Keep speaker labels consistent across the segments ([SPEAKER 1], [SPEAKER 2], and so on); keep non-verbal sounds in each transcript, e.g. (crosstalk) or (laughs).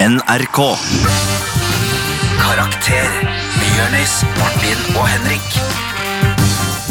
[SPEAKER 1] NRK. Karakter med Jonis, Martin og Henrik.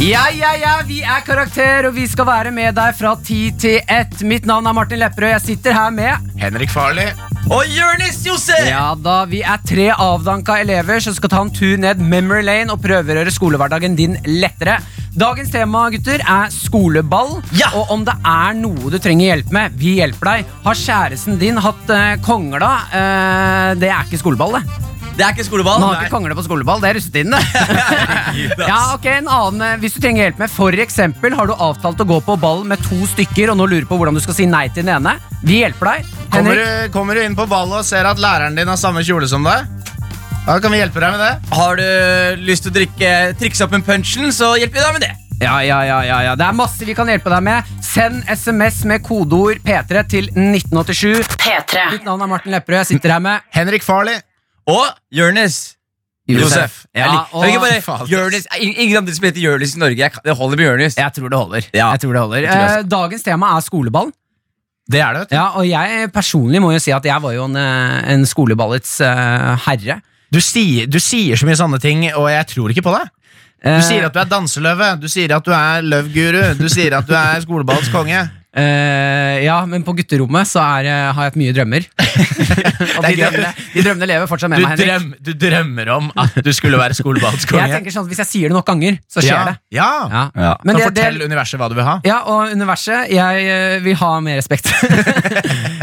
[SPEAKER 2] Ja, ja, ja, vi er Karakter, og vi skal være med deg fra ti til ett. Mitt navn er Martin Lepperød, jeg sitter her med
[SPEAKER 3] Henrik Farley.
[SPEAKER 1] Og Jonis Josef!
[SPEAKER 2] Ja da, vi er tre avdanka elever som skal ta en tur ned memory lane og prøve å gjøre skolehverdagen din lettere. Dagens tema gutter, er skoleball.
[SPEAKER 1] Ja!
[SPEAKER 2] Og om det er noe du trenger hjelp med, vi hjelper deg. Har kjæresten din hatt eh, kongla? Eh, det er ikke skoleball, det.
[SPEAKER 1] Det er ikke skoleball.
[SPEAKER 2] Man har ikke kongla på skoleball, det er
[SPEAKER 1] (laughs)
[SPEAKER 2] russetiden, (laughs) det. ja, ok, en annen eh, Hvis du trenger hjelp med For eksempel har du avtalt å gå på ball med to stykker, og nå lurer på hvordan du skal si nei til den ene. Vi hjelper deg.
[SPEAKER 3] Kommer
[SPEAKER 2] Henrik,
[SPEAKER 3] du, kommer du inn på ballet og ser at læreren din har samme kjole som deg? Da kan vi hjelpe deg med det.
[SPEAKER 1] Har du lyst til å drikke, trikse opp en punchen, så hjelper vi deg med det.
[SPEAKER 2] Ja, ja, ja, ja, ja. Det er masse vi kan hjelpe deg med. Send SMS med kodeord P3 til 1987.
[SPEAKER 4] P3.
[SPEAKER 2] Mitt navn er Martin Lepperød. Jeg sitter her med
[SPEAKER 3] Henrik Farley.
[SPEAKER 1] Og Jonis. Josef. Jeg
[SPEAKER 2] Ja,
[SPEAKER 1] lik-
[SPEAKER 2] og
[SPEAKER 1] Kan ikke bare-
[SPEAKER 3] Faen, ass.
[SPEAKER 1] Jonis- ing- Ingen andre som heter Jonis i Norge. Jeg kan- Det holder med Jonis.
[SPEAKER 2] jeg tror det holder.
[SPEAKER 1] Ja.
[SPEAKER 2] Jeg tror det holder.
[SPEAKER 1] Jeg tror det
[SPEAKER 2] Eh, dagens tema er skoleball.
[SPEAKER 3] Det er det, vet du.
[SPEAKER 2] Ja, og jeg personlig må jo si at jeg var jo en, eh, en skoleballets eh, herre.
[SPEAKER 3] Du sier, du sier så mye sånne ting, og jeg tror ikke på deg.
[SPEAKER 2] Eh.
[SPEAKER 3] Du sier at du er danseløve, du sier at du er løvguru, du sier at du er skoleballets konge.
[SPEAKER 2] Eh, ja, men på gutterommet så er, eh, har jeg hatt mye drømmer. (laughs) og de
[SPEAKER 3] Det er gøy.
[SPEAKER 2] drømmene, de drømmene lever fortsatt med
[SPEAKER 3] Du,
[SPEAKER 2] meg, Henrik.
[SPEAKER 3] drøm, du drømmer om at du skulle være skoleballets konge.
[SPEAKER 2] Jeg tenker sånn at Hvis jeg sier det nok ganger, så skjer
[SPEAKER 3] ja.
[SPEAKER 2] det.
[SPEAKER 3] Ja.
[SPEAKER 2] Ja.
[SPEAKER 1] Ja.
[SPEAKER 2] Men
[SPEAKER 3] Kan
[SPEAKER 2] det,
[SPEAKER 3] fortell
[SPEAKER 2] det,
[SPEAKER 3] universet hva du vil ha.
[SPEAKER 2] ja, og universet, jeg eh, vil ha mer respekt. (laughs)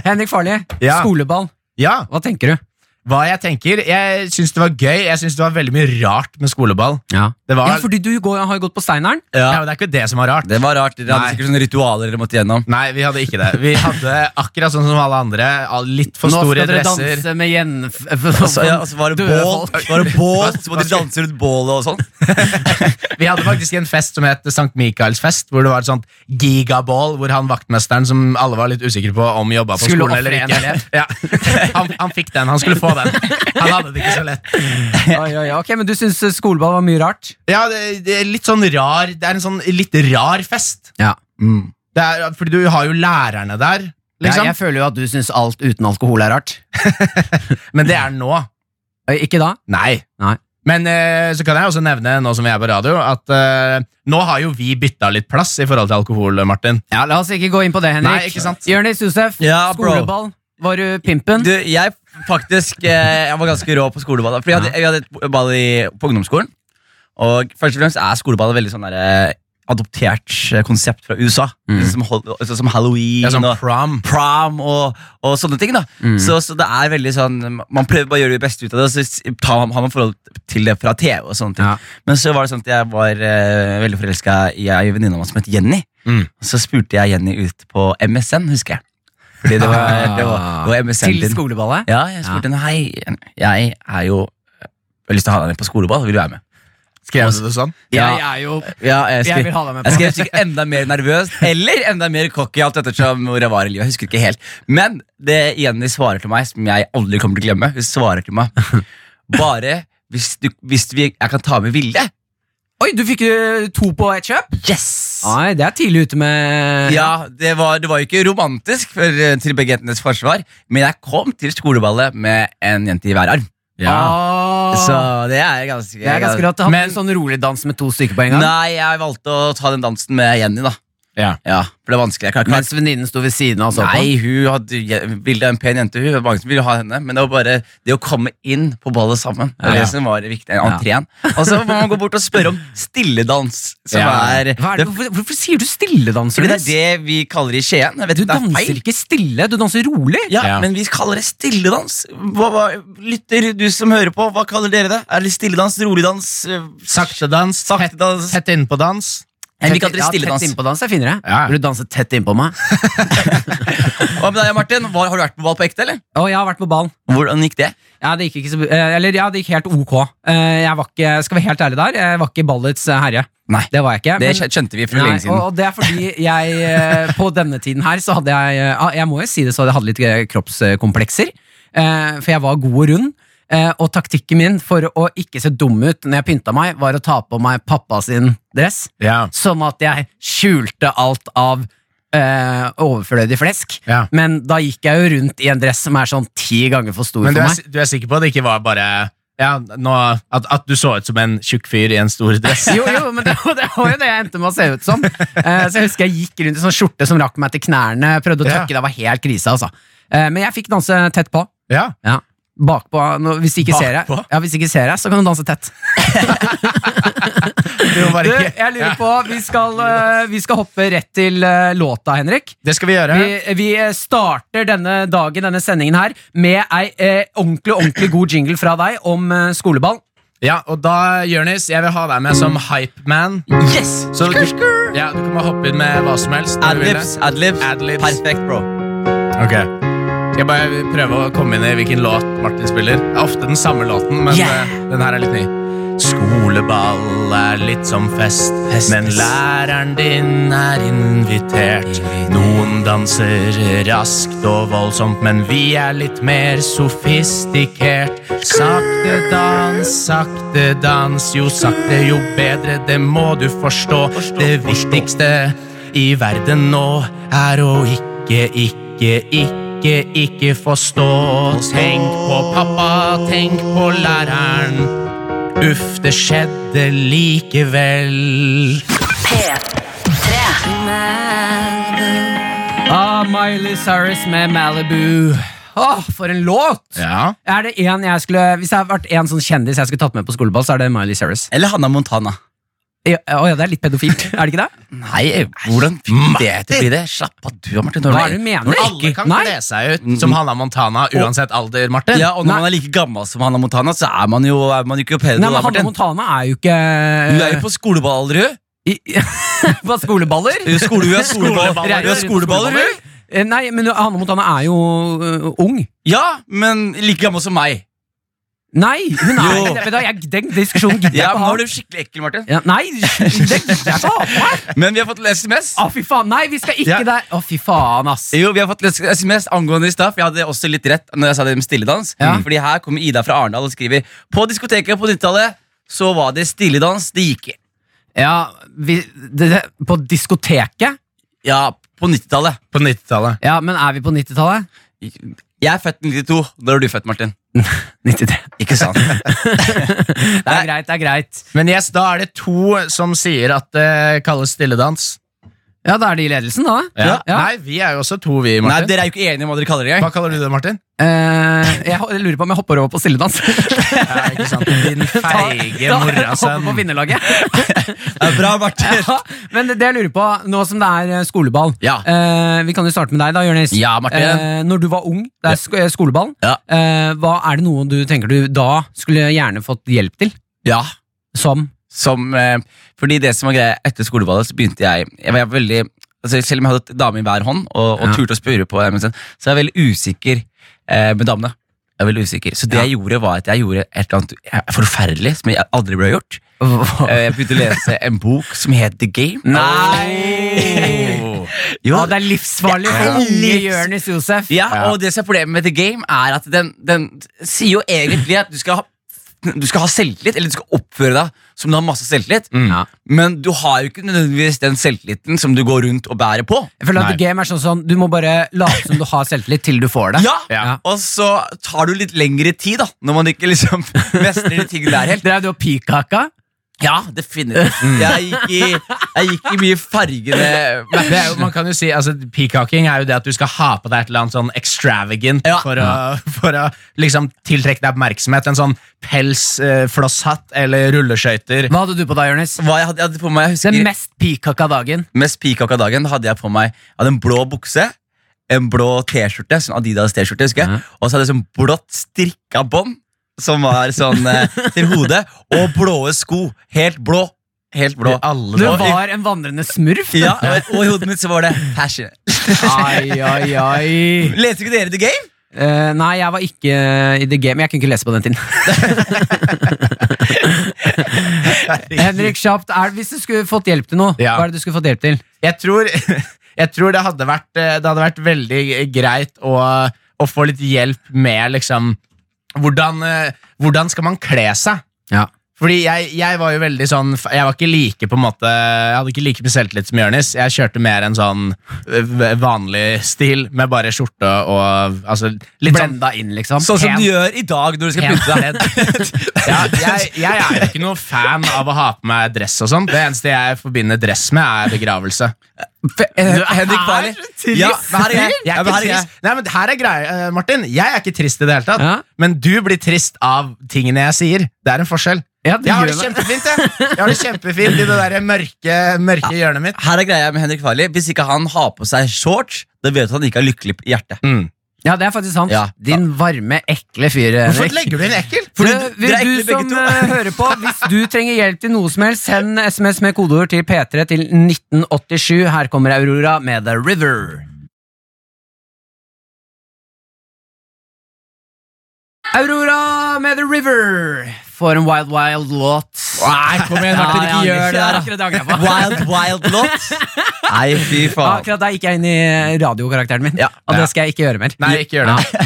[SPEAKER 2] Henrik Farli,
[SPEAKER 3] Ja.
[SPEAKER 2] skoleball.
[SPEAKER 3] Ja,
[SPEAKER 2] Hva tenker du?
[SPEAKER 3] hva jeg tenker Jeg syns det var gøy. Jeg syns det var veldig mye rart med skoleball.
[SPEAKER 2] Ja,
[SPEAKER 3] Det var,
[SPEAKER 2] fordi du går, har jo gått på Steineren.
[SPEAKER 3] ja, men det er ikke det som var rart.
[SPEAKER 1] Det var rart. Dere hadde
[SPEAKER 3] Nei.
[SPEAKER 1] sikkert sånne ritualer dere måtte gjennom.
[SPEAKER 3] Nei, vi hadde ikke det. Vi hadde akkurat sånn som alle andre. all- Litt for
[SPEAKER 2] Nå
[SPEAKER 3] store
[SPEAKER 2] skal dere
[SPEAKER 3] dresser.
[SPEAKER 2] danse med gjenf...
[SPEAKER 1] Altså, ja, altså, var det
[SPEAKER 2] (laughs) Døde
[SPEAKER 1] bål?
[SPEAKER 2] folk.
[SPEAKER 1] Var det (laughs) bål? Så måtte de danse rundt bålet og sånn?
[SPEAKER 3] Vi hadde faktisk en fest som het Sankt Michaels fest, hvor det var et sånt gigaball, hvor han vaktmesteren som alle var litt usikre på om jobba på
[SPEAKER 2] Skulle
[SPEAKER 3] skolen eller
[SPEAKER 2] offre en
[SPEAKER 3] ikke. Ja. Han, han fikk den. Han skulle få den. Han hadde det ikke så lett.
[SPEAKER 2] (laughs) Oi, oi, oi. Ok, Men du syns skoleball var mye rart?
[SPEAKER 3] Ja, det, det er litt sånn rar Det er en sånn litt rar fest.
[SPEAKER 2] Ja.
[SPEAKER 3] Det er, fordi du har jo lærerne der, liksom.
[SPEAKER 2] Mm. jeg føler jo at du syns alt uten alkohol er rart.
[SPEAKER 3] Men det er nå.
[SPEAKER 2] Eh, Ikke da?
[SPEAKER 3] Nei.
[SPEAKER 2] Nei.
[SPEAKER 3] Men eh, så kan jeg også nevne nå som vi er på radio, at eh, nå har jo vi bytta litt plass i forhold til alkohol, Martin.
[SPEAKER 2] Ja, La oss ikke gå inn på det, Henrik.
[SPEAKER 3] Nei, ikke sant.
[SPEAKER 2] Jonis Josef,
[SPEAKER 1] Ja, bro.
[SPEAKER 2] skoleball. Var du pimpen?
[SPEAKER 1] Du, jeg faktisk eh, Jeg var ganske rå på skoleball. da, Fordi jeg hadde, jeg hadde et ball i, på ungdomsskolen. Og først og fremst er skoleball et veldig sånn der, eh, adoptert eh, konsept fra USA. Som, hol- altså, som halloween
[SPEAKER 3] Det er sånn
[SPEAKER 1] og
[SPEAKER 3] prom.
[SPEAKER 1] prom og, og sånne ting. da så, så det er veldig sånn Man prøver bare å gjøre det beste ut av det, og så s- tar man, har man forhold til det fra TV. og sånne ting
[SPEAKER 2] Ja.
[SPEAKER 1] Men så var det sånn at jeg var eh, veldig forelska i ei venninne av meg som het Jenny.
[SPEAKER 3] Mm.
[SPEAKER 1] Og så spurte jeg Jenny ut på MSN, husker jeg. Fordi det var, det var, det var MSN
[SPEAKER 2] Til
[SPEAKER 1] din.
[SPEAKER 2] skoleballet?
[SPEAKER 1] Ja, jeg spurte henne Hei, jeg er jo Jeg har lyst til å ha deg med på skoleball, vil du være med?
[SPEAKER 3] Skrev du det sånn?
[SPEAKER 1] Ja.
[SPEAKER 2] Jeg er jo
[SPEAKER 1] Ja, jeg,
[SPEAKER 2] Jeg
[SPEAKER 1] skrev,
[SPEAKER 2] vil ha deg
[SPEAKER 1] jeg
[SPEAKER 2] med på.
[SPEAKER 1] skrev sikkert enda mer
[SPEAKER 2] (laughs)
[SPEAKER 1] nervøs Eller enda mer cocky Alt ettersom hvor jeg var i livet Jeg husker ikke helt Men det Jenny svarer til meg Som jeg aldri kommer til å glemme Hun svarer til meg Bare hvis, du, hvis vi, jeg kan ta med Vilde
[SPEAKER 2] Oi, du fikk eh, to på ett kjøp?
[SPEAKER 1] Yes
[SPEAKER 2] Nei, det er tidlig ute med
[SPEAKER 1] Ah, Ja, det var, det var jo ikke romantisk for, eh, Til begge jentenes forsvar Men jeg kom til skoleballet Med en jente i hver arm
[SPEAKER 2] Ah,
[SPEAKER 1] Så det er ganske
[SPEAKER 2] det er ganske rart. Han
[SPEAKER 3] Men-
[SPEAKER 2] hadde en sånn rolig dans med to stykker på en gang.
[SPEAKER 1] Nei, jeg valgte å ta den dansen med Jenny, da.
[SPEAKER 3] Ja.
[SPEAKER 1] For det er vanskelig. Jeg klarer
[SPEAKER 2] Mens venninnen sto ved siden av og så
[SPEAKER 1] ikke
[SPEAKER 2] på.
[SPEAKER 1] Nei, hun hadde, jeg- Vilde er en pen jente, hun. Det var Mange som ville ha henne. Men det var bare det å komme inn på ballet sammen. Det
[SPEAKER 2] Ja.
[SPEAKER 1] var det som var det viktige. Entreen. Og så må man gå bort og spørre om stilledans, som
[SPEAKER 3] Ja.
[SPEAKER 1] er,
[SPEAKER 2] Hva er det?
[SPEAKER 1] det,
[SPEAKER 2] Hvorfor, hvorfor sier du stilledanser?
[SPEAKER 1] Fordi det
[SPEAKER 2] Jonas?
[SPEAKER 1] er det vi kaller i Skien. Jeg vet
[SPEAKER 2] Du
[SPEAKER 1] ikke, det er
[SPEAKER 2] danser
[SPEAKER 1] feil.
[SPEAKER 2] ikke stille, du danser rolig.
[SPEAKER 1] Ja,
[SPEAKER 3] Ja.
[SPEAKER 1] men vi kaller det stilledans. Hva, hva, lytter du som hører på, hva kaller dere det? Er det stilledans, roligdans, eh,
[SPEAKER 3] Sakte-dans, tett,
[SPEAKER 1] sakte-dans?
[SPEAKER 3] tett innpå-dans.
[SPEAKER 1] Men vi kaller det
[SPEAKER 2] Ja,
[SPEAKER 1] stilledans.
[SPEAKER 2] Tett innpå dans er finere.
[SPEAKER 3] Ja.
[SPEAKER 2] Vil du danse tett innpå meg?
[SPEAKER 1] Hva med deg, Martin? Hva, har du vært på ball på ekte, eller?
[SPEAKER 2] Å, jeg har vært på ball.
[SPEAKER 1] Hvordan gikk det?
[SPEAKER 2] Ja, det gikk ikke så eh, Eller ja, det gikk helt ok. Eh, Jeg var ikke, skal være helt ærlig der, jeg var ikke ballets eh, herre.
[SPEAKER 1] Nei.
[SPEAKER 2] Det var jeg ikke.
[SPEAKER 1] Det
[SPEAKER 2] men-
[SPEAKER 1] skj- skjønte vi for
[SPEAKER 2] Nei,
[SPEAKER 1] lenge siden.
[SPEAKER 2] og, og det er fordi jeg eh, på denne tiden her så hadde jeg eh, ah, Jeg må jo si det, så hadde jeg hadde litt eh, kroppskomplekser. eh, For jeg var god og rund. eh, Og taktikken min for å ikke se dum ut når jeg pynta meg, var å ta på meg pappa sin dress.
[SPEAKER 3] Ja.
[SPEAKER 2] Sånn at jeg skjulte alt av eh, overflødig flesk.
[SPEAKER 3] Ja.
[SPEAKER 2] Men da gikk jeg jo rundt i en dress som er sånn ti ganger for stor
[SPEAKER 3] Men
[SPEAKER 2] for
[SPEAKER 3] du er,
[SPEAKER 2] meg.
[SPEAKER 3] si- du er sikker på at det ikke var bare ja, nå, at, at du så ut som en tjukk fyr i en stor dress?
[SPEAKER 2] Jo, jo, men det, det var jo det jeg endte med å se ut som. Eh, så jeg husker jeg gikk rundt i sånn skjorte som rakk meg til knærne. Prøvde å
[SPEAKER 3] Ja.
[SPEAKER 2] tøkke, det var helt krise, altså. Eh, men jeg fikk danse tett på.
[SPEAKER 3] Ja.
[SPEAKER 2] (laughs) Ja. Bakpå, nå, hvis, de ikke ser deg,
[SPEAKER 3] Bakpå?
[SPEAKER 2] ja, hvis de ikke ser deg, så kan du danse tett.
[SPEAKER 3] Du må
[SPEAKER 2] Du,
[SPEAKER 3] bare ikke.
[SPEAKER 2] jeg lurer på, vi skal, eh, vi skal hoppe rett til eh, låta, Henrik.
[SPEAKER 3] Det skal vi gjøre.
[SPEAKER 2] Vi, vi eh, starter denne dagen, denne sendingen her, med ei eh, ordentlig, ordentlig god jingle fra deg om eh, skoleball.
[SPEAKER 3] Ja, og da, Jonis, jeg vil ha deg med som hypeman.
[SPEAKER 1] Yes!
[SPEAKER 3] Så du, ja, du kan bare hoppe inn med hva som helst. når du vil
[SPEAKER 1] Adlibs, adlibs.
[SPEAKER 3] Adlibs.
[SPEAKER 1] Perfekt, bro.
[SPEAKER 3] det. Ok. Skal jeg bare prøve å komme inn i hvilken låt Martin spiller? Det er ofte den samme låten, men
[SPEAKER 1] Yeah.
[SPEAKER 3] eh, den her er litt ny. Skoleball er litt som fest,
[SPEAKER 1] Fest.
[SPEAKER 3] men læreren din er invitert. Noen danser raskt og voldsomt, men vi er litt mer sofistikert. Sakte dans, sakte dans, jo sakte jo bedre, det må du forstå. Det viktigste i verden nå er å ikke, ikke, ikke, ikke forstå. Tenk på pappa, tenk på læreren. Uff, det skjedde likevel.
[SPEAKER 2] Ah, Miley Cyrus med Malibu. Åh, for en låt!
[SPEAKER 3] Ja.
[SPEAKER 2] Er det en jeg skulle, hvis jeg hadde vært en sånn kjendis jeg skulle tatt med på skoleball, så er det Miley Cyrus.
[SPEAKER 1] Eller Hanna Montana.
[SPEAKER 2] Ja, å ja, det er litt
[SPEAKER 1] (laughs)
[SPEAKER 2] pedofilt, er det ikke det?
[SPEAKER 1] Nei, eh, hvordan fikk det til å bli det? Slapp av, du og Martin.
[SPEAKER 2] Hva er det du mener?
[SPEAKER 3] Alle kan
[SPEAKER 2] Nei.
[SPEAKER 3] kle seg ut som Hanna Montana uansett alder, Martin.
[SPEAKER 1] Ja, og når
[SPEAKER 2] Nei.
[SPEAKER 1] man er like gammel som Hanna Montana, så er man jo, er man jo ikke pedo.
[SPEAKER 2] Nei,
[SPEAKER 1] da,
[SPEAKER 2] men Hanne
[SPEAKER 1] Martin.
[SPEAKER 2] Montana er jo ikke
[SPEAKER 1] Du er jo på skoleball, du.
[SPEAKER 2] (laughs) i- På skoleballer?
[SPEAKER 1] Du er skole- du er skoleball-
[SPEAKER 3] Skoleballer.
[SPEAKER 1] du er skoleballer, du.
[SPEAKER 2] Eh, Nei, men Hanne Montana er jo øh, ung.
[SPEAKER 1] Ja, men like gammel som meg.
[SPEAKER 2] Nei, hun er
[SPEAKER 1] Jo.
[SPEAKER 2] ikke det. Vet du hva, jeg- Den diskusjonen gidder jeg
[SPEAKER 1] Ja,
[SPEAKER 2] ikke
[SPEAKER 1] men Nå
[SPEAKER 2] å ha.
[SPEAKER 1] er du skikkelig ekkel, Martin.
[SPEAKER 2] Ja, nei, det gidder jeg ikke å ha på meg!
[SPEAKER 1] Men vi har fått en SMS.
[SPEAKER 2] Å, fy faen. Nei, vi skal ikke
[SPEAKER 1] Ja.
[SPEAKER 2] der. Å, fy faen, ass.
[SPEAKER 1] Jo, vi har fått litt SMS angående i stad, for jeg hadde også litt rett når jeg sa det med stilledans. Fordi her kommer Ida fra Arendal og skriver På diskoteket på 90-tallet så var det stilledans. Det gikk i.
[SPEAKER 2] Ja, vi, det, det, på diskoteket?
[SPEAKER 1] Ja, på 90-tallet.
[SPEAKER 3] På 90-tallet.
[SPEAKER 2] Ja, men er vi på 90-tallet?
[SPEAKER 1] Jeg er født i 92. Når er du født, Martin?
[SPEAKER 2] 93.
[SPEAKER 1] Ikke sant?
[SPEAKER 2] Det er greit, det er greit.
[SPEAKER 3] Men yes, da er det to som sier at det kalles stilledans.
[SPEAKER 2] Ja, da er det i ledelsen, da.
[SPEAKER 1] Ja.
[SPEAKER 2] Ja.
[SPEAKER 3] Nei, vi er jo også to, vi,
[SPEAKER 1] Nei,
[SPEAKER 3] Martin.
[SPEAKER 1] dere er jo ikke enige om hva dere kaller det engang.
[SPEAKER 3] Hva kaller du det, Martin?
[SPEAKER 2] Eh, jeg ho- lurer på om jeg hopper over på stilledans.
[SPEAKER 3] Ja, ikke sant?
[SPEAKER 2] (laughs)
[SPEAKER 3] Din feige
[SPEAKER 2] hopper på
[SPEAKER 3] morasønn.
[SPEAKER 2] vinnerlaget. (laughs)
[SPEAKER 1] Det er bra, Martin.
[SPEAKER 2] Ja, men det jeg lurer på, nå som det er eh, skoleball
[SPEAKER 1] Ja.
[SPEAKER 2] eh, Vi kan jo starte med deg, da, Jonis.
[SPEAKER 1] Ja, Martin.
[SPEAKER 2] Eh, når du var ung, det er sk eh, skoleball,
[SPEAKER 1] Ja.
[SPEAKER 2] eh, hva er det noe du tenker du da skulle gjerne fått hjelp til?
[SPEAKER 1] Ja.
[SPEAKER 2] Som
[SPEAKER 1] Som, eh, fordi det som var greia etter skoleballet, så begynte jeg Jeg var veldig altså Selv om jeg hadde et dame i hver hånd og, og
[SPEAKER 2] Ja.
[SPEAKER 1] turte å spørre på MSN, så var jeg veldig usikker eh, med damene. Jeg var veldig usikker Så det jeg gjorde, var at jeg gjorde et eller annet eh, forferdelig som jeg aldri ble gjort. Eh, Jeg begynte å lese en bok som het The Game.
[SPEAKER 2] Nei!
[SPEAKER 3] Oh.
[SPEAKER 1] (laughs) Jo.
[SPEAKER 2] Ja, det er livsfarlig
[SPEAKER 1] Det er
[SPEAKER 2] for unge
[SPEAKER 1] livs-
[SPEAKER 2] Jonis Josef.
[SPEAKER 1] Ja,
[SPEAKER 3] Ja.
[SPEAKER 1] og det som er problemet med The Game, er at den, den sier jo egentlig at du skal ha du skal ha selvtillit, eller du skal oppføre deg som du har masse selvtillit.
[SPEAKER 2] Ja.
[SPEAKER 1] Men du har jo ikke nødvendigvis den selvtilliten som du går rundt og bærer på.
[SPEAKER 2] Jeg føler at
[SPEAKER 3] Nei.
[SPEAKER 2] The Game er sånn sånn Du må bare late som du har selvtillit til du får det.
[SPEAKER 1] Ja!
[SPEAKER 3] Ja.
[SPEAKER 1] Og så tar du litt lengre tid, da, når man ikke liksom (laughs) mestrer de tingene der helt.
[SPEAKER 2] Drev du og pikaka?
[SPEAKER 1] Ja, definitivt. Jeg gikk i, jeg gikk i mye fargene
[SPEAKER 3] Men det er jo, man kan jo si, altså Peacocking er jo det at du skal ha på deg et eller annet sånn extravagant
[SPEAKER 1] Ja.
[SPEAKER 3] for, å, for å liksom tiltrekke deg oppmerksomhet. En sånn pelsflosshatt eller rulleskøyter.
[SPEAKER 2] Hva hadde du på da, Jonis?
[SPEAKER 1] Hva jeg hadde, jeg hadde på meg, jeg
[SPEAKER 2] Den
[SPEAKER 1] husker
[SPEAKER 2] mest pikaka dagen.
[SPEAKER 1] Mest peacock av dagen hadde jeg på meg jeg hadde en blå bukse, en blå T-skjorte, sånn Adidas T-skjorte, husker jeg, og så hadde jeg sånn blått strikka bånd som var sånn
[SPEAKER 3] (laughs)
[SPEAKER 1] eh, til hodet, og blåe sko. Helt blå. Helt blå.
[SPEAKER 3] Alle
[SPEAKER 2] Du
[SPEAKER 3] da.
[SPEAKER 2] var en vandrende smurf.
[SPEAKER 1] Ja, og, og i hodet mitt så var det passion.
[SPEAKER 2] (laughs) Ai, ai, ai.
[SPEAKER 1] Leste ikke dere The Game?
[SPEAKER 2] Eh, nei, jeg var ikke eh, i The Game. Jeg kunne ikke lese på den tiden. Henrik Kjapt, er, hvis du skulle fått hjelp til noe,
[SPEAKER 3] Ja.
[SPEAKER 2] hva er det du skulle fått hjelp til?
[SPEAKER 3] Jeg tror, jeg tror det, hadde vært, eh, det hadde vært veldig greit å, å få litt hjelp med liksom hvordan, eh, hvordan skal man kle seg?
[SPEAKER 2] Ja.
[SPEAKER 3] Fordi jeg, jeg var jo veldig sånn Jeg var ikke like på en måte Jeg hadde ikke like mye selvtillit som Jonis. Jeg kjørte mer en sånn ø, v- vanlig stil med bare skjorte og altså, litt sånn
[SPEAKER 2] Blenda inn, liksom.
[SPEAKER 1] Sånn som
[SPEAKER 2] Pen.
[SPEAKER 1] du gjør i dag når du skal pynte deg. (laughs)
[SPEAKER 3] ja, jeg, jeg er jo ikke noe fan av å ha på meg dress og sånn. Det eneste jeg forbinder dress med, er begravelse.
[SPEAKER 1] F- eh, Henrik
[SPEAKER 2] er
[SPEAKER 1] Farley.
[SPEAKER 2] trist.
[SPEAKER 1] Ja, men her er jeg.
[SPEAKER 3] Jeg
[SPEAKER 1] Ja,
[SPEAKER 3] er
[SPEAKER 1] men
[SPEAKER 3] ikke
[SPEAKER 1] her er jeg.
[SPEAKER 3] trist. Nei, men her er greia, eh, Martin. Jeg er ikke trist i det hele tatt.
[SPEAKER 2] Ja.
[SPEAKER 3] Men du blir trist av tingene jeg sier. Det er en forskjell.
[SPEAKER 2] Ja, det
[SPEAKER 3] Jeg har det
[SPEAKER 2] gjør det.
[SPEAKER 3] kjempefint jeg. Jeg har det kjempefint i det der mørke, mørke hjørnet mitt.
[SPEAKER 1] Her er greia med Henrik Farley. Hvis ikke han har på seg shorts, da vet du at han ikke har lykkelig i
[SPEAKER 3] (laughs)
[SPEAKER 1] hjertet.
[SPEAKER 2] Ja, det er faktisk sant.
[SPEAKER 1] Ja.
[SPEAKER 2] Din varme, ekle fyr.
[SPEAKER 3] Hvorfor
[SPEAKER 2] Henrik.
[SPEAKER 3] legger du inn ekkel?
[SPEAKER 1] Fordi
[SPEAKER 2] Eh,
[SPEAKER 1] du- dere er
[SPEAKER 2] du
[SPEAKER 1] ekle
[SPEAKER 2] som
[SPEAKER 1] begge to.
[SPEAKER 2] eh, hører på, hvis du trenger hjelp til noe som helst, send SMS med kodeord til P3 til 1987. Her kommer Aurora med The River. Aurora med The River. For en wild, wild låt.
[SPEAKER 3] Nei, kom igjen, Martin, ikke
[SPEAKER 2] jeg
[SPEAKER 3] gjør
[SPEAKER 2] angrer.
[SPEAKER 3] det da.
[SPEAKER 2] Akkurat det angrer jeg på.
[SPEAKER 1] Wild, wild lot. Nei, fy faen.
[SPEAKER 2] Akkurat da gikk jeg inn i radiokarakteren min,
[SPEAKER 1] Ja.
[SPEAKER 2] og det skal jeg ikke gjøre mer.
[SPEAKER 3] Nei, ikke gjør det.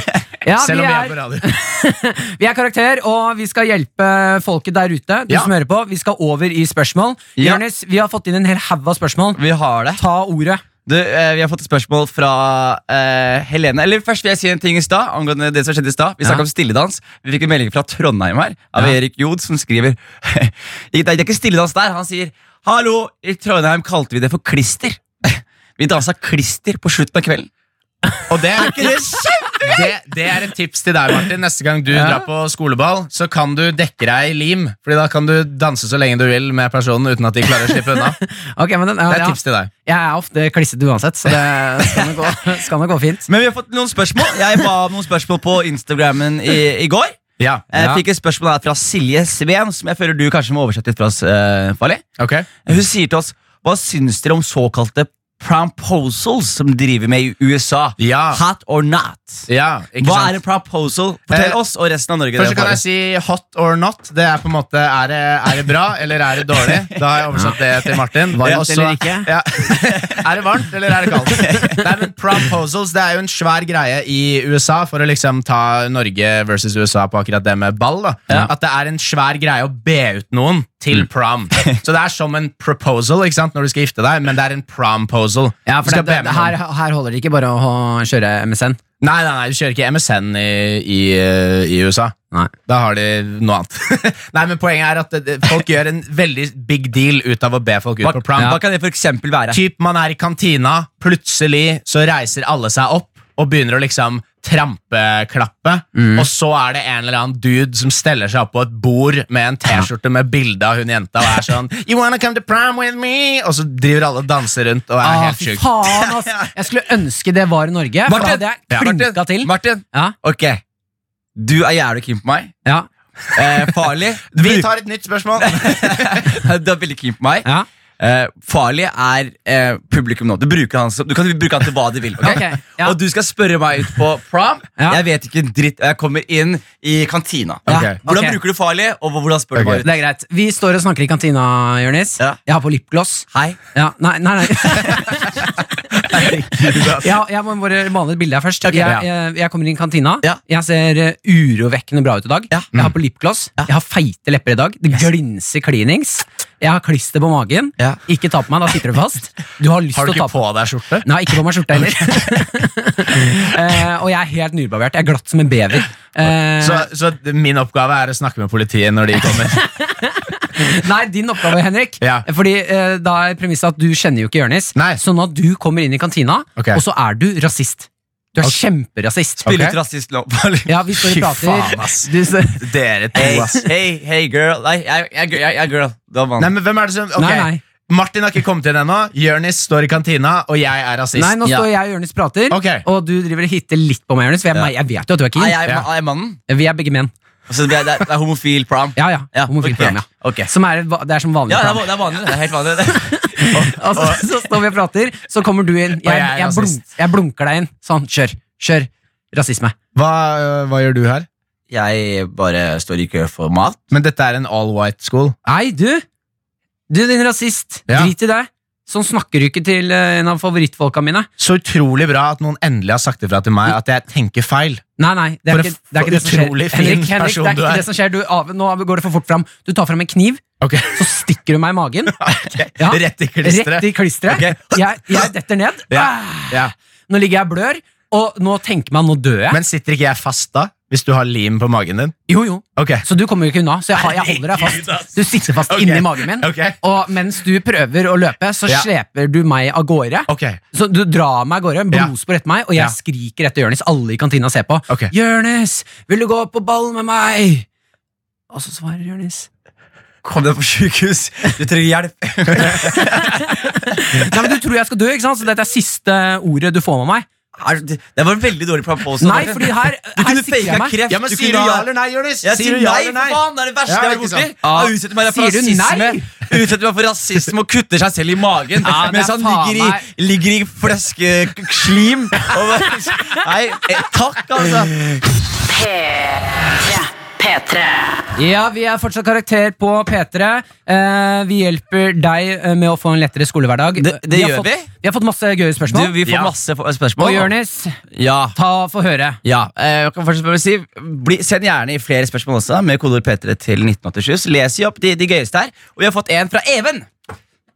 [SPEAKER 2] Ja,
[SPEAKER 3] Selv
[SPEAKER 2] vi
[SPEAKER 3] om vi
[SPEAKER 2] er
[SPEAKER 3] er på radio.
[SPEAKER 2] Vi er karakter, og vi skal hjelpe folket der ute. Du
[SPEAKER 3] Ja.
[SPEAKER 2] som hører på, Vi skal over i spørsmål.
[SPEAKER 1] Ja.
[SPEAKER 2] Jonis, vi har fått inn en hel haug av spørsmål.
[SPEAKER 1] Vi har det.
[SPEAKER 2] Ta ordet.
[SPEAKER 1] Du, eh, vi har fått et spørsmål fra eh, Helene. Eller først vil jeg si en ting i stad angående det som skjedde i stad. Vi snakket om
[SPEAKER 2] Ja.
[SPEAKER 1] stilledans. Vi fikk en melding fra Trondheim her av
[SPEAKER 2] Ja.
[SPEAKER 1] Erik Jod, som skriver (laughs) Det er ikke stilledans der. Han sier Hallo, i Trondheim kalte vi det for klister. (laughs) Vi dansa klister på slutten av kvelden.
[SPEAKER 3] (laughs) Og det er, det, det er et tips til deg, Martin. Neste gang du drar på skoleball, så kan du dekke deg i lim. Fordi da kan du danse så lenge du vil med personen uten at de klarer å slippe unna. Det
[SPEAKER 2] Ok, men den, ja,
[SPEAKER 3] er et
[SPEAKER 2] ja.
[SPEAKER 3] tips til deg.
[SPEAKER 2] Jeg er ofte klissete uansett, så det skal nok gå, skal nok gå fint.
[SPEAKER 1] Men vi har fått noen spørsmål. Jeg ba om noen spørsmål på Instagrammen i, i går.
[SPEAKER 3] Ja,
[SPEAKER 1] Jeg fikk et spørsmål her fra Silje Sveen, som jeg føler du kanskje må oversette litt fra oss, eh, Farley.
[SPEAKER 3] ok
[SPEAKER 1] Hun sier til oss Hva syns dere om såkalte promposals som driver med i USA?
[SPEAKER 3] Ja.
[SPEAKER 1] Hot or not?
[SPEAKER 3] ja, ikke
[SPEAKER 1] Hva
[SPEAKER 3] sant?
[SPEAKER 1] er en promposal? Fortell
[SPEAKER 3] Eh,
[SPEAKER 1] oss og resten av Norge. det,
[SPEAKER 3] Først så kan jeg
[SPEAKER 1] Farley.
[SPEAKER 3] si hot or not. Det er på en måte Er det, er det bra, eller er det dårlig? Da har jeg oversatt det til Martin.
[SPEAKER 2] Varmt
[SPEAKER 3] Og så-
[SPEAKER 2] eller ikke?
[SPEAKER 3] Ja. (laughs) Er det varmt, eller er det kaldt? Nei, men Proposals det er jo en svær greie i USA, for å liksom ta Norge versus USA på akkurat det med ball. da At det er en svær greie å be ut noen til
[SPEAKER 2] Mm.
[SPEAKER 3] prom. Så det er som en proposal ikke sant, når du skal gifte deg, men det er en promposal.
[SPEAKER 2] Ja,
[SPEAKER 3] Du
[SPEAKER 2] for
[SPEAKER 3] skal
[SPEAKER 2] det,
[SPEAKER 3] be
[SPEAKER 2] det,
[SPEAKER 3] med
[SPEAKER 2] her,
[SPEAKER 3] noen.
[SPEAKER 2] her holder det ikke bare å kjøre MSN.
[SPEAKER 3] Nei, nei, nei, du kjører ikke MSN i, eh, i, i USA.
[SPEAKER 2] Nei.
[SPEAKER 3] Da har de noe annet. (laughs) Nei, men Poenget er at det- det- folk gjør en veldig big deal ut av å be folk ut
[SPEAKER 1] hva,
[SPEAKER 3] på prom.
[SPEAKER 1] hva kan det for eksempel være?
[SPEAKER 3] Typ man er i kantina, plutselig så reiser alle seg opp og begynner å liksom trampeklappe.
[SPEAKER 2] Mm.
[SPEAKER 3] Og så er det en eller annen dude som steller seg opp på et bord med en T-skjorte med bilde av hun jenta og er sånn You wanna come to prom with me? Og så driver alle og danser rundt og er
[SPEAKER 2] Ah,
[SPEAKER 3] helt
[SPEAKER 2] fy
[SPEAKER 3] sjuke.
[SPEAKER 2] faen, ass. Jeg skulle ønske det var i Norge, for da
[SPEAKER 1] Martin!
[SPEAKER 2] hadde jeg
[SPEAKER 3] Ja,
[SPEAKER 2] klinka til.
[SPEAKER 1] Martin,
[SPEAKER 2] Ja,
[SPEAKER 1] ok Du er jævlig keen på meg.
[SPEAKER 2] ja,
[SPEAKER 1] Eh,
[SPEAKER 3] (laughs)
[SPEAKER 1] farlig
[SPEAKER 3] Vi tar et nytt
[SPEAKER 2] (laughs)
[SPEAKER 3] spørsmål.
[SPEAKER 1] (laughs) Du er veldig keen på meg.
[SPEAKER 2] ja.
[SPEAKER 1] Eh, farlig er eh, publikum nå. Du, bruker han, som- du kan bruke han til hva du vil.
[SPEAKER 3] (laughs)
[SPEAKER 1] ok?
[SPEAKER 2] Ok, ja.
[SPEAKER 1] Og du skal spørre meg ut på prom.
[SPEAKER 2] Ja.
[SPEAKER 1] Jeg vet ikke en dritt, og jeg kommer inn i kantina.
[SPEAKER 2] Ja,
[SPEAKER 3] Ok.
[SPEAKER 1] Hvordan
[SPEAKER 2] ok.
[SPEAKER 1] bruker du farlig, og hvordan spør du
[SPEAKER 3] Ok.
[SPEAKER 1] meg ut?
[SPEAKER 2] Det er greit. Vi står og snakker i kantina, Jonis.
[SPEAKER 1] Ja.
[SPEAKER 2] Jeg har på lipgloss.
[SPEAKER 1] Hei.
[SPEAKER 2] Ja, nei, nei, nei. ja, jeg må bare male et bilde her først.
[SPEAKER 1] Ok.
[SPEAKER 2] jeg, jeg, jeg kommer inn i kantina.
[SPEAKER 1] Ja.
[SPEAKER 2] Jeg ser eh, urovekkende bra ut i dag.
[SPEAKER 1] Ja.
[SPEAKER 2] Jeg har på lipgloss.
[SPEAKER 1] Ja.
[SPEAKER 2] Jeg har feite lepper i dag. Det glinser klinings. Jeg har klister på magen.
[SPEAKER 1] Ja.
[SPEAKER 2] Ikke ta på meg, da sitter du fast. Du har lyst
[SPEAKER 3] Har du
[SPEAKER 2] til å ta
[SPEAKER 3] ikke
[SPEAKER 2] på
[SPEAKER 3] på deg skjorte?
[SPEAKER 2] Nei, ikke på meg skjorta heller. (laughs) Eh, og jeg er helt nybarbert. Jeg er glatt som en bever. Eh,
[SPEAKER 3] Så, så min oppgave er å snakke med politiet når de kommer.
[SPEAKER 2] Nei, din oppgave, Henrik.
[SPEAKER 3] Ja.
[SPEAKER 2] Fordi eh, da er premisset at du kjenner jo ikke Jonis.
[SPEAKER 3] Nei.
[SPEAKER 2] Sånn at du kommer inn i kantina,
[SPEAKER 3] Ok.
[SPEAKER 2] og så er du rasist. Du er kjemperasist.
[SPEAKER 1] Spille
[SPEAKER 3] Ok.
[SPEAKER 1] ut rasist nå. Farley.
[SPEAKER 2] Ja, vi står
[SPEAKER 3] Fy
[SPEAKER 2] og prater.
[SPEAKER 3] faen, ass.
[SPEAKER 2] Du, s-
[SPEAKER 3] Dere to,
[SPEAKER 1] Hey,
[SPEAKER 3] ass.
[SPEAKER 1] hey, hey girl. Nei, jeg, jeg, jeg, jeg er girl. Du er mann.
[SPEAKER 3] Nei, men hvem er det som ok.
[SPEAKER 2] Nei, nei.
[SPEAKER 3] Martin har ikke kommet inn ennå. Jonis står i kantina, og jeg er rasist.
[SPEAKER 2] nei, nå
[SPEAKER 1] Ja.
[SPEAKER 2] står jeg og Jonis prater,
[SPEAKER 3] Ok.
[SPEAKER 2] og du driver og hitter litt på meg, Jonis. For jeg,
[SPEAKER 1] Ja.
[SPEAKER 2] jeg vet jo at du er
[SPEAKER 1] Nei,
[SPEAKER 2] keen.
[SPEAKER 1] jeg,
[SPEAKER 3] Ja.
[SPEAKER 1] er- jeg er mannen.
[SPEAKER 2] Vi er begge menn.
[SPEAKER 1] Altså, det, er, det er- det er homofil prom.
[SPEAKER 2] Ja, ja.
[SPEAKER 1] Ja,
[SPEAKER 2] Homofil
[SPEAKER 1] ok.
[SPEAKER 2] program, ja.
[SPEAKER 1] Ok.
[SPEAKER 2] Som er, va- det er som vanlig.
[SPEAKER 1] Ja, det er,
[SPEAKER 2] program.
[SPEAKER 1] va- det er vanlig. Det er helt vanlig. Det.
[SPEAKER 2] (laughs) altså, så står vi og prater, så kommer du inn. Jeg,
[SPEAKER 3] jeg er
[SPEAKER 2] jeg, blunk,
[SPEAKER 3] rasist.
[SPEAKER 2] jeg blunker deg inn. Sånn, kjør. Kjør. Rasisme.
[SPEAKER 3] Hva, øh, hva gjør du her?
[SPEAKER 1] Jeg bare står i kø for mat.
[SPEAKER 3] Men dette er en all white school.
[SPEAKER 2] Nei, du! Du, din rasist.
[SPEAKER 3] Ja.
[SPEAKER 2] Drit i det. Sånn snakker du ikke til eh, en av favorittfolka mine.
[SPEAKER 3] Så utrolig bra at noen endelig har sagt ifra til meg at jeg tenker feil.
[SPEAKER 2] Nei, nei, det er
[SPEAKER 3] For
[SPEAKER 2] ikke
[SPEAKER 3] en
[SPEAKER 2] det, er ikke det som skjer.
[SPEAKER 3] utrolig fin
[SPEAKER 2] Henrik, Henrik,
[SPEAKER 3] person
[SPEAKER 2] det er
[SPEAKER 3] du
[SPEAKER 2] ikke
[SPEAKER 3] er.
[SPEAKER 2] det som skjer. Du, av, nå går det for fort fram. Du tar fram en kniv,
[SPEAKER 3] Ok, (laughs)
[SPEAKER 2] så stikker du meg i magen. Ja.
[SPEAKER 3] Rett i
[SPEAKER 2] Rett
[SPEAKER 3] klisteret.
[SPEAKER 2] i klisteret.
[SPEAKER 3] Ok.
[SPEAKER 2] (laughs) Jeg, jeg detter ned. Ah,
[SPEAKER 3] Ja.
[SPEAKER 2] Nå ligger jeg og blør, og nå tenker man nå dør jeg.
[SPEAKER 3] Men sitter ikke jeg fast da, hvis du har lim på magen din?
[SPEAKER 2] Jo, jo.
[SPEAKER 3] Ok,
[SPEAKER 2] Så du kommer jo ikke unna. Så jeg, har- jeg holder deg
[SPEAKER 3] Herregud, ass.
[SPEAKER 2] fast. Du sitter fast
[SPEAKER 3] Ok.
[SPEAKER 2] inni magen min.
[SPEAKER 3] ok,
[SPEAKER 2] Og mens du prøver å løpe, så
[SPEAKER 3] Ja.
[SPEAKER 2] sleper du meg av gårde.
[SPEAKER 3] ok.
[SPEAKER 2] Så du drar meg av gårde,
[SPEAKER 3] Ja.
[SPEAKER 2] blodspor etter meg, og jeg
[SPEAKER 3] Ja.
[SPEAKER 2] skriker etter Jonis. Alle i kantina ser på.
[SPEAKER 3] Ok.
[SPEAKER 2] Jonis, vil du gå på ball med meg? Og så svarer Jonis.
[SPEAKER 1] Kom deg på sykehus, du trenger hjelp.
[SPEAKER 2] Nei, men Du tror jeg skal dø, ikke sant? så dette er siste ordet du får med meg.
[SPEAKER 1] Er Det det var en veldig dårlig plan på oss.
[SPEAKER 2] Nei, fordi her,
[SPEAKER 1] (laughs) Du
[SPEAKER 2] her
[SPEAKER 1] kunne
[SPEAKER 2] sikrer jeg
[SPEAKER 1] faka
[SPEAKER 2] meg.
[SPEAKER 1] kreft.
[SPEAKER 3] Ja, men
[SPEAKER 1] du
[SPEAKER 3] Sier du
[SPEAKER 1] kunne
[SPEAKER 3] ja
[SPEAKER 1] ha-
[SPEAKER 3] eller nei, Jonis?
[SPEAKER 1] Jeg sier
[SPEAKER 3] ja
[SPEAKER 1] nei,
[SPEAKER 3] eller
[SPEAKER 1] for faen! Det er det verste
[SPEAKER 3] Ja,
[SPEAKER 1] jeg har
[SPEAKER 3] ikke
[SPEAKER 1] vært
[SPEAKER 3] sant?
[SPEAKER 1] borti. Jeg Utsetter meg for
[SPEAKER 2] Sier du
[SPEAKER 1] rasisme
[SPEAKER 2] nei?
[SPEAKER 1] Utsetter meg for rasisme og kutter seg selv i magen
[SPEAKER 2] Ja, det
[SPEAKER 1] mens
[SPEAKER 2] er
[SPEAKER 1] han
[SPEAKER 2] faen
[SPEAKER 1] ligger i, ligger i fleskeslim. og bare- Nei, eh, takk, altså.
[SPEAKER 4] P3. P3.
[SPEAKER 2] Ja, vi er fortsatt karakter på P3. Eh, vi hjelper deg eh, med å få en lettere skolehverdag.
[SPEAKER 1] Det- det
[SPEAKER 2] har
[SPEAKER 1] gjør
[SPEAKER 2] fått,
[SPEAKER 1] vi.
[SPEAKER 2] Vi har fått masse gøye
[SPEAKER 1] Du,
[SPEAKER 2] spørsmål.
[SPEAKER 1] vi får
[SPEAKER 3] Ja.
[SPEAKER 1] masse for- spørsmål.
[SPEAKER 2] og Jonis,
[SPEAKER 1] Ja.
[SPEAKER 2] ta få høre.
[SPEAKER 1] Ja, eh, jeg kan først bare si bli, Send gjerne i flere spørsmål også, med kodeord P3 til 1987. Så leser jeg opp de, de gøyeste her. Og vi har fått en fra Even.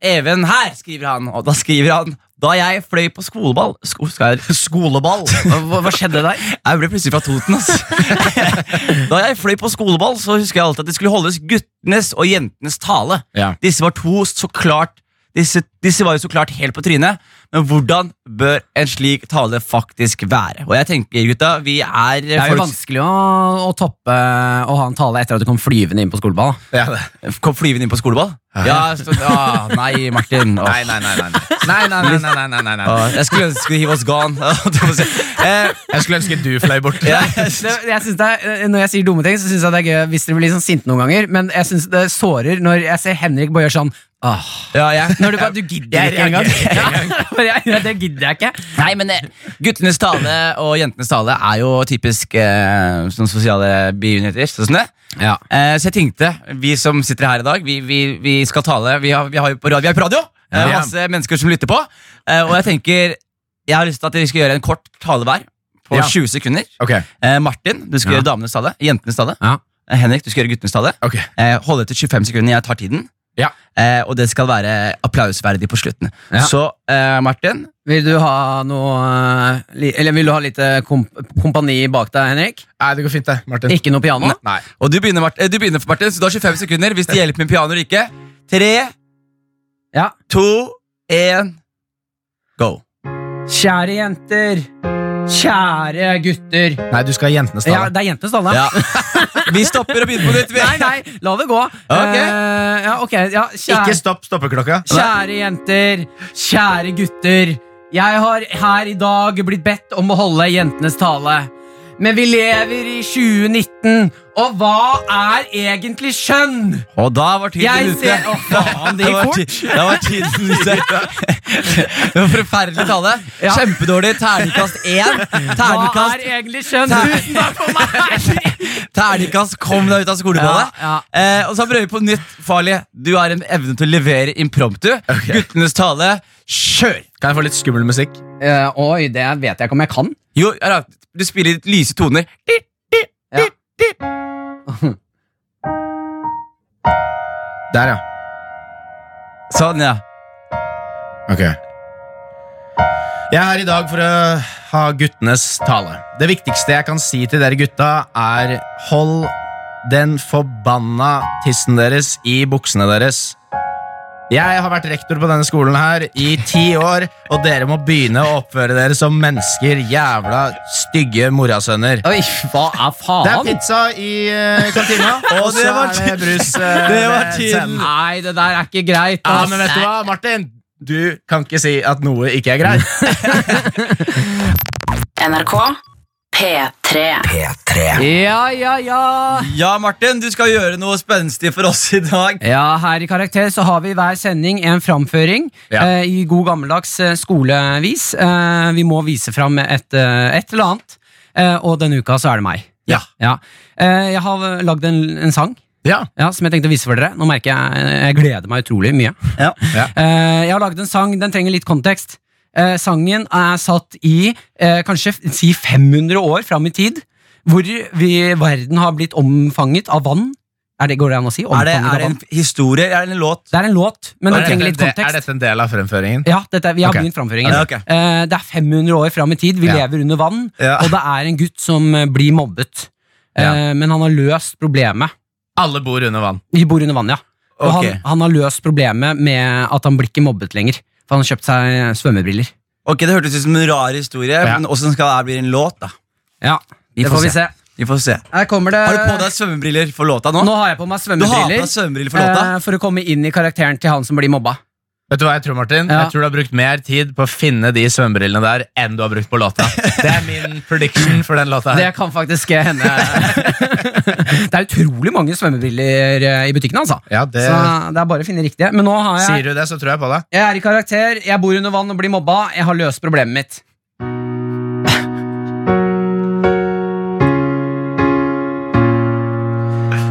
[SPEAKER 1] Even her, skriver han. Og da skriver han Da jeg fløy på skoleball sko, skal jeg, Skoleball? Hva, hva skjedde der? (laughs) Jeg ble plutselig fra Toten, altså. ass. (laughs) da jeg fløy på skoleball, så husker jeg alltid at det skulle holdes guttenes og jentenes tale.
[SPEAKER 3] Ja.
[SPEAKER 1] Disse var to så klart disse, disse var jo så klart helt på trynet, men hvordan bør en slik tale faktisk være? Og jeg tenker, gutta, vi er
[SPEAKER 2] Det er jo
[SPEAKER 1] folk-
[SPEAKER 2] vanskelig å, å toppe å ha en tale etter at du kom flyvende inn på skoleball.
[SPEAKER 3] Ja, det.
[SPEAKER 1] Kom flyvende inn på skoleball? Ja, så, ah, (laughs) Nei, Martin. Åh.
[SPEAKER 3] Nei, nei, nei, nei. Nei, nei, nei, nei, nei, nei, nei.
[SPEAKER 1] Åh, jeg skulle ønske he was gone. (laughs) eh,
[SPEAKER 3] Jeg skulle ønske du fløy bort.
[SPEAKER 2] (laughs)
[SPEAKER 1] ja.
[SPEAKER 2] Det, jeg synes det er, eh, når jeg sier dumme ting, så syns jeg det er gøy hvis dere blir litt sånn sinte noen ganger, men jeg syns det sårer når jeg ser Henrik bare gjør sånn Åh.
[SPEAKER 1] ja, jeg
[SPEAKER 2] Når du bare Du gidder
[SPEAKER 3] Jeg
[SPEAKER 2] ikke engang. (laughs)
[SPEAKER 3] reagerer
[SPEAKER 2] Bare jeg- ja, Det gidder jeg ikke.
[SPEAKER 1] Nei, men eh, guttenes tale og jentenes tale er jo typisk eh, sånn sosiale begivenheter. Sånn det.
[SPEAKER 2] Ja.
[SPEAKER 1] Eh, så jeg tenkte, vi som sitter her i dag, vi, vi, vi skal tale. Vi, har, vi, har jo på, radio- vi er på radio. Det er
[SPEAKER 3] Ja.
[SPEAKER 1] masse mennesker som lytter på. Eh, og jeg tenker, jeg har lyst til at vi skal gjøre en kort tale hver på
[SPEAKER 3] Ja.
[SPEAKER 1] 20 sekunder.
[SPEAKER 3] Ok,
[SPEAKER 1] Eh, Martin, du skal
[SPEAKER 2] Ja.
[SPEAKER 1] gjøre damenes tale. Jentenes tale.
[SPEAKER 2] Ja.
[SPEAKER 1] Eh, Henrik, du skal gjøre guttenes tale.
[SPEAKER 3] ok.
[SPEAKER 1] Eh, Hold etter 25 sekunder, jeg tar tiden.
[SPEAKER 3] Ja.
[SPEAKER 1] Eh, og det skal være applausverdig på slutten.
[SPEAKER 2] Ja.
[SPEAKER 1] Så eh, Martin,
[SPEAKER 2] Vil du ha noe eh, li- Eller vil du ha litt eh, komp kompani bak deg, Henrik?
[SPEAKER 3] Nei, det går fint det, Martin.
[SPEAKER 2] Ikke noe piano?
[SPEAKER 3] Nei.
[SPEAKER 1] Og du begynner, Martin, du begynner Martin, så du har 25 sekunder hvis det hjelper med piano eller ikke. Tre,
[SPEAKER 2] Ja.
[SPEAKER 1] to, én, go.
[SPEAKER 2] Kjære jenter. Kjære gutter.
[SPEAKER 3] Nei, du skal ha jentenes
[SPEAKER 2] Ja,
[SPEAKER 3] tale.
[SPEAKER 2] det er jentenes tale.
[SPEAKER 1] Ja. (laughs) Vi stopper og begynner på nytt. vi.
[SPEAKER 2] Nei, nei, la (laughs) det gå.
[SPEAKER 1] Ok.
[SPEAKER 2] Eh, ja, ok, ja, kjære-
[SPEAKER 3] Ikke stopp stoppeklokka.
[SPEAKER 2] Kjære jenter, kjære gutter. Jeg har her i dag blitt bedt om å holde jentenes tale. Men vi lever i 2019, og hva er egentlig kjønn?
[SPEAKER 1] Og da var tiden
[SPEAKER 2] Jeg
[SPEAKER 1] ute.
[SPEAKER 2] ser Å, faen, det
[SPEAKER 1] Da var
[SPEAKER 2] gikk
[SPEAKER 1] ti-
[SPEAKER 2] fort.
[SPEAKER 1] Da var tiden ute.
[SPEAKER 2] (laughs)
[SPEAKER 1] Det var forferdelig tale.
[SPEAKER 2] Ja.
[SPEAKER 1] Kjempedårlig. Terningkast én.
[SPEAKER 2] Hva er
[SPEAKER 1] Terningkast,
[SPEAKER 2] egentlig kjønn? Tusen takk for meg!
[SPEAKER 1] terningkast kom deg ut av skoleballet.
[SPEAKER 2] Ja,
[SPEAKER 1] Eh, og så prøver vi på nytt. Farlig, du har en evne til å levere impromptu. Guttenes tale, kjør!
[SPEAKER 3] Kan jeg få litt skummel musikk?
[SPEAKER 2] (laughs) Eh, oi, det vet jeg ikke om jeg kan.
[SPEAKER 1] Jo, ja, da, du spiller litt lyse toner.
[SPEAKER 3] Der, ja.
[SPEAKER 1] Sånn, ja.
[SPEAKER 3] Ok Jeg er her i dag for å ha guttenes tale Det viktigste jeg kan si til dere gutta er Hold den forbanna tissen deres i buksene deres Jeg har vært rektor på denne skolen her i ti år Og dere må begynne å oppføre dere som mennesker Jævla stygge morasønner
[SPEAKER 2] Oi, hva er
[SPEAKER 3] Det er
[SPEAKER 2] faen?
[SPEAKER 3] pizza i eh, kantina (laughs) Og
[SPEAKER 1] det
[SPEAKER 3] så
[SPEAKER 1] var
[SPEAKER 3] er det
[SPEAKER 1] tiden.
[SPEAKER 3] (laughs) brus eh,
[SPEAKER 1] Det var
[SPEAKER 3] ved
[SPEAKER 1] tiden.
[SPEAKER 3] scenen.
[SPEAKER 2] Nei, det der er ikke greit.
[SPEAKER 3] Ja,
[SPEAKER 2] ass.
[SPEAKER 3] men vet du hva, Martin? Du kan ikke si at noe ikke er greit
[SPEAKER 4] NRK P3.
[SPEAKER 2] Ja, ja, ja.
[SPEAKER 1] Ja, Martin, du skal gjøre noe spenstig for oss i dag.
[SPEAKER 2] Ja, her i Karakter så har vi i hver sending en framføring
[SPEAKER 3] Ja.
[SPEAKER 2] eh, i god gammeldags eh, skolevis. Eh, vi må vise fram et, eh, et eller annet, eh, og denne uka så er det meg.
[SPEAKER 1] Ja.
[SPEAKER 2] Ja. Eh, jeg har eh, lagd en, en sang
[SPEAKER 3] Ja.
[SPEAKER 2] ja, som jeg tenkte å vise for dere. Nå merker jeg jeg gleder meg utrolig mye.
[SPEAKER 1] Ja.
[SPEAKER 3] Ja.
[SPEAKER 2] Eh, jeg har laget en sang, den trenger litt kontekst. Eh, sangen er satt i eh, kanskje f- si 500 år fram i tid, hvor vi, verden har blitt omfanget av vann. Er det, går det an å si?
[SPEAKER 1] Er, det, er
[SPEAKER 2] Omfanget
[SPEAKER 1] det
[SPEAKER 2] av
[SPEAKER 1] en
[SPEAKER 2] vann.
[SPEAKER 1] historie eller er det en låt?
[SPEAKER 2] Det er en låt, men den
[SPEAKER 3] Er dette
[SPEAKER 2] trenger
[SPEAKER 3] en
[SPEAKER 2] litt
[SPEAKER 3] del-
[SPEAKER 2] kontekst.
[SPEAKER 3] Er dette en del av fremføringen?
[SPEAKER 2] Ja, dette, er- vi har
[SPEAKER 3] Ok.
[SPEAKER 2] begynt framføringen.
[SPEAKER 1] Ja, ok.
[SPEAKER 2] Eh, det er 500 år fram i tid, vi
[SPEAKER 3] Ja.
[SPEAKER 2] lever under vann,
[SPEAKER 1] Ja.
[SPEAKER 2] og det er en gutt som eh, blir mobbet. Eh,
[SPEAKER 3] Ja.
[SPEAKER 2] Men han har løst problemet.
[SPEAKER 3] Alle bor under vann.
[SPEAKER 2] Vi bor under vann, ja. Og
[SPEAKER 1] Ok.
[SPEAKER 2] han, han har løst problemet med at han blir ikke mobbet lenger. For han har kjøpt seg eh, svømmebriller.
[SPEAKER 1] Ok, Det hørtes ut som en rar historie,
[SPEAKER 3] Ja.
[SPEAKER 1] men åssen skal det her bli en låt? da?
[SPEAKER 2] Ja,
[SPEAKER 1] Vi
[SPEAKER 2] det
[SPEAKER 1] får
[SPEAKER 2] får vi se.
[SPEAKER 1] Vi får se.
[SPEAKER 2] Her kommer det
[SPEAKER 1] Har du på deg svømmebriller for låta nå?
[SPEAKER 2] Nå har jeg på meg
[SPEAKER 1] Du har på
[SPEAKER 2] svømmebriller
[SPEAKER 1] deg svømmebriller for låta?
[SPEAKER 2] eh, for å komme inn i karakteren til han som blir mobba.
[SPEAKER 3] Vet du hva Jeg tror Martin?
[SPEAKER 2] Ja.
[SPEAKER 3] Jeg tror du har brukt mer tid på å finne de svømmebrillene der enn du har brukt på låta. Det er min prediction for den låta.
[SPEAKER 2] Det
[SPEAKER 3] her
[SPEAKER 2] kan faktisk eh,
[SPEAKER 1] (laughs)
[SPEAKER 2] hende. (laughs) det er utrolig mange svømmebriller eh, i butikken, altså.
[SPEAKER 3] Ja, det
[SPEAKER 2] Så det er bare å finne riktige. Men nå har jeg
[SPEAKER 3] Sier du det, så tror jeg på deg.
[SPEAKER 2] Jeg er i karakter, jeg bor under vann og blir mobba. Jeg har løst problemet mitt.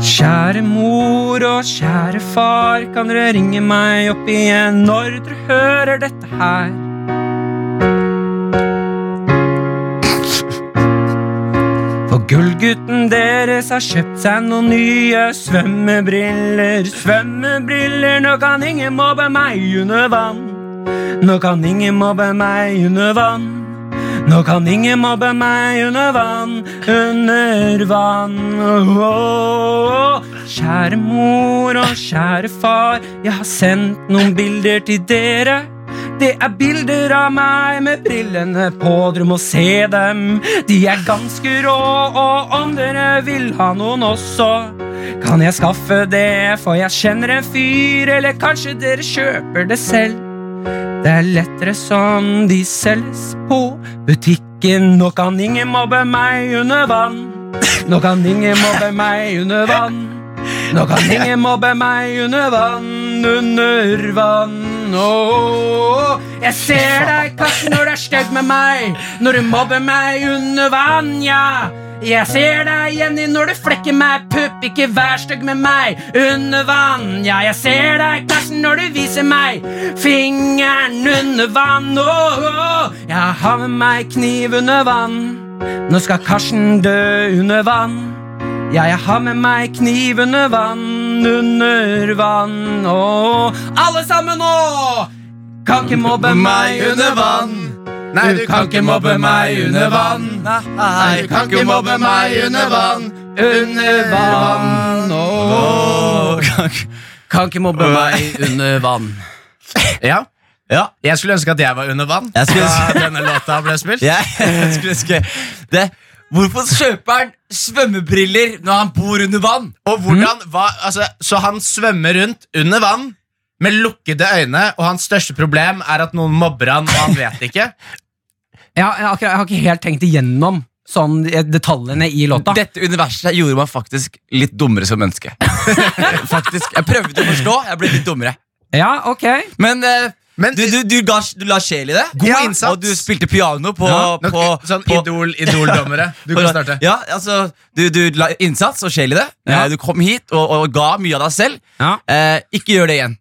[SPEAKER 2] Kjære mor og kjære far, kan dere ringe meg opp igjen når dere hører dette her? For gullgutten deres har kjøpt seg noen nye svømmebriller. Svømmebriller, nå kan ingen mobbe meg under vann. Nå kan ingen mobbe meg under vann. Nå kan ingen mobbe meg under vann, under vann. Åh, åh, åh. Kjære mor og kjære far, jeg har sendt noen bilder til dere. Det er bilder av meg med brillene på, dere må se dem. De er ganske rå, og om dere vil ha noen også, kan jeg skaffe det, for jeg kjenner en fyr, eller kanskje dere kjøper det selv. Det er lettere som de selges på butikken. Nå kan ingen mobbe meg under vann. Nå kan ingen mobbe meg under vann. Nå kan ingen mobbe meg under vann, under vann. Åh, jeg ser deg, katten, når du er stygg med meg. Når du mobber meg under vann, ja. Jeg ser deg, Jenny, når du flekker meg. Pupp, ikke vær stygg med meg. Under vann, ja, jeg ser deg, Karsten, når du viser meg fingeren under vann. Åh, åh. Jeg har med meg kniv under vann. Nå skal Karsten dø under vann. Ja, jeg har med meg kniv under vann, under vann. Åh, alle sammen nå! Kan ikke mobbe meg under vann.
[SPEAKER 3] Nei, du kan ikke mobbe meg under vann. Nei, du kan ikke mobbe meg under vann.
[SPEAKER 2] Under vann. Åh. Kan ikke mobbe meg under vann. (laughs)
[SPEAKER 3] Ja,
[SPEAKER 1] Ja.
[SPEAKER 3] Jeg skulle ønske at jeg var under vann
[SPEAKER 1] Jeg skulle
[SPEAKER 3] da
[SPEAKER 1] ønske-
[SPEAKER 3] denne låta ble spilt.
[SPEAKER 1] Jeg, jeg (laughs) skulle ønske det. Hvorfor kjøper han svømmebriller når han bor under vann?
[SPEAKER 3] Og hvordan var, altså, Så han svømmer rundt under vann med lukkede øyne, og hans største problem er at noen mobber han, og han vet ikke.
[SPEAKER 2] Jeg har, jeg, har ikke, jeg har ikke helt tenkt igjennom sånn eh, detaljene i låta.
[SPEAKER 1] Dette universet gjorde meg faktisk litt dummere som menneske. (laughs) faktisk, Jeg prøvde å forstå, jeg ble litt dummere.
[SPEAKER 2] Ja, ok
[SPEAKER 1] Men, eh,
[SPEAKER 3] Men-
[SPEAKER 1] du, du, du, ga, du la sjel i det.
[SPEAKER 3] God innsats.
[SPEAKER 1] Og du spilte piano på,
[SPEAKER 3] Nok,
[SPEAKER 1] på,
[SPEAKER 3] sånn
[SPEAKER 1] på
[SPEAKER 3] idol, idol-dommere.
[SPEAKER 1] (laughs)
[SPEAKER 3] Du kan starte.
[SPEAKER 1] Ja, altså, du, du la innsats og sjel i det.
[SPEAKER 2] Ja.
[SPEAKER 1] Eh, Du kom hit og, og ga mye av deg selv.
[SPEAKER 2] Ja.
[SPEAKER 1] Eh, ikke gjør det igjen.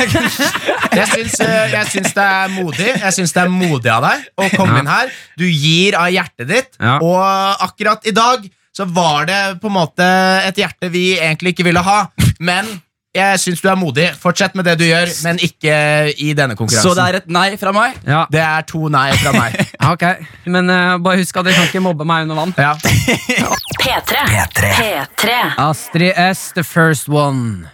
[SPEAKER 3] Jeg syns, eh, jeg syns det er modig Jeg syns det er modig av deg å komme
[SPEAKER 2] Ja.
[SPEAKER 3] inn her. Du gir av hjertet ditt,
[SPEAKER 2] Ja.
[SPEAKER 3] og akkurat i dag så var det på en måte et hjerte vi egentlig ikke ville ha. Men jeg syns du er modig. Fortsett med det du gjør, men ikke i denne konkurransen.
[SPEAKER 1] Så det er et nei fra meg.
[SPEAKER 2] Ja,
[SPEAKER 3] Det er to nei fra meg.
[SPEAKER 2] (laughs) ja, ok Men eh, bare husk at dere kan ikke mobbe meg under vann.
[SPEAKER 3] Ja.
[SPEAKER 4] P3. P3.
[SPEAKER 2] Astrid S, the first one.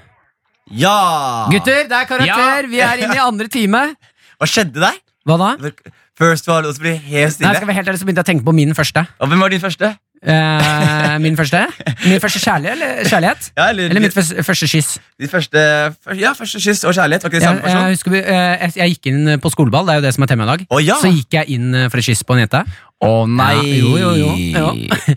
[SPEAKER 1] Ja!
[SPEAKER 2] Gutter, det er karakter.
[SPEAKER 3] Ja.
[SPEAKER 2] Vi er inne i andre time.
[SPEAKER 1] Hva skjedde der?
[SPEAKER 2] Hva da?
[SPEAKER 1] First var det, og så ble det helt
[SPEAKER 2] Nei,
[SPEAKER 1] stille.
[SPEAKER 2] skal vi helt ærlig så begynte jeg å tenke på min første.
[SPEAKER 1] Og hvem var din første?
[SPEAKER 2] Eh, min første Min første kjærlighet? Eller, kjærlighet?
[SPEAKER 1] Ja, eller-
[SPEAKER 2] eller mitt første, første kyss?
[SPEAKER 1] Din første, fyr- ja, første kyss og kjærlighet. Var ikke det
[SPEAKER 2] Jeg,
[SPEAKER 1] samme person?
[SPEAKER 2] jeg, husker, vi- eh, jeg, jeg gikk inn på skoleball, det er jo det som er tema i dag.
[SPEAKER 1] Å, ja.
[SPEAKER 2] Så gikk jeg inn eh, for et kyss på en jente.
[SPEAKER 1] Å nei!
[SPEAKER 2] Ja, jo, jo, jo. jo.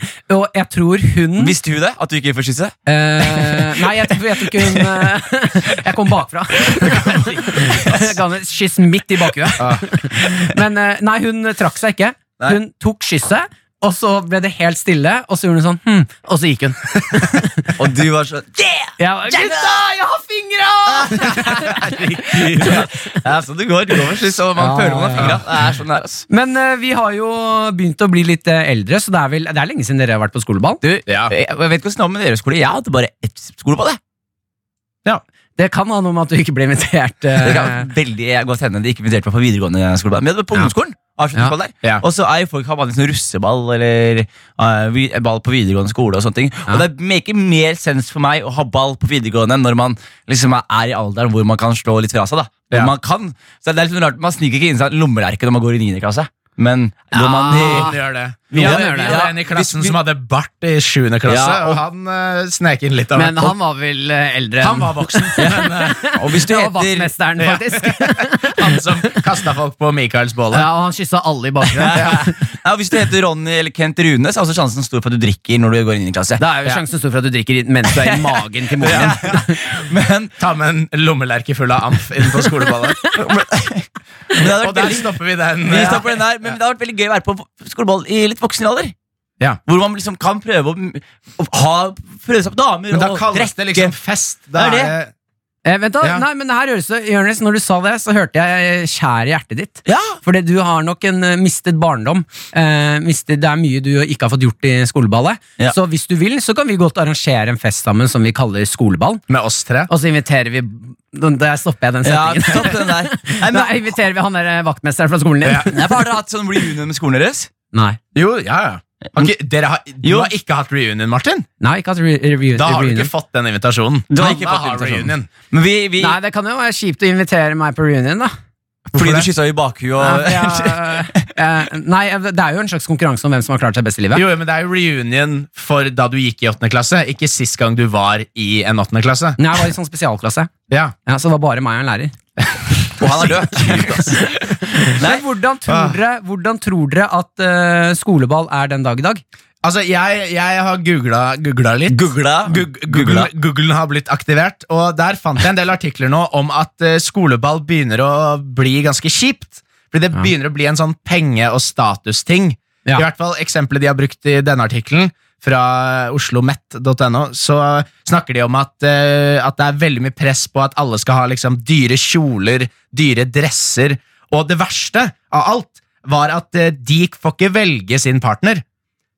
[SPEAKER 2] (laughs) Og jeg tror hun
[SPEAKER 1] Visste hun det? At du ikke gikk for kysset?
[SPEAKER 2] eh, Nei, jeg tror, jeg tror ikke hun eh, (laughs) Jeg kom bakfra. Jeg Ga henne et kyss midt i bakhuet. Men eh, nei, hun trakk seg ikke.
[SPEAKER 1] Nei.
[SPEAKER 2] Hun tok kysset, Og så ble det helt stille, og så gjorde hun sånn hm, Og så gikk hun.
[SPEAKER 1] Og du var
[SPEAKER 2] (laughs)
[SPEAKER 1] sånn
[SPEAKER 2] Jeg var, Gutta, jeg har fingra!
[SPEAKER 1] Ja, ja, så det går. Det går til slutt, og man
[SPEAKER 2] Ja,
[SPEAKER 1] føler man har
[SPEAKER 2] ja,
[SPEAKER 1] fingra. Det er sånn det er, ass.
[SPEAKER 2] Men eh, vi har jo begynt å bli litt eh, eldre, så det er, vel, det er lenge siden dere har vært på skoleball.
[SPEAKER 1] Du,
[SPEAKER 3] Ja.
[SPEAKER 1] jeg, jeg vet ikke hvordan det var med dere i skole. Jeg hadde bare ett skoleball, jeg.
[SPEAKER 2] Det kan ha noe med at du ikke ble invitert.
[SPEAKER 1] Det
[SPEAKER 2] eh,
[SPEAKER 1] kan veldig godt hende de ikke inviterte meg på videregående skoleball. Men jeg hadde på
[SPEAKER 2] Ja.
[SPEAKER 1] ungdomsskolen. avslutningsball der.
[SPEAKER 3] Ja.
[SPEAKER 1] Og så er jo folk har man liksom russeball eller eh, vi- ball på videregående skole. Og sånne ting Og
[SPEAKER 2] Ja.
[SPEAKER 1] det maker mer sens for meg å ha ball på videregående når man liksom er i alderen hvor man kan slå litt fra seg. da Hvor
[SPEAKER 3] Ja.
[SPEAKER 1] Man kan Så det er litt rart Man sniker ikke inn seg en lommelerke når man går i 9. klasse. Men når man
[SPEAKER 2] Ja. (laughs)
[SPEAKER 3] Noen gjør det. Vi
[SPEAKER 2] Noen
[SPEAKER 3] hadde,
[SPEAKER 2] gjør det.
[SPEAKER 3] vi hadde en i klassen som hadde bart i 7. klasse,
[SPEAKER 1] Ja,
[SPEAKER 3] og han eh, snek inn litt av
[SPEAKER 2] Men
[SPEAKER 3] hvert.
[SPEAKER 2] han var vel eh, eldre enn
[SPEAKER 3] han var voksen, men eh,
[SPEAKER 1] Og hvis du
[SPEAKER 2] Det var
[SPEAKER 1] heter
[SPEAKER 2] vaktmesteren,
[SPEAKER 3] Ja.
[SPEAKER 2] faktisk.
[SPEAKER 3] han som kasta folk på Michaels bålet.
[SPEAKER 2] Ja, og han kyssa alle i bakgrunnen.
[SPEAKER 1] (laughs) ja, Hvis du heter Ronny eller Kent Rune, så er også sjansen stor for at du drikker når du går inn i klasse.
[SPEAKER 2] Da er jo sjansen stor for at du drikker i- mens du (laughs) er i magen til moren din.
[SPEAKER 1] Men, (laughs)
[SPEAKER 3] Ta med en lommelerke full av amf inn på
[SPEAKER 1] (laughs)
[SPEAKER 3] skoleballet.
[SPEAKER 1] men det hadde
[SPEAKER 3] Og
[SPEAKER 1] vært
[SPEAKER 3] der
[SPEAKER 1] veldig
[SPEAKER 3] stopper vi den.
[SPEAKER 1] Vi
[SPEAKER 3] eh,
[SPEAKER 1] stopper den der, men det har vært veldig gøy å være på skoleball i litt voksen alder.
[SPEAKER 3] Ja.
[SPEAKER 1] Hvor man liksom kan prøve å, å ha, prøve seg på damer
[SPEAKER 3] Men da
[SPEAKER 1] og
[SPEAKER 3] kalles det liksom fest. Da
[SPEAKER 1] Er det?
[SPEAKER 3] er det
[SPEAKER 2] Eh, vent da,
[SPEAKER 3] Ja.
[SPEAKER 2] nei, men det her høres så, Jørnes, når du sa det, så hørte jeg eh, skjær i hjertet ditt.
[SPEAKER 1] Ja,
[SPEAKER 2] Fordi du har nok en eh, mistet barndom. Eh, mistet, det er mye du ikke har fått gjort i skoleballet.
[SPEAKER 1] Ja.
[SPEAKER 2] Så hvis du vil, så kan vi godt arrangere en fest sammen som vi kaller skoleball.
[SPEAKER 3] med oss tre.
[SPEAKER 2] Og så inviterer vi Der stopper jeg den
[SPEAKER 1] ja
[SPEAKER 2] setningen.
[SPEAKER 1] stopp
[SPEAKER 2] (laughs)
[SPEAKER 1] den der. Nei, men,
[SPEAKER 2] Da inviterer vi han der eh, vaktmesteren fra skolen din.
[SPEAKER 3] Ja.
[SPEAKER 1] Nei, for har dere hatt sånn reunion med skolen deres?
[SPEAKER 2] Nei.
[SPEAKER 3] Jo, ja, ja. Ok, dere har, du
[SPEAKER 1] Mm. Jo.
[SPEAKER 3] har ikke hatt reunion, Martin?
[SPEAKER 2] Nei, ikke hatt re review.
[SPEAKER 3] Da har du
[SPEAKER 2] reunion.
[SPEAKER 3] ikke fått den invitasjonen.
[SPEAKER 1] Du har
[SPEAKER 3] Alle
[SPEAKER 1] ikke fått invitasjonen.
[SPEAKER 3] reunion.
[SPEAKER 1] Men vi, vi,
[SPEAKER 2] Nei, det kan jo være kjipt å invitere meg på reunion, da.
[SPEAKER 1] fordi
[SPEAKER 3] det?
[SPEAKER 1] du kyssa i bakhuet
[SPEAKER 2] Ja,
[SPEAKER 1] (laughs) og
[SPEAKER 2] eh, nei, det er jo en slags konkurranse om hvem som har klart seg best i livet.
[SPEAKER 3] Jo, jo, men Det er jo reunion for da du gikk i åttende klasse, ikke sist gang du var i en åttende klasse.
[SPEAKER 1] Mm.
[SPEAKER 2] Nei, jeg var i sånn spesialklasse,
[SPEAKER 3] Ja.
[SPEAKER 2] ja, så det var bare meg og en lærer.
[SPEAKER 1] Og han er død.
[SPEAKER 2] Men hvordan
[SPEAKER 1] Ah.
[SPEAKER 2] tror dere, hvordan tror dere at eh, skoleball er den dag i dag?
[SPEAKER 3] Altså, jeg, jeg har googla, googla litt.
[SPEAKER 1] Googla.
[SPEAKER 3] Gug- Google, Google har blitt aktivert, og der fant jeg en del artikler nå om at eh, skoleball begynner å bli ganske kjipt. Fordi det
[SPEAKER 2] Ja.
[SPEAKER 3] begynner å bli en sånn penge- og statusting.
[SPEAKER 2] Ja.
[SPEAKER 3] I hvert fall eksempelet de har brukt i denne artikkelen, fra oslomet.no, så snakker de om at, eh, at det er veldig mye press på at alle skal ha liksom, dyre kjoler, dyre dresser, og det verste av alt var at eh, de får ikke velge sin partner.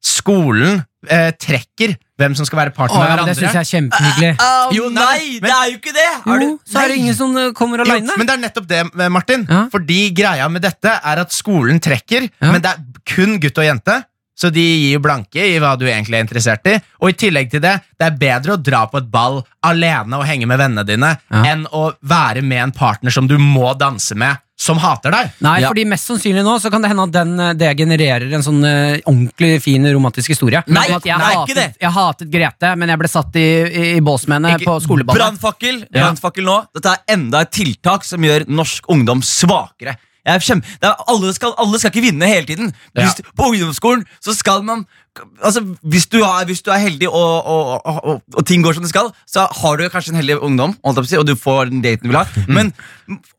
[SPEAKER 3] Skolen eh, trekker hvem som skal være partner med
[SPEAKER 2] Åh, det
[SPEAKER 3] hverandre.
[SPEAKER 2] syns jeg er kjempehyggelig.
[SPEAKER 1] Au,
[SPEAKER 3] Jo, nei,
[SPEAKER 1] nei,
[SPEAKER 3] men-
[SPEAKER 1] det er jo ikke det! Ah, Er
[SPEAKER 2] Jo,
[SPEAKER 1] du-
[SPEAKER 2] så er det
[SPEAKER 1] Nei.
[SPEAKER 2] ingen som eh, kommer
[SPEAKER 3] Jo,
[SPEAKER 2] aleine.
[SPEAKER 3] men det er nettopp det, eh, Martin.
[SPEAKER 2] Ja.
[SPEAKER 3] Fordi greia med dette er at skolen trekker,
[SPEAKER 2] Ja.
[SPEAKER 3] men det er kun gutt og jente. Så de gir jo blanke i hva du egentlig er interessert i. Og i tillegg til det, det er bedre å dra på et ball alene og henge med vennene dine
[SPEAKER 2] Ja.
[SPEAKER 3] enn å være med en partner som du må danse med, som hater deg.
[SPEAKER 2] Nei,
[SPEAKER 1] Ja.
[SPEAKER 2] fordi mest sannsynlig nå så kan det hende at den, eh, det genererer en sånn eh, ordentlig fin romantisk historie.
[SPEAKER 1] Nei,
[SPEAKER 2] Om at jeg,
[SPEAKER 1] nei, ikke
[SPEAKER 2] hatet,
[SPEAKER 1] det.
[SPEAKER 2] jeg hatet Grete, men jeg ble satt i, i, i bås med henne
[SPEAKER 3] Ikke-
[SPEAKER 2] på skoleballet.
[SPEAKER 1] Brannfakkel
[SPEAKER 2] Ja.
[SPEAKER 1] brannfakkel nå. Dette er enda et tiltak som gjør norsk ungdom svakere. Jeg er kjem, det er, alle, skal, alle skal ikke vinne hele tiden. Hvis, du- På ungdomsskolen så skal man Altså, Hvis du er, hvis du er heldig og, og, og, og, og ting går som det skal, så har du kanskje en heldig ungdom, holdt jeg på å si, og du får den daten du vil ha.
[SPEAKER 2] Mm.
[SPEAKER 1] Men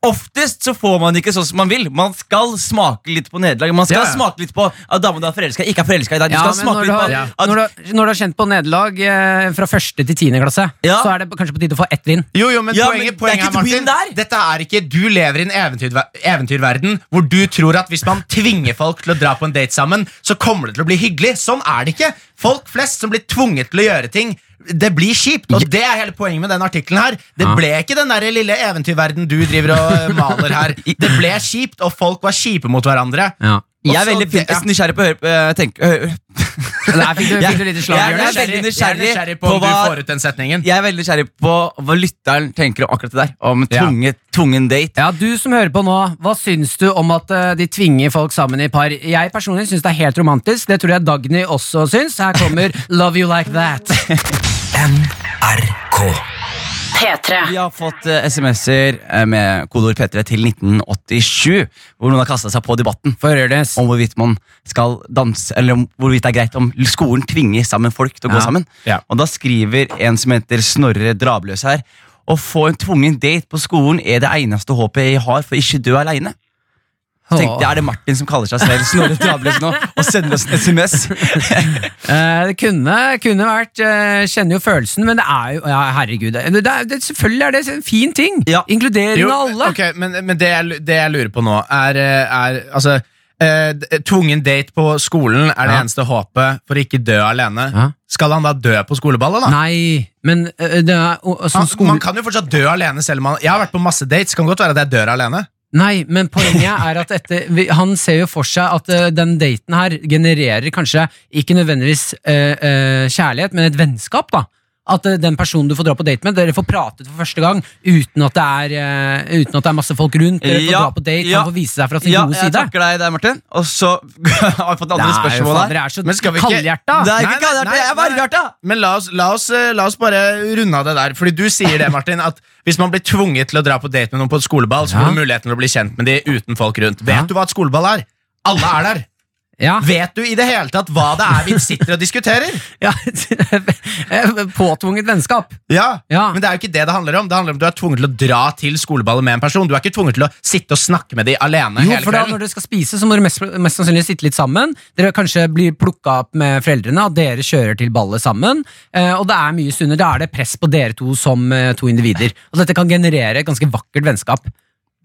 [SPEAKER 1] oftest så får man ikke sånn som man vil. Man skal smake litt på nederlag. Man skal
[SPEAKER 3] Ja, ja.
[SPEAKER 1] smake litt på at damen du er forelska i, ikke er forelska i deg. Du
[SPEAKER 2] Ja,
[SPEAKER 1] skal
[SPEAKER 2] men
[SPEAKER 1] smake
[SPEAKER 2] når du,
[SPEAKER 1] litt
[SPEAKER 2] har,
[SPEAKER 1] på
[SPEAKER 3] Ja.
[SPEAKER 1] at
[SPEAKER 2] når, du, har- når du har kjent på nederlag eh, fra første til tiende klasse,
[SPEAKER 1] Ja.
[SPEAKER 2] så er det kanskje på tide å få ett vinn.
[SPEAKER 3] Jo, jo, men
[SPEAKER 1] Ja, men
[SPEAKER 3] poenget,
[SPEAKER 1] det er
[SPEAKER 3] poenget
[SPEAKER 1] ikke
[SPEAKER 3] her, Martin,
[SPEAKER 1] twin der.
[SPEAKER 3] dette er ikke Du lever i en eventyrver eventyrverden hvor du tror at hvis man tvinger folk til å dra på en date sammen, så kommer det til å bli hyggelig. Sånn er det ikke. Folk flest som blir tvunget til å gjøre ting, det blir kjipt. Og det er hele poenget med den artikkelen her. Det
[SPEAKER 2] Ja.
[SPEAKER 3] ble ikke den der lille eventyrverden du driver og eh,
[SPEAKER 1] (laughs)
[SPEAKER 3] maler her. Det ble kjipt, og folk var kjipe mot hverandre.
[SPEAKER 2] Ja.
[SPEAKER 1] Jeg er
[SPEAKER 3] Også
[SPEAKER 1] veldig
[SPEAKER 3] det- ja.
[SPEAKER 1] nysgjerrig på å høre eh, tenk- hø-
[SPEAKER 2] (laughs) Der fikk du,
[SPEAKER 1] Jeg-
[SPEAKER 2] fikk du litt slag,
[SPEAKER 1] jeg- jeg- veldig
[SPEAKER 2] Jørnes.
[SPEAKER 3] Jeg er
[SPEAKER 1] nysgjerrig på
[SPEAKER 3] nysgjerrig på om du
[SPEAKER 1] hva-
[SPEAKER 3] får ut den setningen.
[SPEAKER 1] Jeg er veldig nysgjerrig på hva lytteren tenker om akkurat det der. Om
[SPEAKER 3] Ja.
[SPEAKER 1] tvunget, tvungen date.
[SPEAKER 2] Ja, Du som hører på nå, hva syns du om at eh, de tvinger folk sammen i par? Jeg personlig syns det er helt romantisk. Det tror jeg Dagny også syns. Her kommer (laughs) Love You
[SPEAKER 1] (laughs)
[SPEAKER 2] Like That.
[SPEAKER 5] NRK.
[SPEAKER 4] P3.
[SPEAKER 1] Vi har fått eh, SMS-er eh, med kodeord P3 til 1987, hvor noen har kasta seg på debatten
[SPEAKER 2] For Jørnes.
[SPEAKER 1] om hvorvidt man skal danse, eller om hvorvidt det er greit om skolen tvinger sammen folk til å gå
[SPEAKER 2] Ja.
[SPEAKER 1] sammen.
[SPEAKER 3] Ja.
[SPEAKER 1] Og da skriver en som heter Snorre Drabløs her å få en tvungen date på skolen er det eneste håpet jeg har for ikke dø aleine. Så tenkte jeg, er det Martin som kaller seg selv Snorre Drables nå, og sender oss en SMS?
[SPEAKER 2] Eh, det kunne, kunne vært eh, Kjenner jo følelsen, men det er jo ja, Herregud. Det det er, det, selvfølgelig er det en fin ting.
[SPEAKER 1] Ja.
[SPEAKER 2] Inkluderende
[SPEAKER 3] Jo,
[SPEAKER 2] alle.
[SPEAKER 3] ok, men, men det, jeg, lu- det jeg lurer på nå, er, eh, er altså eh, d- Tvungen date på skolen er det
[SPEAKER 2] Ja.
[SPEAKER 3] eneste håpet for å ikke dø alene.
[SPEAKER 2] Ja.
[SPEAKER 3] Skal han da dø på skoleballet, da?
[SPEAKER 2] Nei, men eh, det er
[SPEAKER 1] Ah,
[SPEAKER 2] og- og sånn
[SPEAKER 3] Han,
[SPEAKER 2] skole...
[SPEAKER 3] Man kan jo fortsatt dø alene selv om man Jeg har vært på masse dates, kan godt være at jeg dør alene.
[SPEAKER 2] Nei, men poenget er at etter, vi- han ser jo for seg at eh, den daten her genererer kanskje ikke nødvendigvis eh, eh, kjærlighet, men et vennskap, da. At eh, den personen du får dra på date med, dere får pratet for første gang uten at det er, eh, uten at det er masse folk rundt. Dere får
[SPEAKER 1] Ja,
[SPEAKER 2] dra på date,
[SPEAKER 1] ja.
[SPEAKER 2] han får vise seg fra sin
[SPEAKER 1] Ja,
[SPEAKER 2] gode
[SPEAKER 1] jeg
[SPEAKER 2] side.
[SPEAKER 1] takker deg der, Martin. Og så (laughs) har vi fått andre
[SPEAKER 2] Nei,
[SPEAKER 1] spørsmål
[SPEAKER 2] faen,
[SPEAKER 1] her.
[SPEAKER 2] Dere er Ah, så
[SPEAKER 3] Men skal vi ikke-
[SPEAKER 2] kaldhjerta.
[SPEAKER 1] Det er ikke
[SPEAKER 3] Nei, nei,
[SPEAKER 1] kaldhjertet,
[SPEAKER 3] nei,
[SPEAKER 1] jeg er varmhjerta!
[SPEAKER 3] Men la oss, la, oss, eh, la oss bare runde av det der. Fordi du sier det, Martin, at hvis man blir tvunget til å dra på date med noen på et skoleball, så
[SPEAKER 2] Ja.
[SPEAKER 3] får du muligheten til å bli kjent med de uten folk rundt.
[SPEAKER 2] Ja.
[SPEAKER 3] Vet du hva et skoleball er? Alle er
[SPEAKER 2] (laughs)
[SPEAKER 3] der.
[SPEAKER 2] Ja.
[SPEAKER 3] Vet du i det hele tatt hva det er vi sitter og diskuterer?
[SPEAKER 2] Ja, påtvunget vennskap.
[SPEAKER 3] Ja,
[SPEAKER 2] Ja.
[SPEAKER 3] Men det er jo ikke det det handler om. Det handler om at Du er tvunget til å dra til skoleballet med en person. Du er ikke tvunget til å sitte og snakke med dem alene
[SPEAKER 2] Jo,
[SPEAKER 3] hele
[SPEAKER 2] for da
[SPEAKER 3] kvelden.
[SPEAKER 2] Når dere skal spise, så må dere mest, mest sannsynlig sitte litt sammen. Dere kanskje blir plukka opp med foreldrene, og dere kjører til ballet sammen. Eh, og det er mye sunnere. Da er det press på dere to som eh, to individer. Og dette kan generere et ganske vakkert vennskap.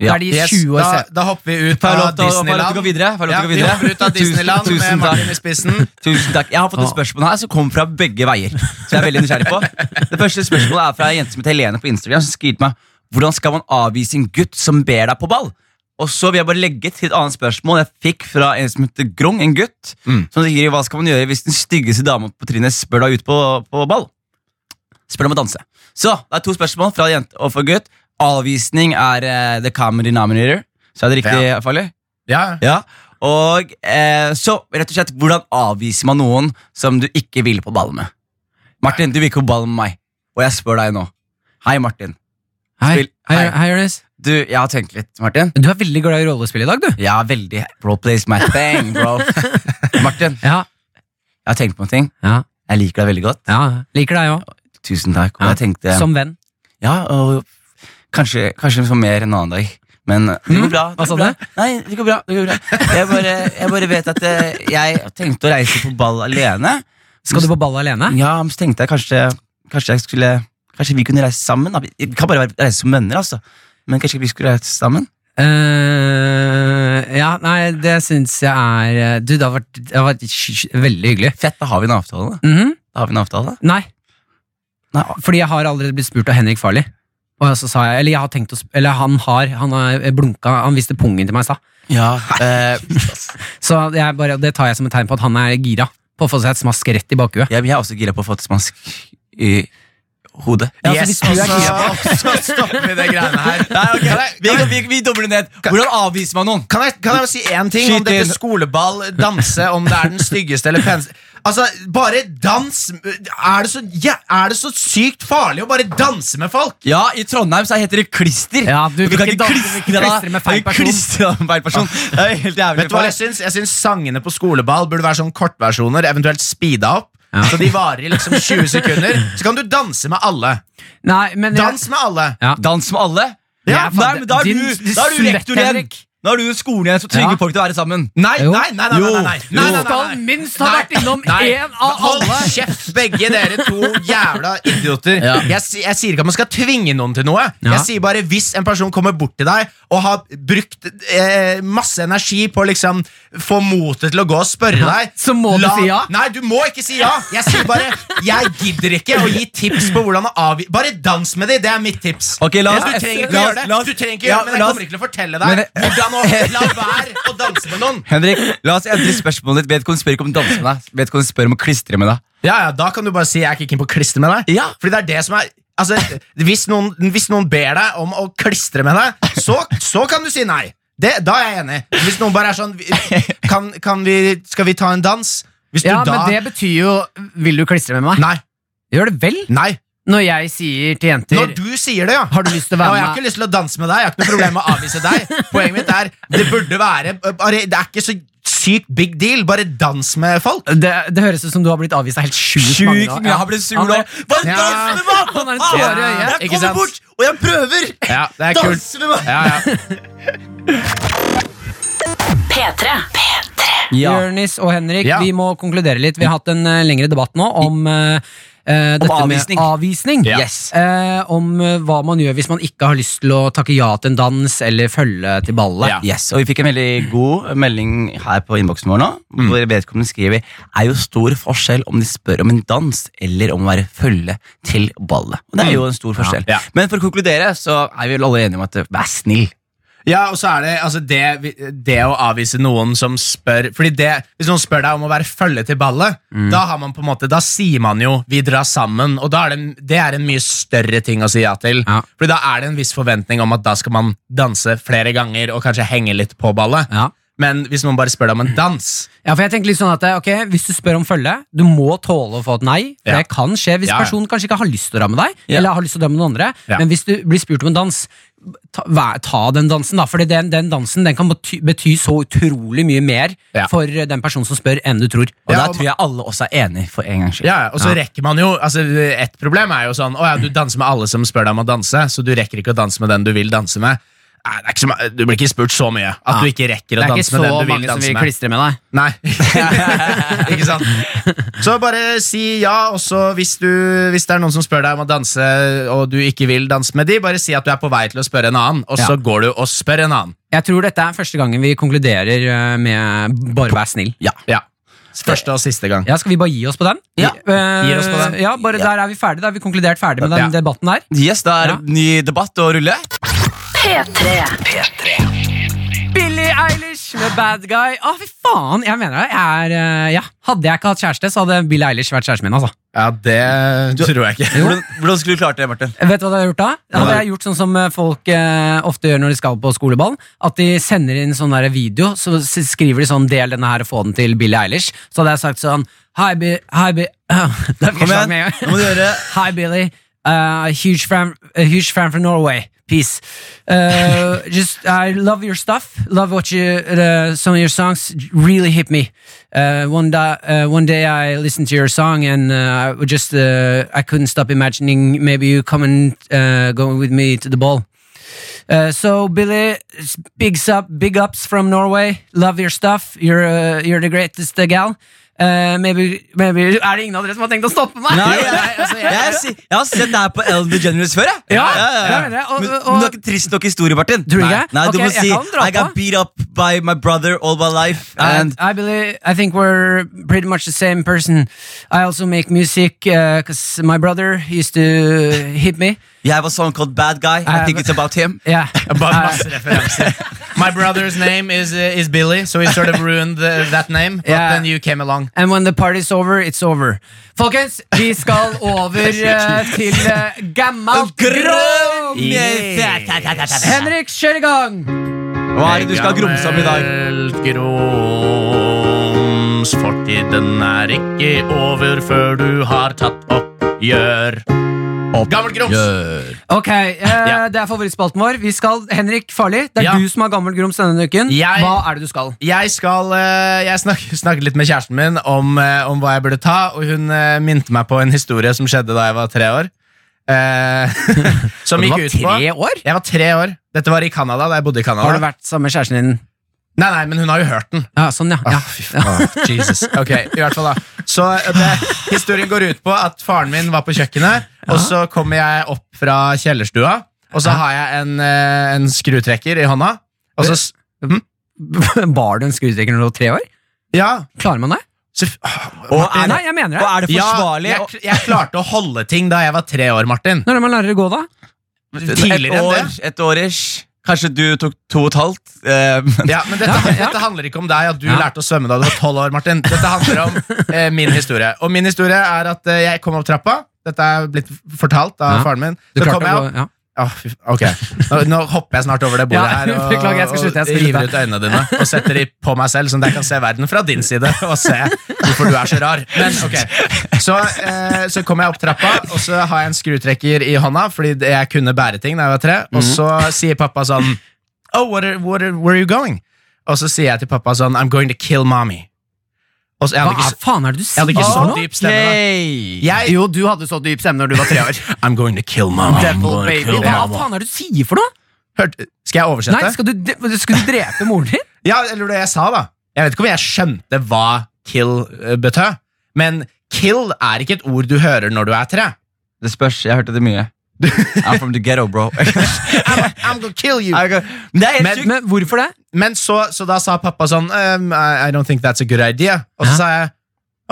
[SPEAKER 2] Da er de
[SPEAKER 3] Yes,
[SPEAKER 2] 20 år
[SPEAKER 3] da,
[SPEAKER 2] se-
[SPEAKER 3] da hopper vi ut
[SPEAKER 1] Får jeg
[SPEAKER 3] av
[SPEAKER 1] lov til å- får jeg lov til å gå
[SPEAKER 3] Disneyland.
[SPEAKER 1] videre? Får jeg
[SPEAKER 3] Ja,
[SPEAKER 1] lov til å gå
[SPEAKER 3] vi
[SPEAKER 1] videre?
[SPEAKER 3] hopper ut av
[SPEAKER 1] Tusen-
[SPEAKER 3] Disneyland
[SPEAKER 1] tusen
[SPEAKER 3] med
[SPEAKER 1] takk.
[SPEAKER 3] Martin i spissen.
[SPEAKER 1] Tusen takk. Jeg har fått et spørsmål her som kommer fra begge veier. Som jeg er veldig nysgjerrig på Det første spørsmålet er fra en jente som heter Helene på Instagram. Som skriver til meg Hvordan skal man avvise en gutt som ber deg på ball? Og så vil jeg bare legge til et annet spørsmål jeg fikk fra en som heter Grong, en gutt.
[SPEAKER 3] Mm.
[SPEAKER 1] Som sier hva skal man gjøre hvis den styggeste dama på trinnet spør deg ut på, på ball? Spør deg om å danse. Så det er to spørsmål fra jente og for gutt. Avvisning er eh, the common denominator. Så er det riktig, Farley?
[SPEAKER 3] Ja.
[SPEAKER 1] Ja, og eh, så rett og slett, hvordan avviser man noen som du ikke vil på ball med? Martin, du vil ikke på ball med meg, og jeg spør deg nå. Hei, Martin.
[SPEAKER 2] Hei,
[SPEAKER 1] spill-
[SPEAKER 2] hei,
[SPEAKER 1] hei.
[SPEAKER 2] hei, Jonis.
[SPEAKER 1] Du, jeg har tenkt litt, Martin.
[SPEAKER 2] Du er veldig glad i rollespill i dag, du.
[SPEAKER 1] Ja, veldig. Bro, plays my thing,
[SPEAKER 2] (laughs)
[SPEAKER 1] bro. Martin,
[SPEAKER 2] Ja,
[SPEAKER 1] jeg har tenkt på en ting.
[SPEAKER 2] ja,
[SPEAKER 1] Jeg liker deg veldig godt.
[SPEAKER 2] ja. Liker deg òg.
[SPEAKER 1] Tusen takk. Og
[SPEAKER 2] Ja.
[SPEAKER 1] jeg tenkte,
[SPEAKER 2] Som venn.
[SPEAKER 1] ja, og kanskje, kanskje for mer en annen dag. Men det går bra.
[SPEAKER 2] Mm, hva sa
[SPEAKER 1] det går bra. Nei, det går bra. Det går bra. Jeg, bare, jeg bare vet at eh, jeg tenkte å reise på ball alene.
[SPEAKER 2] Skal du på ball alene?
[SPEAKER 1] Ja, men så tenkte jeg kanskje Kanskje, jeg skulle, kanskje vi kunne reise sammen. Da. Vi vi kan bare være- reise som venner, altså. Men kanskje vi skulle reise sammen?
[SPEAKER 2] Eh, ja, nei, det syns jeg er eh, Du, det har vært, det har vært sj- sj- veldig hyggelig.
[SPEAKER 1] Fett, da har vi en avtale. Da,
[SPEAKER 2] Mhm.
[SPEAKER 1] da har vi en avtale. da.
[SPEAKER 2] Nei,
[SPEAKER 1] Nei,
[SPEAKER 2] Fordi jeg har allerede blitt spurt av Henrik Farley. Og så sa jeg, eller jeg har tenkt å sp Eller han har, han har blunka, han viste pungen til meg i stad.
[SPEAKER 1] ja, eh,
[SPEAKER 2] Så jeg bare, det tar jeg som et tegn på at han er gira på å få seg et smask rett i bakhuet.
[SPEAKER 1] jeg, jeg er også gira på å få et smask i hodet. altså.
[SPEAKER 2] Ja, så
[SPEAKER 3] Yes,
[SPEAKER 2] hvis du er gira på-
[SPEAKER 3] og så- (laughs) så stopper vi det greiene her.
[SPEAKER 1] Nei, ok,
[SPEAKER 3] Kan jeg-
[SPEAKER 1] vi, vi, vi dobler ned. Hvordan avviser man noen?
[SPEAKER 3] Kan jeg, kan jeg jo si én ting
[SPEAKER 1] Skyt
[SPEAKER 3] om
[SPEAKER 1] inn.
[SPEAKER 3] dette skoleball, danse, om det er den styggeste eller peneste Altså, bare dans er det, så, ja, er det så sykt farlig å bare danse med folk?
[SPEAKER 1] Ja, I Trondheim så heter det klister.
[SPEAKER 2] Ja, du vil
[SPEAKER 1] kan
[SPEAKER 2] ikke
[SPEAKER 1] ikke
[SPEAKER 2] danse-
[SPEAKER 1] klistre
[SPEAKER 2] du vil ikke
[SPEAKER 1] deg-
[SPEAKER 2] klistre med feil
[SPEAKER 1] du kan
[SPEAKER 2] person.
[SPEAKER 1] klistre deg med feil person. Det er helt jævlig.
[SPEAKER 3] Vet du hva Jeg syns Jeg syns sangene på skoleball burde være sånn kortversjoner, eventuelt speeda opp. Så de varer i liksom 20 sekunder. Så kan du danse med alle.
[SPEAKER 2] Nei, men jeg,
[SPEAKER 3] Dans med alle.
[SPEAKER 2] ja.
[SPEAKER 1] Dans med alle? Nei,
[SPEAKER 2] Ja,
[SPEAKER 1] men da er
[SPEAKER 2] din-
[SPEAKER 1] du,
[SPEAKER 2] din
[SPEAKER 1] da er du
[SPEAKER 2] svett,
[SPEAKER 1] rektor igjen.
[SPEAKER 2] Henrik.
[SPEAKER 1] Da er du jo skolen igjen som
[SPEAKER 2] Ja.
[SPEAKER 1] tvinger folk til å være sammen.
[SPEAKER 3] Nei,
[SPEAKER 2] Jo.
[SPEAKER 3] nei, nei, nei, nei, nei, nei,
[SPEAKER 1] Jo.
[SPEAKER 3] nei, nei,
[SPEAKER 2] Du skal
[SPEAKER 3] nei, nei.
[SPEAKER 2] minst ha vært innom
[SPEAKER 3] Nei.
[SPEAKER 2] en av
[SPEAKER 3] Hold
[SPEAKER 2] alle.
[SPEAKER 3] kjeft, begge dere to jævla idioter.
[SPEAKER 1] Ja.
[SPEAKER 3] Jeg, si- jeg sier ikke at man skal tvinge noen til noe.
[SPEAKER 2] Ja.
[SPEAKER 3] Jeg sier bare hvis en person kommer bort til deg og har brukt eh, masse energi på å liksom få motet til å gå og spørre deg
[SPEAKER 2] så må du si ja.
[SPEAKER 3] Nei, du må ikke si ja. Jeg sier bare jeg gidder ikke å gi tips på hvordan å avgi... Bare dans med dem, det er mitt tips.
[SPEAKER 1] Ok, la
[SPEAKER 3] du
[SPEAKER 1] oss-
[SPEAKER 3] trenger ikke
[SPEAKER 1] la
[SPEAKER 3] å
[SPEAKER 1] oss-
[SPEAKER 3] gjøre
[SPEAKER 1] la
[SPEAKER 3] det,
[SPEAKER 1] oss-
[SPEAKER 3] du trenger ikke
[SPEAKER 1] ja,
[SPEAKER 3] gjøre det, men jeg
[SPEAKER 1] la oss-
[SPEAKER 3] kommer ikke til å fortelle
[SPEAKER 1] Men-
[SPEAKER 3] deg hvordan å la være å danse med noen.
[SPEAKER 1] (laughs) Henrik, la oss endre spørsmålet ditt. Vedkommende spør ikke om å danse med deg. Vedkommende spør om å klistre med deg.
[SPEAKER 3] Ja, ja, Da kan du bare si 'jeg er ikke keen på å klistre med deg'.
[SPEAKER 1] Ja.
[SPEAKER 3] Fordi det er det som er Altså, hvis noen, hvis noen ber deg om å klistre med deg, så, så kan du si nei. Det, da er jeg enig. Hvis noen bare er sånn vi- kan, kan vi, 'Skal vi ta en dans?' Hvis
[SPEAKER 2] Ja,
[SPEAKER 3] du da
[SPEAKER 2] men det betyr jo Vil du klistre med meg?
[SPEAKER 3] Nei.
[SPEAKER 2] Gjør det vel?
[SPEAKER 3] nei
[SPEAKER 2] Når jeg sier til jenter
[SPEAKER 3] Når du sier det, ja.
[SPEAKER 2] Har du lyst til å
[SPEAKER 3] Ja, og
[SPEAKER 2] være
[SPEAKER 3] jeg har
[SPEAKER 2] med?
[SPEAKER 3] ikke lyst til å danse med deg. Jeg har ikke noe problem med å avvise deg. Poenget mitt er det burde være bare, Det er ikke så sykt big deal. Bare dans med folk.
[SPEAKER 2] Det, det høres ut som du har blitt avvist av helt sjukt mange.
[SPEAKER 1] Sjukt
[SPEAKER 2] nå.
[SPEAKER 1] mye.
[SPEAKER 2] Ja.
[SPEAKER 1] Jeg ble sur
[SPEAKER 2] Han
[SPEAKER 1] nå.
[SPEAKER 2] er-
[SPEAKER 1] Bare
[SPEAKER 3] Ja.
[SPEAKER 1] dans med meg!
[SPEAKER 2] Han er en tåre i øyet,
[SPEAKER 1] Jeg
[SPEAKER 3] ikke
[SPEAKER 1] kommer
[SPEAKER 3] sant?
[SPEAKER 1] bort, og jeg prøver!
[SPEAKER 3] Ja, det
[SPEAKER 1] Dans med meg!
[SPEAKER 3] Ja, ja.
[SPEAKER 4] P3. P3.
[SPEAKER 1] Ja.
[SPEAKER 2] Jonis og Henrik,
[SPEAKER 3] Ja.
[SPEAKER 2] vi må konkludere litt. Vi har hatt en eh, lengre debatt nå om eh, eh, dette
[SPEAKER 1] avvisning.
[SPEAKER 2] med avvisning.
[SPEAKER 3] Ja.
[SPEAKER 1] Yes.
[SPEAKER 2] Eh, om eh, hva man gjør hvis man ikke har lyst til å takke ja til en dans eller følge til ballet.
[SPEAKER 3] Ja.
[SPEAKER 1] Yes, og Vi fikk en veldig god melding her på innboksen vår nå.
[SPEAKER 3] Mm.
[SPEAKER 1] Hvor vedkommende skriver er jo stor forskjell om de spør om en dans eller om å være følge til ballet. Og det er jo en stor forskjell
[SPEAKER 3] Mm. Ja.
[SPEAKER 1] Men for å konkludere så er vi vel alle enige om at vær snill.
[SPEAKER 3] Ja, og så er det altså det, vi- det å avvise noen som spør Fordi det, Hvis noen spør deg om å være følge til ballet,
[SPEAKER 2] Mm.
[SPEAKER 3] da har man på en måte Da sier man jo 'vi drar sammen', og da er det, en- det er en mye større ting å si ja til.
[SPEAKER 2] Ja.
[SPEAKER 3] Fordi da er det en viss forventning om at da skal man danse flere ganger og kanskje henge litt på ballet.
[SPEAKER 2] Ja.
[SPEAKER 3] Men hvis noen bare spør deg om en dans
[SPEAKER 2] Ja, for jeg tenker litt sånn at ok, Hvis du spør om følge, du må tåle å få et nei. For
[SPEAKER 3] Ja.
[SPEAKER 2] det kan skje hvis
[SPEAKER 3] Ja, ja.
[SPEAKER 2] personen kanskje ikke har lyst til å dra med deg.
[SPEAKER 1] Ja.
[SPEAKER 2] Eller har lyst til å dra med noen andre
[SPEAKER 3] Ja.
[SPEAKER 2] Men hvis du blir spurt om en dans, ta, vær- ta den dansen, da. For den, den dansen den kan bety, bety så utrolig mye mer
[SPEAKER 3] Ja.
[SPEAKER 2] for den personen som spør, enn du tror.
[SPEAKER 1] Og
[SPEAKER 3] Ja,
[SPEAKER 1] der
[SPEAKER 3] og-
[SPEAKER 1] tror jeg alle også er enige for en gangs skyld.
[SPEAKER 3] Ja, og så rekker man jo altså Et problem er jo sånn Å ja, du danser med alle som spør deg om å danse Så du rekker ikke å danse med den du vil danse med Nei, det er ikke så, ma- Du blir ikke spurt så mye At du ikke rekker å danse med den du vil danse med
[SPEAKER 2] klistre med deg.
[SPEAKER 3] Nei (laughs) Ikke sant Så bare si ja Og så hvis, du- hvis det er noen som spør deg om å danse Og du ikke vil danse med de Bare si at du er på vei til å spørre en annen Og så
[SPEAKER 2] Ja.
[SPEAKER 3] går du og spør en annen
[SPEAKER 2] Jeg tror dette er første gangen vi konkluderer eh, med bare vær snill.
[SPEAKER 3] Ja Første og siste gang
[SPEAKER 2] Ja, Skal vi bare gi oss på den?
[SPEAKER 1] Ja.
[SPEAKER 2] Eh,
[SPEAKER 3] Gir oss på den.
[SPEAKER 2] Ja, bare Der er vi ferdig, da er vi konkludert ferdig med den
[SPEAKER 3] Ja.
[SPEAKER 2] debatten der.
[SPEAKER 1] Yes, Da er det ny debatt å rulle.
[SPEAKER 4] P3.
[SPEAKER 2] Billie Eilish med Bad Guy. Å, fy faen! Jeg mener det. Jeg er, eh, ja. Hadde jeg ikke hatt kjæreste, så hadde Billie Eilish vært kjæresten min. altså.
[SPEAKER 3] Ja, det tror jeg ikke
[SPEAKER 1] Hvordan, hvordan skulle du klart det, Martin?
[SPEAKER 2] Eh, Vet du hva jeg hadde gjort da? Jeg hadde jeg gjort sånn som eh, folk eh, ofte gjør når de skal på skoleball. At de sender inn sånn der video, så s- skriver de sånn 'del denne her og få den til Billie Eilish'. Så hadde jeg sagt sånn Hi, Bi... Hi, Bi... (laughs) Det er sånn
[SPEAKER 1] Kom igjen, nå må du gjøre det.
[SPEAKER 2] Hi, Billy. Uh, huge fan, a huge fan from Norway. Peace. Uh, (laughs) just I love your stuff. Love what you uh, some of your songs really hit me. Uh, one da, uh, one day I listened to your song and uh, I would just uh, I couldn't stop imagining maybe you coming uh, going with me to the ball. Uh, so Billy, s- bigs up, big ups from Norway. Love your stuff. You're uh, you're the greatest uh, gal. Uh, maybe maybe Er det ingen av dere som har tenkt å stoppe meg?
[SPEAKER 1] Nei, jeg, jeg, har si- jeg har sett det her på Ellen DeGeneres før. jeg.
[SPEAKER 2] altså, Ja, jeg mener det, og-
[SPEAKER 1] Men,
[SPEAKER 2] og-
[SPEAKER 1] men du har ikke trist nok historie, Martin.
[SPEAKER 2] Tror du ikke?
[SPEAKER 1] Nei, du
[SPEAKER 2] Ok,
[SPEAKER 1] må
[SPEAKER 2] jeg
[SPEAKER 1] si
[SPEAKER 2] kan dra
[SPEAKER 1] I got
[SPEAKER 2] på.
[SPEAKER 1] beat up by my brother all my life. And
[SPEAKER 2] And I believe I think we're pretty much the same person. I also make music because my brother used to hit me.
[SPEAKER 1] you have a song called Bad Guy. I
[SPEAKER 2] have-
[SPEAKER 1] think it's about him.
[SPEAKER 2] Yeah, Uh,
[SPEAKER 3] Bare
[SPEAKER 1] Ah.
[SPEAKER 3] masse referanser. (laughs) My brother's name is, uh, is Billy, so he sort
[SPEAKER 1] (laughs)
[SPEAKER 3] of ruined uh, that name. But
[SPEAKER 2] Yeah.
[SPEAKER 3] then you came along.
[SPEAKER 2] And when the party's over, it's over. Folkens, vi skal over eh, til uh, gammelt grom. Henrik, kjør i gang!
[SPEAKER 1] Hva er det du skal grumse om i dag?
[SPEAKER 3] Gammelt grums. Fortiden er ikke over før du har tatt oppgjør. Gammelt grums!
[SPEAKER 2] Ok, eh,
[SPEAKER 3] Ja.
[SPEAKER 2] Det er favorittspalten vår. Vi skal, Henrik Farli, det er
[SPEAKER 3] Ja.
[SPEAKER 2] du som har gammel grums denne uken.
[SPEAKER 3] Jeg-
[SPEAKER 2] Hva er det du skal?
[SPEAKER 3] Jeg, skal, eh, jeg snak, snakket litt med kjæresten min om, eh, om hva jeg burde ta, og hun eh, minte meg på en historie som skjedde da jeg var tre år. Eh, (laughs) som
[SPEAKER 2] Du
[SPEAKER 3] gikk
[SPEAKER 2] var
[SPEAKER 3] ut på
[SPEAKER 2] tre år?
[SPEAKER 3] Jeg var tre år. Dette var i Canada, da jeg bodde i
[SPEAKER 2] Har du
[SPEAKER 3] Canada.
[SPEAKER 2] vært sammen med kjæresten din?
[SPEAKER 3] Nei, nei, men hun har jo hørt den.
[SPEAKER 2] Ja, sånn, ja.
[SPEAKER 1] Ah,
[SPEAKER 2] ja.
[SPEAKER 3] (laughs) Jesus. Ok, i hvert fall da. Så eh, det, historien går ut på at faren min var på kjøkkenet, og så kommer jeg opp fra kjellerstua, og så har jeg en, eh, en skrutrekker i hånda, og så s-
[SPEAKER 2] Bar du en skrutrekker når du (laughs) var tre år?
[SPEAKER 3] Ja,
[SPEAKER 2] Klarer man det?
[SPEAKER 3] så,
[SPEAKER 1] Og er
[SPEAKER 2] Nei,
[SPEAKER 1] det,
[SPEAKER 2] jeg
[SPEAKER 1] og
[SPEAKER 2] mener det.
[SPEAKER 1] er det
[SPEAKER 3] ja
[SPEAKER 1] forsvarlig?
[SPEAKER 3] jeg, jeg klarte å holde ting da jeg var tre år, Martin.
[SPEAKER 2] Når er det man lærer å gå, da?
[SPEAKER 3] Tidligere
[SPEAKER 1] et
[SPEAKER 3] enn
[SPEAKER 1] år,
[SPEAKER 3] det.
[SPEAKER 1] Et år ish. Kanskje du tok to og et halvt. eh,
[SPEAKER 3] (laughs) Ja, men dette, dette handler ikke om deg at du
[SPEAKER 2] Ja.
[SPEAKER 3] lærte å svømme da du var tolv år, Martin. Dette handler om
[SPEAKER 2] (laughs)
[SPEAKER 3] eh, min historie. Og min historie er at eh, jeg kom opp trappa. Dette er blitt fortalt av
[SPEAKER 2] Ja.
[SPEAKER 3] faren min.
[SPEAKER 2] Du
[SPEAKER 3] Så
[SPEAKER 2] klarte
[SPEAKER 3] kom
[SPEAKER 2] å
[SPEAKER 3] jeg opp
[SPEAKER 2] gå- ja.
[SPEAKER 3] Åh, Ah, fy f- ok, nå, nå hopper jeg snart over det bordet
[SPEAKER 2] Ja, (laughs)
[SPEAKER 3] her og,
[SPEAKER 2] beklager, jeg skal slutte, jeg skal
[SPEAKER 3] og river
[SPEAKER 2] slutte.
[SPEAKER 3] ut øynene dine og setter de på meg selv, sånn at jeg kan se verden fra din side og se hvorfor du er så rar. Men ok, Så, eh, så kommer jeg opp trappa, og så har jeg en skrutrekker i hånda fordi det- jeg kunne bære ting da jeg var tre, og
[SPEAKER 2] Mhm.
[SPEAKER 3] så sier pappa sånn Oh, what are, what are, where are you going? Og så sier jeg til pappa sånn I'm going to kill mommy. Og så, jeg
[SPEAKER 2] Hva
[SPEAKER 3] hadde ikke,
[SPEAKER 2] er faen er det du sier
[SPEAKER 3] hadde ikke
[SPEAKER 2] for
[SPEAKER 3] så
[SPEAKER 2] noe?
[SPEAKER 3] dyp stemme,
[SPEAKER 2] Ok.
[SPEAKER 3] da. Jeg,
[SPEAKER 2] Jo, du hadde så dyp stemme når du var
[SPEAKER 3] (laughs)
[SPEAKER 2] tre år. (laughs)
[SPEAKER 3] I'm going to kill mommy.
[SPEAKER 2] Devil baby. Hva faen er det du sier for noe?
[SPEAKER 3] Hørt, skal jeg oversette?
[SPEAKER 2] Nei, skal du, de- skal du drepe moren din?
[SPEAKER 3] Ja, eller det jeg sa, da. Jeg vet ikke om jeg skjønte hva kill eh, betød, men kill er ikke et ord du hører når du er tre.
[SPEAKER 1] Det spørs. Jeg hørte det
[SPEAKER 3] (laughs)
[SPEAKER 1] mye. I'm from the ghetto, bro.
[SPEAKER 3] I'm, I'm gonna kill you.
[SPEAKER 2] (laughs)
[SPEAKER 1] Jeg kan- Men det er helt
[SPEAKER 3] Men-
[SPEAKER 1] sykt.
[SPEAKER 2] Men hvorfor det?
[SPEAKER 3] Men så, så da sa pappa sånn um, I, I don't think that's a good idea. Og så
[SPEAKER 2] Hæ?
[SPEAKER 3] sa jeg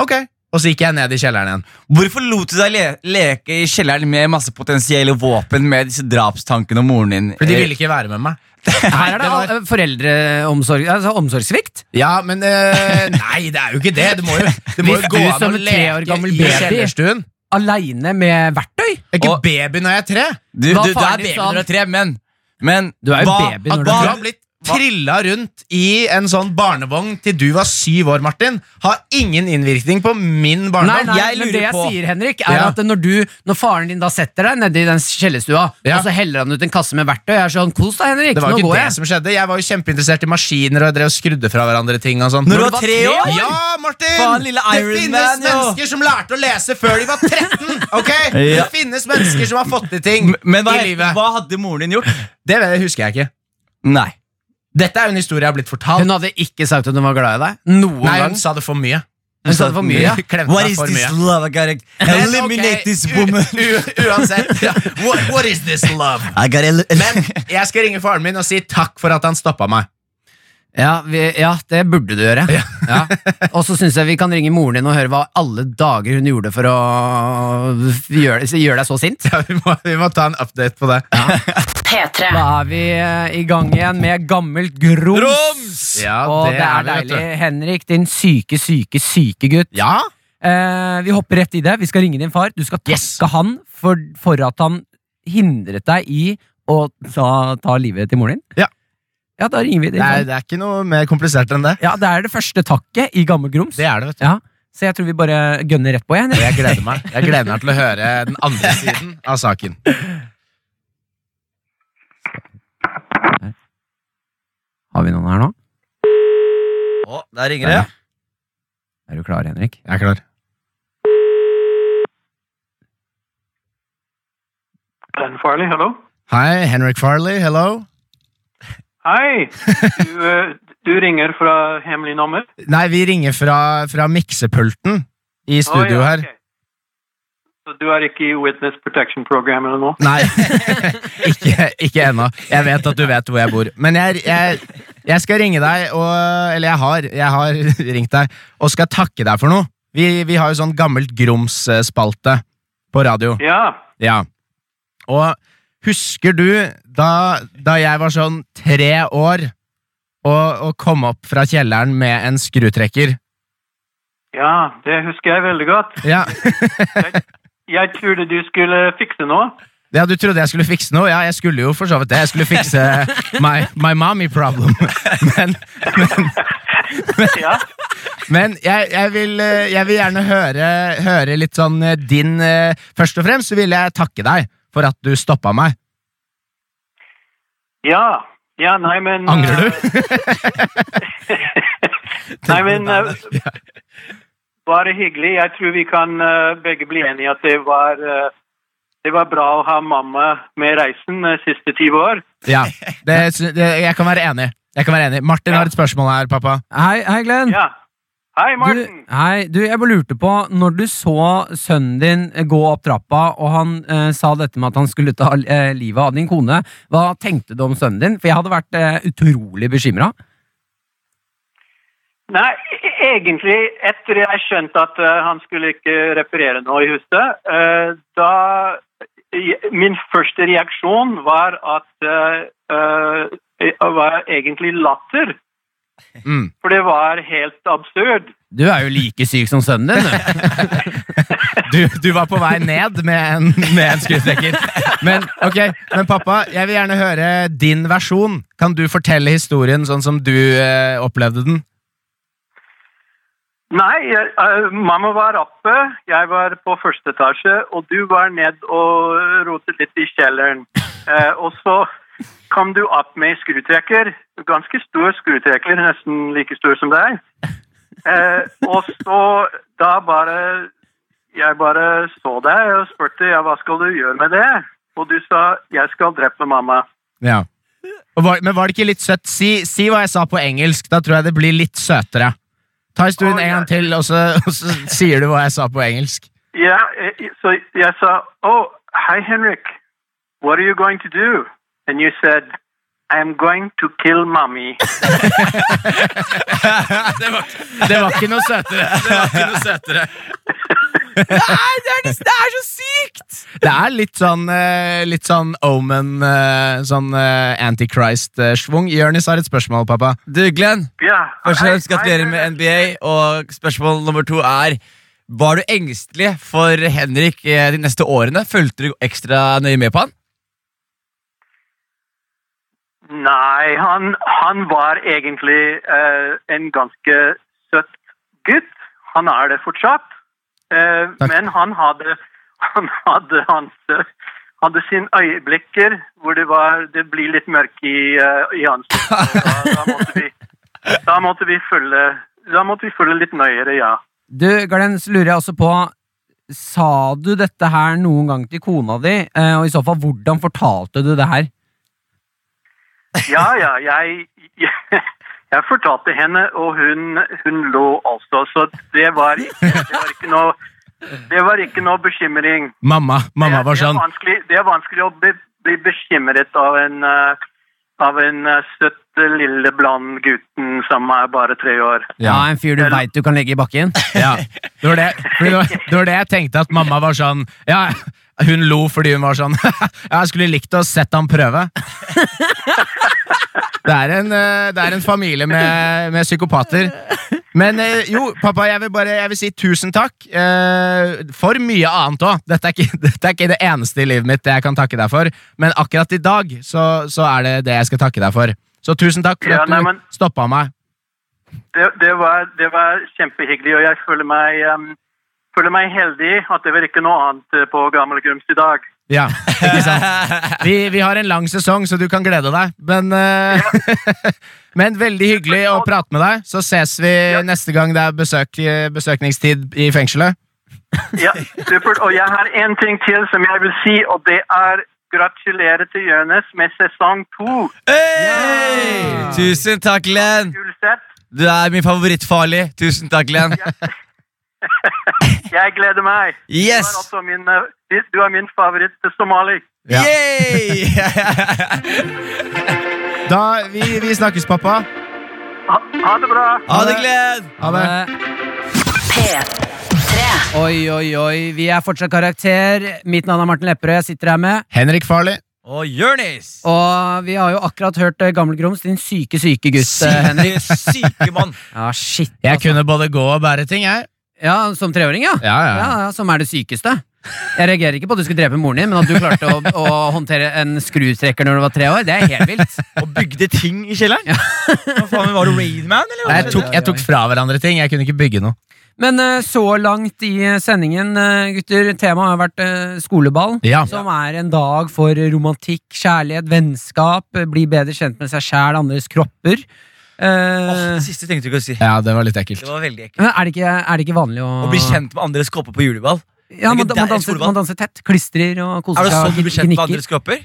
[SPEAKER 3] ok. Og så gikk jeg ned i kjelleren igjen.
[SPEAKER 1] Hvorfor lot du deg le leke i kjelleren med masse potensielle våpen med disse drapstankene om moren din? Eh,
[SPEAKER 3] For de ville ikke være med meg.
[SPEAKER 2] Eh, (laughs) Her er det
[SPEAKER 3] var-
[SPEAKER 2] all- eh, foreldreomsorg altså omsorgssvikt.
[SPEAKER 3] Ja, men eh, Nei, det er jo ikke det. Det må jo, det må
[SPEAKER 2] Hvis
[SPEAKER 3] jo
[SPEAKER 2] du
[SPEAKER 3] gå an
[SPEAKER 2] som
[SPEAKER 3] å
[SPEAKER 2] en tre år
[SPEAKER 3] leke
[SPEAKER 2] gammel
[SPEAKER 3] i
[SPEAKER 2] baby-
[SPEAKER 3] kjellerstuen.
[SPEAKER 2] Aleine med verktøy.
[SPEAKER 3] Jeg er ikke
[SPEAKER 1] Og-
[SPEAKER 3] baby når jeg er tre.
[SPEAKER 1] Du, du, du
[SPEAKER 2] Hva faren
[SPEAKER 1] er
[SPEAKER 2] din
[SPEAKER 1] baby
[SPEAKER 2] sa han?
[SPEAKER 1] når du er tre, men, men
[SPEAKER 2] Du er jo
[SPEAKER 1] hva-
[SPEAKER 2] baby når
[SPEAKER 1] at
[SPEAKER 3] Du
[SPEAKER 2] du
[SPEAKER 1] hva-
[SPEAKER 2] er
[SPEAKER 3] har blitt trilla rundt i en sånn barnevogn til du var syv år, Martin. Har ingen innvirkning på
[SPEAKER 2] Nei,
[SPEAKER 3] min barndom.
[SPEAKER 2] nei,
[SPEAKER 1] jeg
[SPEAKER 2] men
[SPEAKER 1] lurer
[SPEAKER 2] det jeg
[SPEAKER 1] på-
[SPEAKER 2] sier, Henrik, er
[SPEAKER 3] Ja.
[SPEAKER 2] at når, du, når faren din da setter deg nedi den kjellerstua,
[SPEAKER 3] Ja.
[SPEAKER 2] og så heller han ut en kasse med verktøy, jeg er sånn Kos deg, Henrik,
[SPEAKER 3] Det var
[SPEAKER 2] nå
[SPEAKER 3] jo ikke
[SPEAKER 2] går
[SPEAKER 3] det
[SPEAKER 2] jeg.
[SPEAKER 3] som skjedde. Jeg var jo kjempeinteressert i maskiner og jeg drev og skrudde fra hverandre ting. og sånn
[SPEAKER 1] Når du var tre år?
[SPEAKER 3] Ja, Martin!
[SPEAKER 1] Faen, lille Iron
[SPEAKER 3] det finnes
[SPEAKER 1] Man, jo.
[SPEAKER 3] mennesker som lærte å lese før de var 13! ok?
[SPEAKER 1] (laughs) Ja.
[SPEAKER 3] Det finnes mennesker som har fått til ting
[SPEAKER 1] M- Men hva,
[SPEAKER 3] i livet.
[SPEAKER 1] hva hadde moren din gjort?
[SPEAKER 3] Det husker jeg ikke.
[SPEAKER 1] Nei.
[SPEAKER 3] Dette er jo en historie jeg har blitt fortalt.
[SPEAKER 2] Hun hadde ikke sagt at hun var glad i deg. Noen
[SPEAKER 3] Nei,
[SPEAKER 2] gang.
[SPEAKER 3] hun sa det for mye.
[SPEAKER 2] Hun sa det for
[SPEAKER 3] (laughs)
[SPEAKER 2] mye. ja.
[SPEAKER 3] Klemte
[SPEAKER 1] What
[SPEAKER 3] meg
[SPEAKER 1] is
[SPEAKER 3] for
[SPEAKER 1] this
[SPEAKER 3] mye.
[SPEAKER 1] love? I gotta
[SPEAKER 3] Men
[SPEAKER 1] eliminate
[SPEAKER 3] ok,
[SPEAKER 1] this
[SPEAKER 3] u- (laughs)
[SPEAKER 1] woman.
[SPEAKER 3] u- Uansett.
[SPEAKER 1] (laughs)
[SPEAKER 3] ja. What, what is this love?
[SPEAKER 1] I gotta el
[SPEAKER 3] Men jeg skal ringe faren min og si takk for at han stoppa meg. (laughs)
[SPEAKER 2] Ja, vi, ja, det burde du gjøre. Ja. Og så syns jeg vi kan ringe moren din og høre hva alle dager hun gjorde for å gjøre, gjøre deg så sint.
[SPEAKER 3] Ja, vi, må, vi må ta en update på det.
[SPEAKER 2] Da
[SPEAKER 4] P3.
[SPEAKER 2] er vi eh, i gang igjen med gammelt grums.
[SPEAKER 3] Ja,
[SPEAKER 2] og det er,
[SPEAKER 3] vi, vet du.
[SPEAKER 2] deilig. Henrik, din syke, syke, syke gutt.
[SPEAKER 3] Ja?
[SPEAKER 2] Eh, vi hopper rett i det. Vi skal ringe din far. Du skal takke
[SPEAKER 3] Yes.
[SPEAKER 2] han for, for at han hindret deg i å ta, ta livet til moren din.
[SPEAKER 3] Ja.
[SPEAKER 2] Ja, da ringer vi din
[SPEAKER 3] Det er,
[SPEAKER 2] far.
[SPEAKER 3] det er ikke noe mer komplisert enn det.
[SPEAKER 2] Ja, det er det første takket i gammel grums.
[SPEAKER 3] Det er det, vet du.
[SPEAKER 2] Ja, så jeg tror vi bare gønner rett på, jeg.
[SPEAKER 3] Og jeg gleder meg Jeg gleder meg til å høre den andre siden av saken.
[SPEAKER 2] (laughs) Har vi noen her nå?
[SPEAKER 1] (laughs) Å, der ringer det.
[SPEAKER 2] Er du klar, Henrik?
[SPEAKER 3] Jeg er klar.
[SPEAKER 5] Ben Farley, hallo.
[SPEAKER 3] Hei, Henrik Farley. Hello.
[SPEAKER 5] Hei!
[SPEAKER 3] (laughs)
[SPEAKER 5] Du, eh, du ringer fra hemmelig nummer?
[SPEAKER 3] Nei, vi ringer fra, fra miksepulten i studio
[SPEAKER 5] Å, ja,
[SPEAKER 3] her.
[SPEAKER 5] ok. Så du er ikke i Witness Protection Program eller noe?
[SPEAKER 3] Nei, (laughs) ikke, ikke ennå. Jeg vet at du vet hvor jeg bor. Men jeg, jeg, jeg skal ringe deg, og, eller jeg har, jeg har (laughs) ringt deg, og skal takke deg for noe. Vi, vi har jo sånn gammelt grums-spalte på radio.
[SPEAKER 5] Ja.
[SPEAKER 3] Ja. Og husker du da, da jeg var sånn tre år og, og kom opp fra kjelleren med en skrutrekker?
[SPEAKER 5] ja, det husker jeg veldig godt.
[SPEAKER 3] Ja.
[SPEAKER 5] Jeg trodde du skulle fikse noe.
[SPEAKER 3] ja, du trodde jeg skulle fikse noe? Ja, jeg skulle jo for så vidt det. Jeg skulle fikse my, my mommy problem. Men,
[SPEAKER 5] Ja.
[SPEAKER 3] men jeg, jeg, vil, eh, jeg vil gjerne høre, høre litt sånn eh, din eh, Først og fremst så vil jeg takke deg for at du stoppa meg.
[SPEAKER 5] ja. Ja, nei, men eh,
[SPEAKER 3] Angrer du?
[SPEAKER 5] Nei, men eh, (laughs) Bare hyggelig. Jeg tror vi kan eh, begge bli enige at det var eh, det var bra å ha mamma med i reisen de siste 20 år.
[SPEAKER 3] Ja, det, sy- det, jeg kan være enig. Jeg kan være enig. Martin har et spørsmål her, pappa.
[SPEAKER 2] Hei, hei Glenn.
[SPEAKER 5] Ja. Hei,
[SPEAKER 2] Du,
[SPEAKER 5] Martin!
[SPEAKER 2] hei, du, jeg bare lurte på, når du så sønnen din gå opp trappa, og han eh, sa dette med at han skulle ta eh, livet av din kone, hva tenkte du om sønnen din? For jeg hadde vært eh, utrolig bekymra.
[SPEAKER 5] Nei, e- egentlig etter jeg skjønte at eh, han skulle ikke reparere noe i huset, eh, da je- Min første reaksjon var at eh, eh, eh, var egentlig latter.
[SPEAKER 3] Mm.
[SPEAKER 5] For det var helt absurd.
[SPEAKER 2] Du er jo like syk som sønnen din. du.
[SPEAKER 3] Du, du var på vei ned med en, med en skrutrekker. Men, ok, men pappa, jeg vil gjerne høre din versjon. Kan du fortelle historien sånn som du eh, opplevde den?
[SPEAKER 5] Nei, jeg, eh, mamma var oppe, jeg var på første etasje, og du var ned og rotet litt i kjelleren. Eh, og så kom du opp med skrutrekker, ganske stor skrutrekker, nesten like stor som deg. Eh, og så da bare, jeg bare så deg og spurte, ja, hva skal du gjøre med det? Og du sa, jeg skal drepe mamma.
[SPEAKER 3] Ja. Og var, men var det ikke litt søtt? Si, si hva jeg sa på engelsk, da tror jeg det blir litt søtere. Ta historien
[SPEAKER 5] Å,
[SPEAKER 3] en
[SPEAKER 5] ja.
[SPEAKER 3] gang til, og så, og så sier du hva jeg sa på engelsk.
[SPEAKER 5] Yeah, eh, so I saw, oh, hi, Henrik. What are you going to do? And you said, I'm going to kill mommy.
[SPEAKER 3] Det var ikke noe søtere. (laughs) Det var ikke noe søtere.
[SPEAKER 2] Nei, det er, det er så sykt!
[SPEAKER 3] Det er litt sånn, eh, litt sånn Omen, eh, sånn eh, Antichrist-schwung. Jonis har et spørsmål, pappa.
[SPEAKER 1] Du, Glenn,
[SPEAKER 5] Yeah.
[SPEAKER 1] først og
[SPEAKER 5] hi-
[SPEAKER 1] fremst
[SPEAKER 5] hi,
[SPEAKER 1] gratulerer med
[SPEAKER 5] Henrik.
[SPEAKER 1] NBA. Og spørsmål nummer to er Var du engstelig for Henrik eh, de neste årene? Fulgte du ekstra nøye med på han?
[SPEAKER 5] Nei, han, han var egentlig eh, en ganske søt gutt. Han er det fortsatt. Eh, men han hadde, han hadde, hans, eh, hadde sine øyeblikker hvor det, var, det blir litt mørkt i, eh, i ansiktet. Da, da, måtte vi, da, måtte vi følge, da måtte vi følge litt nøyere, ja.
[SPEAKER 2] (laughs) Du, Glenn, så lurer jeg også på Sa du dette her noen gang til kona di? Eh, Og i så fall, hvordan fortalte du det her?
[SPEAKER 5] Ja, ja, jeg, (laughs) jeg, jeg fortalte henne, og hun, hun lå altså, så det var, det var ikke noe det var ikke noe bekymring.
[SPEAKER 3] Mamma. Mamma var
[SPEAKER 5] det, er
[SPEAKER 3] sånn.
[SPEAKER 5] vanskelig, det er vanskelig å bli, bli bekymret av en, eh, av en eh, søtt, eh, lille, bland gutten som er bare tre år.
[SPEAKER 2] Ja, En fyr du veit du kan legge i bakken?
[SPEAKER 3] Ja, det var det, fordi det, var, det var det jeg tenkte at mamma var sånn Ja, hun lo fordi hun var sånn (laughs) Ja, jeg skulle likt å sett han prøve Det er en, eh, det er en familie med, med psykopater Men eh, jo, pappa, jeg vil bare jeg vil si tusen takk eh, For mye annet også dette er, ikke, (laughs) dette er ikke det eneste i livet mitt det jeg kan takke deg for Men akkurat i dag så, så er det det jeg skal takke deg for Så tusen takk for
[SPEAKER 5] Ja,
[SPEAKER 3] at
[SPEAKER 5] nei, men-
[SPEAKER 3] du stoppet meg
[SPEAKER 5] Det, det, var, det var kjempehyggelig, og jeg føler meg, eh, føler meg heldig at det var ikke noe annet eh, på Gammel Grums i dag.
[SPEAKER 3] Ja, ikke sant? Vi, vi har en lang sesong, så du kan glede deg. Men, eh, (laughs) men veldig hyggelig å prate med deg. Så ses vi neste gang det er besøk, besøkningstid i fengselet.
[SPEAKER 5] Ja, supert. Og jeg har en ting til som jeg vil si, og det er gratulerer til Jonis med sesong to.
[SPEAKER 1] Hey! Tusen takk, Glenn.
[SPEAKER 5] Uansett,
[SPEAKER 1] Du er min favorittfarlig. Tusen takk, Glenn.
[SPEAKER 5] jeg gleder meg. Du
[SPEAKER 1] Yes!
[SPEAKER 5] er, altså min, eh, du er min favoritt til somali.
[SPEAKER 3] Ja.
[SPEAKER 1] Yay!
[SPEAKER 3] Da, vi, vi snakkes, pappa.
[SPEAKER 5] Ha, ha det bra.
[SPEAKER 1] (laughs) Ha det, Glenn.
[SPEAKER 3] Ha det.
[SPEAKER 4] P3.
[SPEAKER 2] Oi, oi, oi. Vi er fortsatt karakter. Mitt navn er Martin Lepperød. Jeg sitter her med
[SPEAKER 3] Henrik Farley.
[SPEAKER 1] Og Jonis.
[SPEAKER 2] Og vi har jo akkurat hørt eh, Gammel Grums, din syke, syke gutt, eh, Henrik.
[SPEAKER 1] (laughs) syke mann.
[SPEAKER 2] Ja, shit.
[SPEAKER 3] Jeg kunne både gå og bære ting, jeg.
[SPEAKER 2] Ja, Som treåring, ja.
[SPEAKER 3] Ja, ja.
[SPEAKER 2] Ja, ja, Som er det sykeste. Jeg reagerer ikke på at du skulle drepe moren din, men at du klarte å, å håndtere en skrutrekker når du var tre år, det er helt vilt.
[SPEAKER 1] Og bygde ting i kjelleren. Hva faen, Var du Rainman, eller? hva
[SPEAKER 3] Jeg tok, jeg tok fra hverandre ting. Jeg kunne ikke bygge noe.
[SPEAKER 2] Men eh, så langt i eh, sendingen, eh, gutter, temaet har vært eh, skoleball.
[SPEAKER 3] Ja.
[SPEAKER 2] Som er en dag for romantikk, kjærlighet, vennskap, eh, bli bedre kjent med seg sjæl, andres kropper. Eh,
[SPEAKER 1] Åh, det siste tenkte du ikke å si.
[SPEAKER 3] ja, det var litt ekkelt.
[SPEAKER 1] Det var veldig ekkelt.
[SPEAKER 2] men er, det ikke, er det ikke vanlig å
[SPEAKER 1] Å bli kjent med andres kropper på juleball.
[SPEAKER 2] Ja, man,
[SPEAKER 1] Det er ikke
[SPEAKER 2] man,
[SPEAKER 1] der-
[SPEAKER 2] danser,
[SPEAKER 1] skoleball.
[SPEAKER 2] man danser tett. Klistrer og koser
[SPEAKER 1] Er det
[SPEAKER 2] seg.
[SPEAKER 1] sånn
[SPEAKER 2] og
[SPEAKER 1] du blir kjent med
[SPEAKER 2] gnikker.
[SPEAKER 1] andres kropper?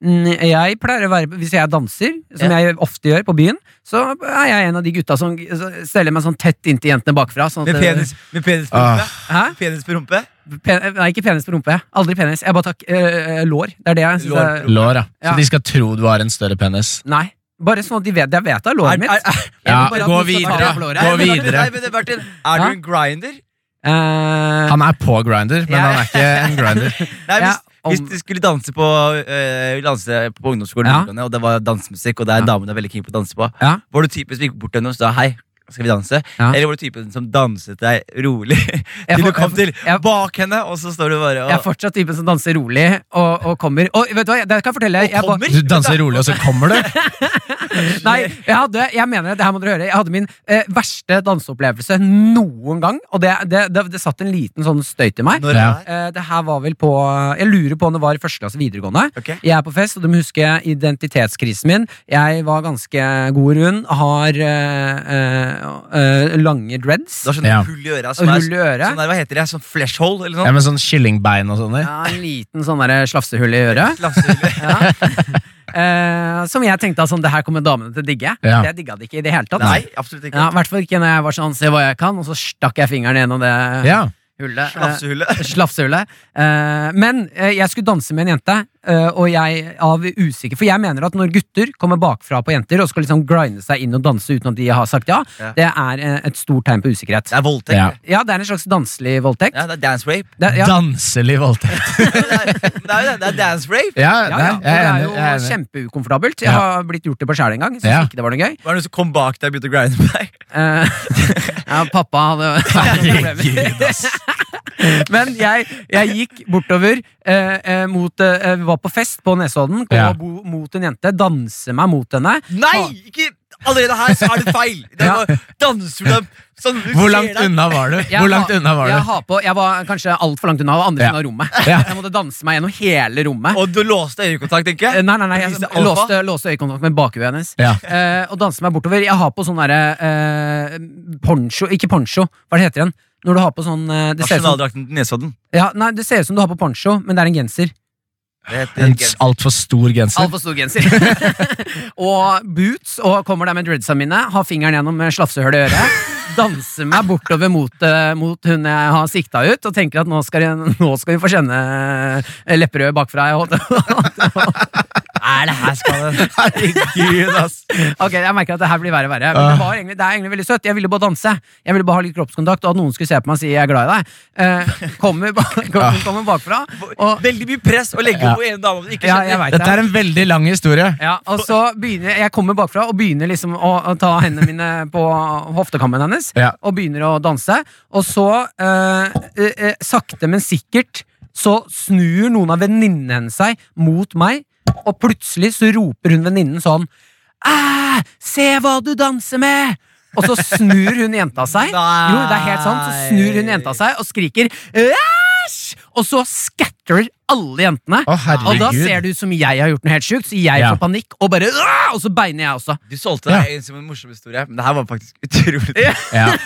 [SPEAKER 2] Mm, Jeg pleier å være Hvis jeg danser, som jeg ofte gjør på byen, så er jeg en av de gutta som så steller meg sånn tett inntil jentene bakfra. Sånn at,
[SPEAKER 1] Med penis, med penis på rumpe?
[SPEAKER 3] Ah.
[SPEAKER 2] Hæ?
[SPEAKER 1] Penis på rumpe?
[SPEAKER 2] Pen, eh, nei, ikke penis på rumpe. Aldri penis. Jeg bare takk eh, lår. Det er det jeg synes
[SPEAKER 1] Lår.
[SPEAKER 2] er-
[SPEAKER 3] Lår, ja. Så
[SPEAKER 2] Ja.
[SPEAKER 3] de skal tro du har en større penis.
[SPEAKER 2] Nei. Bare sånn at de vet Jeg vet det er låret
[SPEAKER 1] Er-
[SPEAKER 2] mitt.
[SPEAKER 1] er- er-
[SPEAKER 2] Jeg
[SPEAKER 3] Ja,
[SPEAKER 2] vil bare at
[SPEAKER 3] gå
[SPEAKER 2] noen skal ta
[SPEAKER 3] videre.
[SPEAKER 2] av låret.
[SPEAKER 1] Nei,
[SPEAKER 3] Gå
[SPEAKER 1] men Martin,
[SPEAKER 3] videre.
[SPEAKER 1] Nei, men det, Martin, er du
[SPEAKER 2] Hæ?
[SPEAKER 1] en grinder?
[SPEAKER 2] Eh,
[SPEAKER 3] Han er på grinder, men
[SPEAKER 2] Ja.
[SPEAKER 3] han er ikke en (laughs) grinder.
[SPEAKER 1] Nei,
[SPEAKER 2] Ja,
[SPEAKER 1] hvis,
[SPEAKER 2] om-
[SPEAKER 1] hvis du skulle danse på, eh, danse på ungdomsskolen,
[SPEAKER 2] Ja.
[SPEAKER 1] videregående, og det var dansemusikk, og det er
[SPEAKER 2] Ja.
[SPEAKER 1] damene er veldig keen på å danse på,
[SPEAKER 2] Ja.
[SPEAKER 1] var du typen som gikk bort til henne og sa hei? Skal vi danse?
[SPEAKER 2] Ja.
[SPEAKER 1] Eller var du typen som danset deg rolig (laughs) til
[SPEAKER 2] får-
[SPEAKER 1] du kom til
[SPEAKER 2] jeg- jeg-
[SPEAKER 1] bak henne, og så står du bare og
[SPEAKER 2] jeg er fortsatt typen som danser rolig og, og kommer. Og vet du hva, det kan jeg fortelle deg. Jeg ba-
[SPEAKER 1] kommer?
[SPEAKER 3] Du danser rolig, og så (laughs) kommer du.
[SPEAKER 2] Nei, jeg, hadde, jeg mener det, det her må dere høre Jeg hadde min eh, verste danseopplevelse noen gang Og det, det, det, det satt en liten sånn støyt i meg
[SPEAKER 1] Når
[SPEAKER 3] Ja.
[SPEAKER 1] er
[SPEAKER 2] eh, Det her var vel på eh, Jeg lurer på om det var i første klasse videregående
[SPEAKER 1] Ok.
[SPEAKER 2] Jeg er på fest, og du må huske identitetskrisen min Jeg var ganske god rund Har eh, eh, eh, lange dreads
[SPEAKER 1] Du har sånn
[SPEAKER 3] Ja.
[SPEAKER 1] hull i øra som
[SPEAKER 2] Og
[SPEAKER 1] er
[SPEAKER 2] hull i øret
[SPEAKER 1] sånn der, hva heter det, sånn flashhole eller
[SPEAKER 3] Ja,
[SPEAKER 1] noe sånt?
[SPEAKER 3] med sånn kyllingbein og sånn der.
[SPEAKER 1] (laughs)
[SPEAKER 2] (laughs) ja, En liten sånn der slafsehull i øret
[SPEAKER 1] Slafsehull.
[SPEAKER 2] ja. eh, som jeg tenkte altså, det her kommer damene til å digge.
[SPEAKER 1] Ja.
[SPEAKER 2] Det digga de ikke i det hele tatt.
[SPEAKER 1] Nei, absolutt ikke.
[SPEAKER 2] Ja, I hvert fall ikke når jeg var sånn, se hva jeg kan, og så stakk jeg fingeren gjennom det
[SPEAKER 3] Ja.
[SPEAKER 2] hullet. eh,
[SPEAKER 1] Slafsehullet.
[SPEAKER 2] Slafsehullet. Eh, men eh, jeg skulle danse med en jente, eh, og jeg av usikker For jeg mener at når gutter kommer bakfra på jenter og skal liksom grinde seg inn og danse uten at de har sagt ja,
[SPEAKER 1] Ja.
[SPEAKER 2] det er eh, et stort tegn på usikkerhet.
[SPEAKER 1] Det er voldtekt.
[SPEAKER 3] Ja.
[SPEAKER 1] Ja.
[SPEAKER 2] Ja, det er en slags danselig voldtekt.
[SPEAKER 1] det er dance rape. (laughs)
[SPEAKER 2] Det, ja.
[SPEAKER 3] Danselig voldtekt.
[SPEAKER 1] Men det er, men det er jo det. Det er dance rape.
[SPEAKER 3] Ja,
[SPEAKER 2] Ja,
[SPEAKER 3] nei,
[SPEAKER 2] ja, og det
[SPEAKER 3] jeg er
[SPEAKER 2] er
[SPEAKER 3] enig.
[SPEAKER 2] jo
[SPEAKER 3] Jeg er enig.
[SPEAKER 2] kjempeukomfortabelt. Jeg
[SPEAKER 3] Ja.
[SPEAKER 2] har blitt gjort det på sjæl en gang. Synes
[SPEAKER 3] Ja.
[SPEAKER 2] ikke det var noe gøy.
[SPEAKER 1] Var det noen som kom bak deg og begynte å grinde på deg?
[SPEAKER 2] Eh, (laughs) ja, pappa hadde
[SPEAKER 3] (laughs)
[SPEAKER 2] hadde noen problemer.
[SPEAKER 3] Herregud, ass.
[SPEAKER 2] (laughs) Men jeg, jeg gikk bortover eh, eh, mot eh, Vi var på fest på Nesodden. Kom
[SPEAKER 3] Ja.
[SPEAKER 2] og bo, mot en jente. Danse meg mot henne.
[SPEAKER 1] Nei! Ikke allerede her, så er det feil! Det
[SPEAKER 2] Ja.
[SPEAKER 1] var danseprogram. Sånn, du
[SPEAKER 3] Hvor
[SPEAKER 1] ser
[SPEAKER 3] langt
[SPEAKER 1] deg.
[SPEAKER 3] unna var du?
[SPEAKER 2] Jeg
[SPEAKER 3] Hvor langt
[SPEAKER 2] ha-
[SPEAKER 3] unna var
[SPEAKER 2] Jeg,
[SPEAKER 3] du?
[SPEAKER 2] har på, jeg var kanskje altfor langt unna. Jeg var andre
[SPEAKER 3] Ja.
[SPEAKER 2] siden av rommet.
[SPEAKER 3] Ja.
[SPEAKER 2] Jeg måtte danse meg gjennom hele rommet.
[SPEAKER 1] Og du låste øyekontakt, tenker
[SPEAKER 2] Eh,
[SPEAKER 1] jeg?
[SPEAKER 2] Nei, nei, nei, jeg
[SPEAKER 1] Viste alfa?
[SPEAKER 2] låste, låste øyekontakt med bakhuet hennes.
[SPEAKER 3] Ja.
[SPEAKER 2] Eh, og danse meg bortover. Jeg har på sånn derre eh, poncho Ikke poncho, hva det heter den? Når du har på sånn eh, det, ser ut som,
[SPEAKER 1] Nasjonaldrakten til Nesodden.
[SPEAKER 2] ja, nei, det ser ut som du har på poncho, men det er en genser.
[SPEAKER 1] Det heter
[SPEAKER 3] En
[SPEAKER 1] genser.
[SPEAKER 3] altfor stor genser.
[SPEAKER 2] Altfor stor genser. (laughs) og boots, og kommer der med dreadsa mine, har fingeren gjennom eh, slafsehullet i øret. Danser meg bortover mot, eh, mot hun jeg har sikta ut, og tenker at nå skal, jeg, nå skal vi få kjenne eh, lepperød bakfra. Jeg holdt-
[SPEAKER 1] Nei, det her skal det
[SPEAKER 3] (laughs) Herregud, ass.
[SPEAKER 2] ok, jeg merker at det her blir verre og verre. Men det, var egentlig, det er egentlig veldig søtt. Jeg ville bare danse. Jeg ville bare ha litt kroppskontakt, og at noen skulle se på meg og si 'jeg er glad i deg'. Eh, kommer, ba- (laughs) kommer bakfra, og
[SPEAKER 1] Veldig mye press å legge
[SPEAKER 3] Ja.
[SPEAKER 1] på en dame du ikke
[SPEAKER 2] Ja,
[SPEAKER 1] kjenner.
[SPEAKER 2] jeg vet
[SPEAKER 3] Dette
[SPEAKER 2] det.
[SPEAKER 3] er en veldig lang historie.
[SPEAKER 2] Ja, og så begynner Jeg kommer bakfra og begynner liksom å, å ta hendene mine på hoftekammen hennes.
[SPEAKER 3] Ja.
[SPEAKER 2] Og begynner å danse. Og så, eh, eh, eh, sakte, men sikkert, så snur noen av venninnene hennes seg mot meg, og plutselig så roper hun venninnen sånn Æ, Se hva du danser med! Og så snur hun jenta
[SPEAKER 3] (laughs)
[SPEAKER 2] seg. Jo, det er helt sant. Så snur hun jenta seg og skriker Æsj! Og så scatterer alle jentene.
[SPEAKER 3] Å, herregud.
[SPEAKER 2] Og da ser det ut som jeg har gjort noe helt sjukt, så jeg
[SPEAKER 3] Ja.
[SPEAKER 2] får panikk, og bare «Åh!» Og så beiner jeg også.
[SPEAKER 1] Du solgte deg inn som en morsom historie, men det her var faktisk utrolig
[SPEAKER 3] Ja.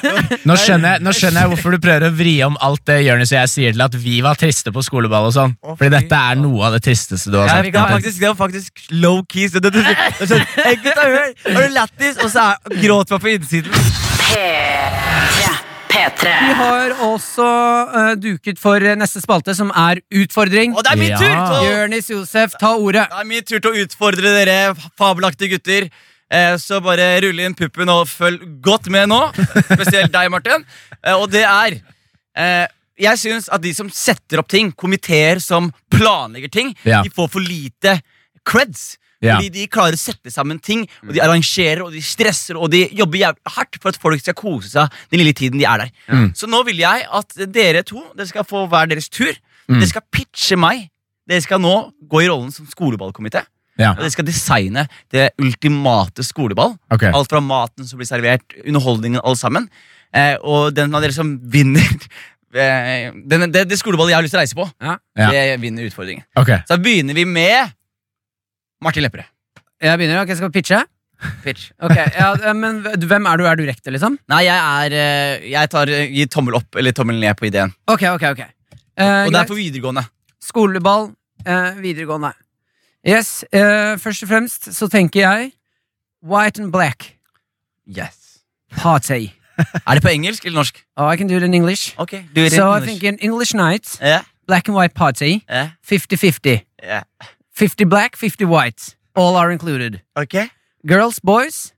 [SPEAKER 3] Nå, skjønner jeg, nå skjønner jeg hvorfor du prøver å vri om alt det Jonis og jeg sier til at vi var triste på skoleball. og sånn Fordi dette er noe av det tristeste du
[SPEAKER 1] (laughs)
[SPEAKER 3] har
[SPEAKER 1] Ja,
[SPEAKER 3] sagt.
[SPEAKER 1] det, var faktisk, det var faktisk low keys. Det, det, det, det, det, det, Hey, gutta, hør! Har du lættis? Og så er, gråt man på innsiden.
[SPEAKER 4] P3.
[SPEAKER 2] Vi
[SPEAKER 4] P3.
[SPEAKER 2] har også eh, duket for eh, neste spalte, som er utfordring.
[SPEAKER 1] Og det er min
[SPEAKER 3] Ja.
[SPEAKER 1] tur! til å-
[SPEAKER 2] Jonis Josef, ta ordet.
[SPEAKER 1] Det er min tur til å utfordre dere fabelaktige gutter. Eh, Så bare rulle inn puppen og følg godt med nå. Spesielt deg, Martin. Eh, Og det er eh, Jeg syns at de som setter opp ting, komiteer som planlegger ting,
[SPEAKER 3] Ja.
[SPEAKER 1] de får for lite creds.
[SPEAKER 3] Ja. Mm.
[SPEAKER 1] Fordi de klarer å sette sammen ting, og de arrangerer og de stresser og de jobber jævlig hardt for at folk skal kose seg den lille tiden de er der.
[SPEAKER 3] Mm.
[SPEAKER 1] Så nå vil jeg at dere to dere skal få hver deres tur.
[SPEAKER 3] Mm.
[SPEAKER 1] Dere skal pitche meg. Dere skal nå gå i rollen som skoleballkomité.
[SPEAKER 3] Ja.
[SPEAKER 1] Og dere skal designe det ultimate skoleball.
[SPEAKER 3] Ok.
[SPEAKER 1] Alt fra maten som blir servert, underholdningen, alt sammen. Eh, og den av dere som vinner (laughs) eh, den, det, det skoleballet jeg har lyst til å reise på,
[SPEAKER 2] Ja.
[SPEAKER 3] Ja.
[SPEAKER 1] det vinner utfordringen.
[SPEAKER 3] Ok.
[SPEAKER 1] Så da begynner vi med Martin Lepperød.
[SPEAKER 2] Jeg begynner, ok, skal vi pitche?
[SPEAKER 1] Pitch.
[SPEAKER 2] Ok, ja, eh, Men v- hvem er du? Er du rektor, liksom?
[SPEAKER 1] Nei, jeg er eh, Jeg tar, eh, gir tommel opp eller tommel ned på ideen.
[SPEAKER 2] Ok, ok, ok. Eh,
[SPEAKER 1] Og det er
[SPEAKER 2] greit.
[SPEAKER 1] på videregående.
[SPEAKER 2] Skoleball, eh, videregående. Yes, eh, først og fremst så tenker jeg white and black
[SPEAKER 1] Yes
[SPEAKER 2] party.
[SPEAKER 1] (laughs) Er det på engelsk eller norsk?
[SPEAKER 2] Oh, I can do it in English.
[SPEAKER 1] Ok, du er
[SPEAKER 2] So I think an English night,
[SPEAKER 1] Ja,
[SPEAKER 2] black and white party,
[SPEAKER 1] ja,
[SPEAKER 2] 50-50.
[SPEAKER 1] ja.
[SPEAKER 2] 50 black, 50 white. All are included.
[SPEAKER 1] Ok
[SPEAKER 2] Girls, boys,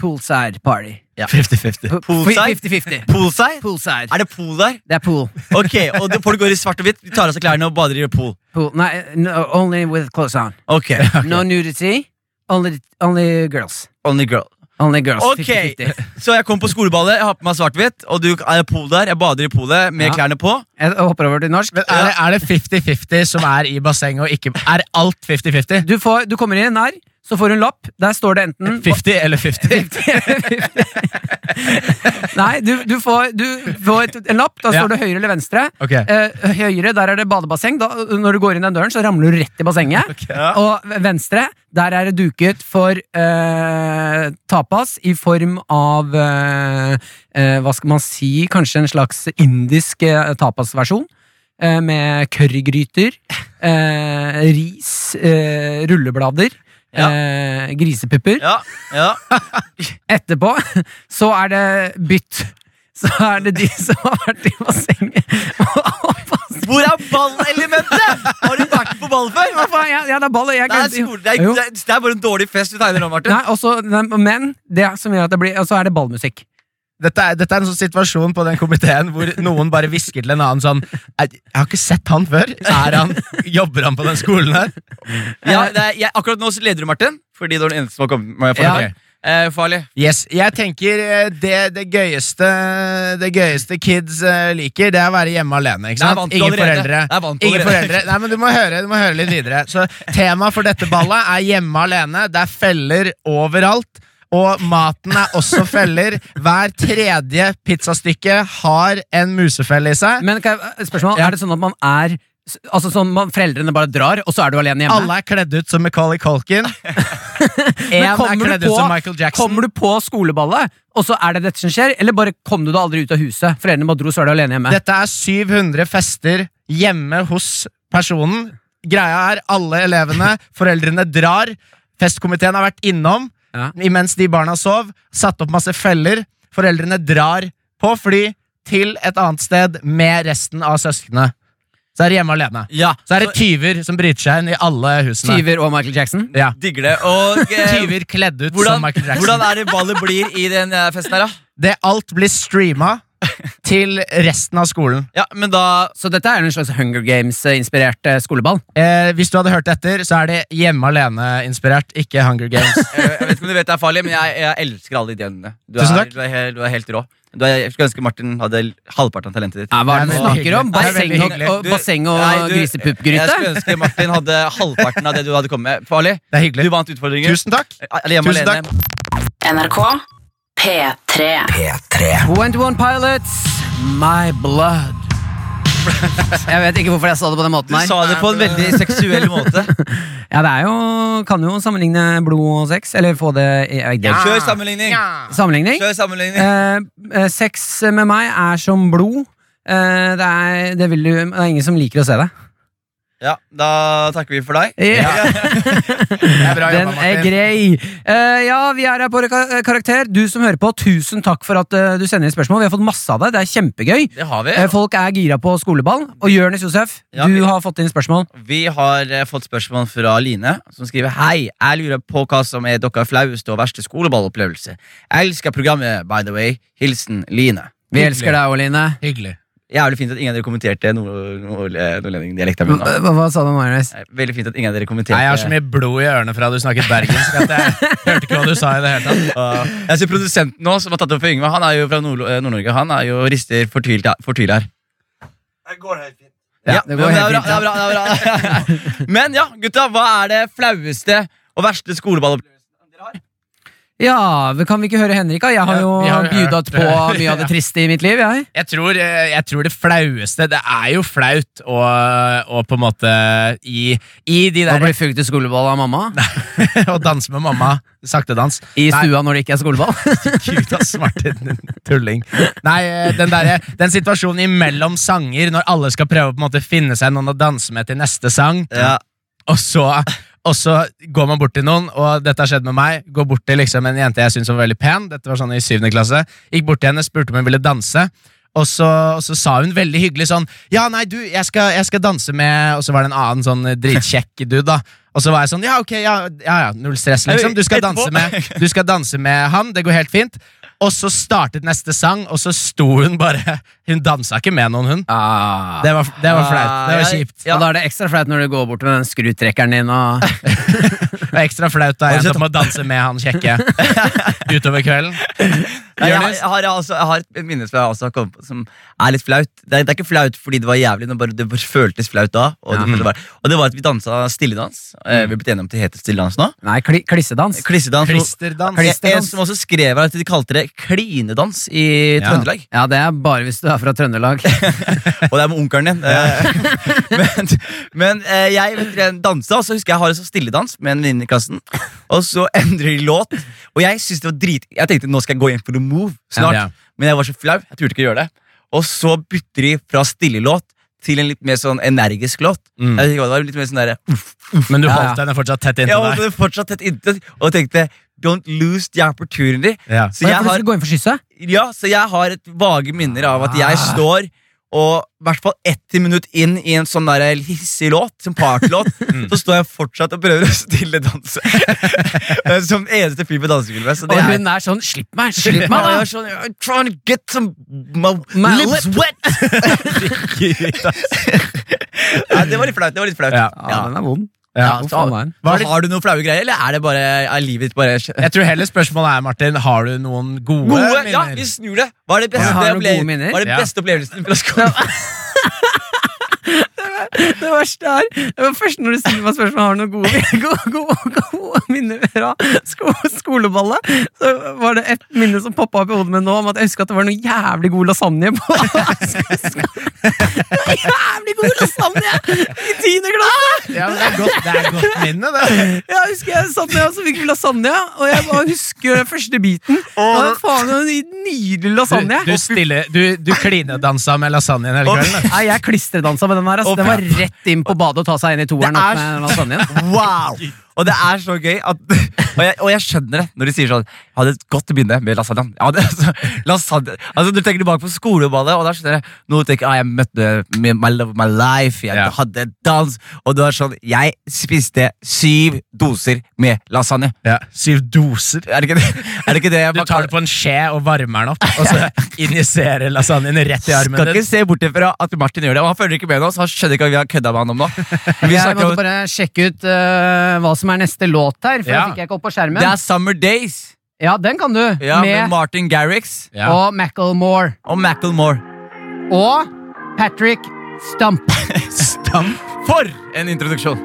[SPEAKER 2] poolside party.
[SPEAKER 3] 50-50.
[SPEAKER 2] P-
[SPEAKER 1] Poolside?
[SPEAKER 2] 50-50.
[SPEAKER 1] Poolside?
[SPEAKER 2] Poolside.
[SPEAKER 1] Er det (laughs) pool der?
[SPEAKER 2] Det er pool.
[SPEAKER 1] Ok, og det- folk går i svart og hvitt De tar av seg klærne og bader i pool
[SPEAKER 2] pool. Nei, no, only with clothes on.
[SPEAKER 1] Ok
[SPEAKER 2] No nudity. Only, only girls.
[SPEAKER 1] (laughs) Only girl
[SPEAKER 2] Only girls.
[SPEAKER 1] Ok (laughs)
[SPEAKER 2] 50-50.
[SPEAKER 1] Så jeg kom på skoleballet Jeg har på meg svart og hvitt Og du er i pool der Jeg bader i poolet Med
[SPEAKER 2] Ja.
[SPEAKER 1] klærne på
[SPEAKER 2] Jeg hopper over til norsk.
[SPEAKER 3] Men
[SPEAKER 1] uh,
[SPEAKER 3] er det- er det 50-50 som er i bassenget og ikke Er alt 50-50?
[SPEAKER 2] Du, får, du kommer inn her, så får du en lapp. Der står det enten
[SPEAKER 3] 50
[SPEAKER 2] (laughs)
[SPEAKER 3] eller 50?
[SPEAKER 2] Nei, du, du får, du får et, en lapp. Da
[SPEAKER 3] Ja.
[SPEAKER 2] står det høyre eller venstre.
[SPEAKER 3] Ok.
[SPEAKER 2] Eh, høyre, der er det badebasseng. Da, når du går inn den døren, så ramler du rett i bassenget. Og venstre, der er det duket for eh, tapas i form av eh, eh, Hva skal man si? Kanskje en slags indisk eh, tapasversjon. eh, Med currygryter, eh, ris, eh, rulleblader,
[SPEAKER 1] Ja.
[SPEAKER 2] eh, grisepupper.
[SPEAKER 1] Ja, (laughs) ja.
[SPEAKER 2] Etterpå (laughs) så er det bytt. Så er det de som har vært i bassenget (laughs) og oppvasket.
[SPEAKER 1] Hvor er ballelementet?! Har du vært på ball før?
[SPEAKER 2] Hva faen, Ja, ja, det er ballet. Jeg
[SPEAKER 1] Det er,
[SPEAKER 2] glemte-
[SPEAKER 1] skole, det, er,
[SPEAKER 2] Jo.
[SPEAKER 1] det, er, det er bare en dårlig fest du tegner nå, Martin.
[SPEAKER 2] Nei, også, nei, men det er- som gjør at det blir Og så er det ballmusikk.
[SPEAKER 3] Dette er, dette er en sånn situasjon på den komiteen hvor noen bare hvisker til en annen sånn Jeg jeg har ikke sett han før. Er han, jobber han på den skolen her?
[SPEAKER 1] Ja, det er, jeg, akkurat nå så leder du, Martin. Fordi du er den eneste som har kommet med
[SPEAKER 3] Ja.
[SPEAKER 1] forslag. Eh, farlig.
[SPEAKER 3] Yes, jeg tenker eh, det, det, gøyeste, det gøyeste kids eh, liker, det er å være hjemme alene. ikke
[SPEAKER 1] Det er
[SPEAKER 3] sant?
[SPEAKER 1] vant
[SPEAKER 3] Ingen
[SPEAKER 1] allerede.
[SPEAKER 3] foreldre.
[SPEAKER 1] Det er vant
[SPEAKER 3] Ingen
[SPEAKER 1] allerede.
[SPEAKER 3] foreldre. Nei, men du må, høre, du må høre litt videre. Så Temaet for dette ballet er hjemme alene. Det er feller overalt. Og maten er også feller. Hver tredje pizzastykke har en musefelle i seg.
[SPEAKER 2] Men kan jeg, spørsmål,
[SPEAKER 3] Ja.
[SPEAKER 2] er det sånn at man er Altså sånn man, Foreldrene bare drar, og så er du alene hjemme?
[SPEAKER 3] Alle er kledd ut som Macaulay Culkin.
[SPEAKER 2] Men
[SPEAKER 3] Én er
[SPEAKER 2] kommer du
[SPEAKER 3] kledd
[SPEAKER 2] på-
[SPEAKER 3] ut som Michael Jackson.
[SPEAKER 2] Kommer du på skoleballet, og så er det dette som skjer? Eller bare kom du deg aldri ut av huset? Foreldrene bare dro, så er du alene hjemme.
[SPEAKER 3] Dette er 700 fester hjemme hos personen. Greia er alle elevene, foreldrene drar. Festkomiteen har vært innom
[SPEAKER 2] Ja.
[SPEAKER 3] imens de barna sov. Satt opp masse feller. Foreldrene drar på fly til et annet sted med resten av søsknene. Så er de hjemme alene.
[SPEAKER 1] Ja,
[SPEAKER 3] Så er det tyver som bryter seg inn i alle husene.
[SPEAKER 2] Tyver og Michael Jackson?
[SPEAKER 3] Ja.
[SPEAKER 1] Digger det. Og eh,
[SPEAKER 3] Tyver kledd ut
[SPEAKER 1] hvordan,
[SPEAKER 3] som Michael Jackson.
[SPEAKER 1] hvordan er det ballet blir i den eh, festen her, da?
[SPEAKER 3] Det alt blir streama til resten av skolen.
[SPEAKER 1] Ja, men da
[SPEAKER 2] Så dette er en slags Hunger Games-inspirert eh, skoleball?
[SPEAKER 3] Eh, hvis du hadde hørt etter, så er det Hjemme alene-inspirert, ikke Hunger Games.
[SPEAKER 1] eh, Jeg vet ikke om du vet det er farlig, men jeg, jeg elsker alle ideene dine. Du,
[SPEAKER 3] Tusen
[SPEAKER 1] er-
[SPEAKER 3] takk.
[SPEAKER 1] du, er helt- du er helt rå. Du er, jeg skulle ønske Martin hadde l- halvparten av talentet ditt.
[SPEAKER 2] Ja, hva er det du
[SPEAKER 3] Det er veldig
[SPEAKER 2] snakker om?
[SPEAKER 3] hyggelig.
[SPEAKER 2] Basseng
[SPEAKER 3] Det er veldig
[SPEAKER 2] og,
[SPEAKER 3] hyggelig.
[SPEAKER 2] og,
[SPEAKER 1] Du-
[SPEAKER 2] basseng og
[SPEAKER 1] Nei, du- Jeg
[SPEAKER 2] grisepuppgryte?
[SPEAKER 1] skulle ønske Martin hadde halvparten av det du hadde kommet med. Farlig.
[SPEAKER 3] Det er
[SPEAKER 1] Du
[SPEAKER 3] hyggelig.
[SPEAKER 1] vant utfordringen.
[SPEAKER 3] (laughs) Tusen takk.
[SPEAKER 1] Eller hjemme
[SPEAKER 3] Tusen
[SPEAKER 1] alene.
[SPEAKER 4] NRK P3.
[SPEAKER 2] 21 Pilots, My Blood. Jeg vet ikke hvorfor jeg sa det på den
[SPEAKER 1] Du
[SPEAKER 2] måten her.
[SPEAKER 1] sa det på en veldig seksuell (laughs) måte.
[SPEAKER 2] Ja, det er jo Kan jo sammenligne blod og sex, eller få det i jeg-
[SPEAKER 3] Ja.
[SPEAKER 1] Kjør sammenligning.
[SPEAKER 2] Sammenligning.
[SPEAKER 1] Kjør sammenligning.
[SPEAKER 2] Eh, eh, sex med meg er som blod. Eh, det, er, det, vil du, det er ingen som liker å se det.
[SPEAKER 1] Ja, da takker vi for deg.
[SPEAKER 2] Ja.
[SPEAKER 3] Det er bra
[SPEAKER 2] Den
[SPEAKER 3] jobba,
[SPEAKER 2] er
[SPEAKER 3] Martin.
[SPEAKER 2] grei. Eh, ja, vi er her på Ka- karakter. Du som hører på, tusen takk for at eh, du sender inn spørsmål. Vi har fått masse av det. Det er kjempegøy.
[SPEAKER 1] Det har vi.
[SPEAKER 2] Eh, folk er gira på skoleball. Og Jonis Josef,
[SPEAKER 1] Ja,
[SPEAKER 2] du
[SPEAKER 1] vi-
[SPEAKER 2] har fått inn spørsmål.
[SPEAKER 1] Vi har eh, fått spørsmål fra Line, som skriver Hei, jeg lurer på hva som er deres flaueste og verste skoleballopplevelse. Jeg elsker programmet, by the way. Hilsen Line.
[SPEAKER 2] Vi elsker deg, Oline.
[SPEAKER 3] Hyggelig.
[SPEAKER 1] Jævlig fint at ingen av dere kommenterte nord- nord- eh, nordlendingdialekten min. nå.
[SPEAKER 2] Hva, hva sa du om Jonis?
[SPEAKER 1] Eh, Veldig fint at ingen av dere kommenterte
[SPEAKER 3] Nei, jeg har så mye blod i ørene fra du snakket bergensk at jeg hørte ikke hva du sa. i det hele tatt
[SPEAKER 1] Ah, Jeg ser produsenten nå, som har tatt opp for Yngve. Han er jo fra Nord- eh, Nord-Norge. Han er jo rister fortvilt fortvilt her.
[SPEAKER 2] Ja, det går
[SPEAKER 1] men
[SPEAKER 2] helt
[SPEAKER 1] er bra, det er bra, det er bra. (laughs) Men ja, gutta, hva er det flaueste og verste skoleballopplevelse?
[SPEAKER 2] Ja, vi- kan vi ikke høre Henrik? da? Jeg har
[SPEAKER 3] Ja,
[SPEAKER 2] jo
[SPEAKER 3] vi har jo
[SPEAKER 2] bjudet
[SPEAKER 3] hørt
[SPEAKER 2] på
[SPEAKER 3] det.
[SPEAKER 2] mye av det triste i mitt liv. Jeg.
[SPEAKER 3] Jeg tror, eh, jeg tror det flaueste Det er jo flaut å, å på en måte i, i de
[SPEAKER 2] Å
[SPEAKER 3] der (laughs)
[SPEAKER 2] bli fugt i skoleball av mamma?
[SPEAKER 3] Å danse med mamma. Saktedans.
[SPEAKER 2] I
[SPEAKER 3] Nei.
[SPEAKER 2] stua når det ikke er skoleball?
[SPEAKER 3] Gud, ass, Martin, (laughs) din tulling. Nei, eh, den, derre- den situasjonen imellom sanger, når alle skal prøve å på en måte finne seg noen å danse med til neste sang, og, så, og så går man bort til noen, og dette har skjedd med meg, går bort til liksom en jente jeg syntes var veldig pen, dette var sånn i syvende klasse, gikk bort til henne, spurte om hun ville danse, og så, og så sa hun veldig hyggelig sånn Ja, nei, du, jeg skal, jeg skal danse med Og så var det en annen sånn eh, dritkjekk dude, da. Og så var jeg sånn Ja, ok, ja, ja, ja null stress, liksom. Du skal, danse
[SPEAKER 1] Etterpå.
[SPEAKER 3] med, du skal danse med han, det går helt fint. Og så startet neste sang, og så sto hun bare Hun dansa ikke med noen, hun.
[SPEAKER 2] Ah.
[SPEAKER 3] Det var, det var flaut. Det var
[SPEAKER 1] Ah, jeg-
[SPEAKER 3] kjipt.
[SPEAKER 2] Og da er det ekstra flaut når du går bort med den skrutrekkeren din og
[SPEAKER 3] Det var ekstra flaut da jeg endte opp med å danse med han kjekke utover kvelden.
[SPEAKER 1] Nei, Jeg, har-
[SPEAKER 3] Jonis?
[SPEAKER 1] jeg, har, altså, jeg har et minne som jeg også har kommet på Som er litt flaut Det er, det er ikke flaut fordi det var jævlig men bare, Det bare føltes flaut da og, det, føltes bare, og det var at vi dansa stilledans eh, Vi er blitt enige om at det heter stilledans nå
[SPEAKER 2] Nei, kli klissedans.
[SPEAKER 1] Klissedans og-
[SPEAKER 3] Klisterdans.
[SPEAKER 1] En som også skrev her at de kalte det klinedans i
[SPEAKER 3] Ja.
[SPEAKER 1] Trøndelag
[SPEAKER 2] Ja, det er bare hvis du er fra Trøndelag.
[SPEAKER 1] Og det er med onkelen din Eh, (laughs) Men, men eh, jeg vet dere, dansa Og så husker jeg jeg har en sånn stilledans med en venninne i klassen Og så endrer de låt Og jeg synes det var drit Jeg tenkte nå skal jeg gå inn for the move snart
[SPEAKER 3] Ja, ja.
[SPEAKER 1] Men jeg var så flau, jeg turte ikke gjøre det Og så bytter de fra stillelåt til en litt mer sånn energisk låt.
[SPEAKER 3] Mm.
[SPEAKER 1] Jeg vet ikke hva det var, litt mer sånn der, uff,
[SPEAKER 3] Men du
[SPEAKER 2] Ja,
[SPEAKER 3] holdt
[SPEAKER 2] ja.
[SPEAKER 3] den fortsatt tett
[SPEAKER 1] Jeg
[SPEAKER 3] inntil
[SPEAKER 1] holdt
[SPEAKER 3] deg.
[SPEAKER 1] det fortsatt tett inntil og tenkte Don't lose the opportunity.
[SPEAKER 3] Ja.
[SPEAKER 1] Så jeg
[SPEAKER 2] Var det fordi du
[SPEAKER 1] har,
[SPEAKER 2] skulle gå inn for kysset?
[SPEAKER 1] ja, så jeg har et vage minner av at jeg
[SPEAKER 2] Ah.
[SPEAKER 1] står og i hvert fall 1 minutt inn i en sånn der hissig låt, som
[SPEAKER 2] (laughs)
[SPEAKER 1] partylåt,
[SPEAKER 2] Mm.
[SPEAKER 1] så står jeg fortsatt og prøver å stille danse. (laughs) som eneste fyr på dansegulvet. Så
[SPEAKER 2] Og
[SPEAKER 1] det er
[SPEAKER 2] hun er sånn 'slipp meg, slipp
[SPEAKER 1] Ja, jeg
[SPEAKER 2] meg',
[SPEAKER 1] er sånn, I'm trying to get some my,
[SPEAKER 2] My
[SPEAKER 1] lips
[SPEAKER 2] lip. (laughs)
[SPEAKER 1] wet! (laughs) Nei, det var litt flaut. det var litt flaut
[SPEAKER 3] Ja.
[SPEAKER 2] da. Ja, den er vond.
[SPEAKER 3] Ja.
[SPEAKER 2] Hvor faen var den?
[SPEAKER 1] Hva, har du noen flaue greier, eller er det bare er livet ditt bare
[SPEAKER 3] Jeg tror heller spørsmålet er, Martin, har du noen gode,
[SPEAKER 1] Gode,
[SPEAKER 3] minner?
[SPEAKER 1] ja, vi snur det. Hva er det beste,
[SPEAKER 2] Ja, har du
[SPEAKER 1] opple-
[SPEAKER 2] gode minner?
[SPEAKER 1] hva er det
[SPEAKER 3] Ja.
[SPEAKER 1] beste opplevelsen fra skolen?
[SPEAKER 2] Det verste er det var Først når du stiller meg spørsmål Har du noen gode, (laughs) gode, gode, gode minner fra sko, skoleballet Så var det et minne som poppet opp i hodet mitt nå Om at jeg husker at det var noe jævlig god lasagne på (laughs) sko- sko- Jævlig god lasagne I tiende klasse
[SPEAKER 3] Ja, men det, er godt, det er godt minne, det.
[SPEAKER 2] Jeg husker jeg satt ned og så fikk vi lasagne Og jeg bare husker den første biten Det var faen en nydelig
[SPEAKER 3] Du,
[SPEAKER 2] lasagne
[SPEAKER 3] du, stille, du, du klinedansa med lasagnen hele kvelden. da.
[SPEAKER 2] Nei, jeg klistredansa med den her ass.
[SPEAKER 1] Å,
[SPEAKER 2] Den var rett inn på badet og ta seg inn i toeren
[SPEAKER 1] Det er
[SPEAKER 2] opp med lasagnen
[SPEAKER 1] Wow! Og det er så gøy at Og jeg, og jeg skjønner det når de sier sånn Jeg hadde et godt minne med lasagnaen. Jeg hadde- altså, lasagne. Altså, du tenker tilbake på skoleballet, og da skjønner jeg Nå tenker jeg ah, jeg møtte my, my love of my life, jeg
[SPEAKER 3] Ja.
[SPEAKER 1] hadde en dans Og det var sånn Jeg spiste syv doser med lasagne.
[SPEAKER 3] Ja, syv doser.
[SPEAKER 1] Er det ikke det? Er det ikke det
[SPEAKER 3] Du
[SPEAKER 1] man
[SPEAKER 3] tar
[SPEAKER 1] kaller-
[SPEAKER 3] det på en skje og varmer den opp, og så injiserer lasagnen rett i armen
[SPEAKER 1] Skal ikke
[SPEAKER 3] din.
[SPEAKER 1] se bort ifra at Martin gjør det. Og han følger ikke med nå, så han skjønner ikke hva vi har kødda med han om
[SPEAKER 3] (laughs)
[SPEAKER 1] nå. Men Vi
[SPEAKER 2] Jeg
[SPEAKER 1] snakker
[SPEAKER 2] måtte
[SPEAKER 1] om
[SPEAKER 2] bare sjekke ut eh, hva som er neste låt her, for
[SPEAKER 3] Ja.
[SPEAKER 2] det fikk jeg ikke opp på skjermen.
[SPEAKER 1] Det er Summer Days
[SPEAKER 2] ja, den kan du.
[SPEAKER 1] ja, med,
[SPEAKER 2] med
[SPEAKER 1] Martin Garrix
[SPEAKER 3] Ja.
[SPEAKER 2] og Macklemore.
[SPEAKER 1] og Macclemore.
[SPEAKER 2] Og Patrick Stump.
[SPEAKER 1] For en introduksjon!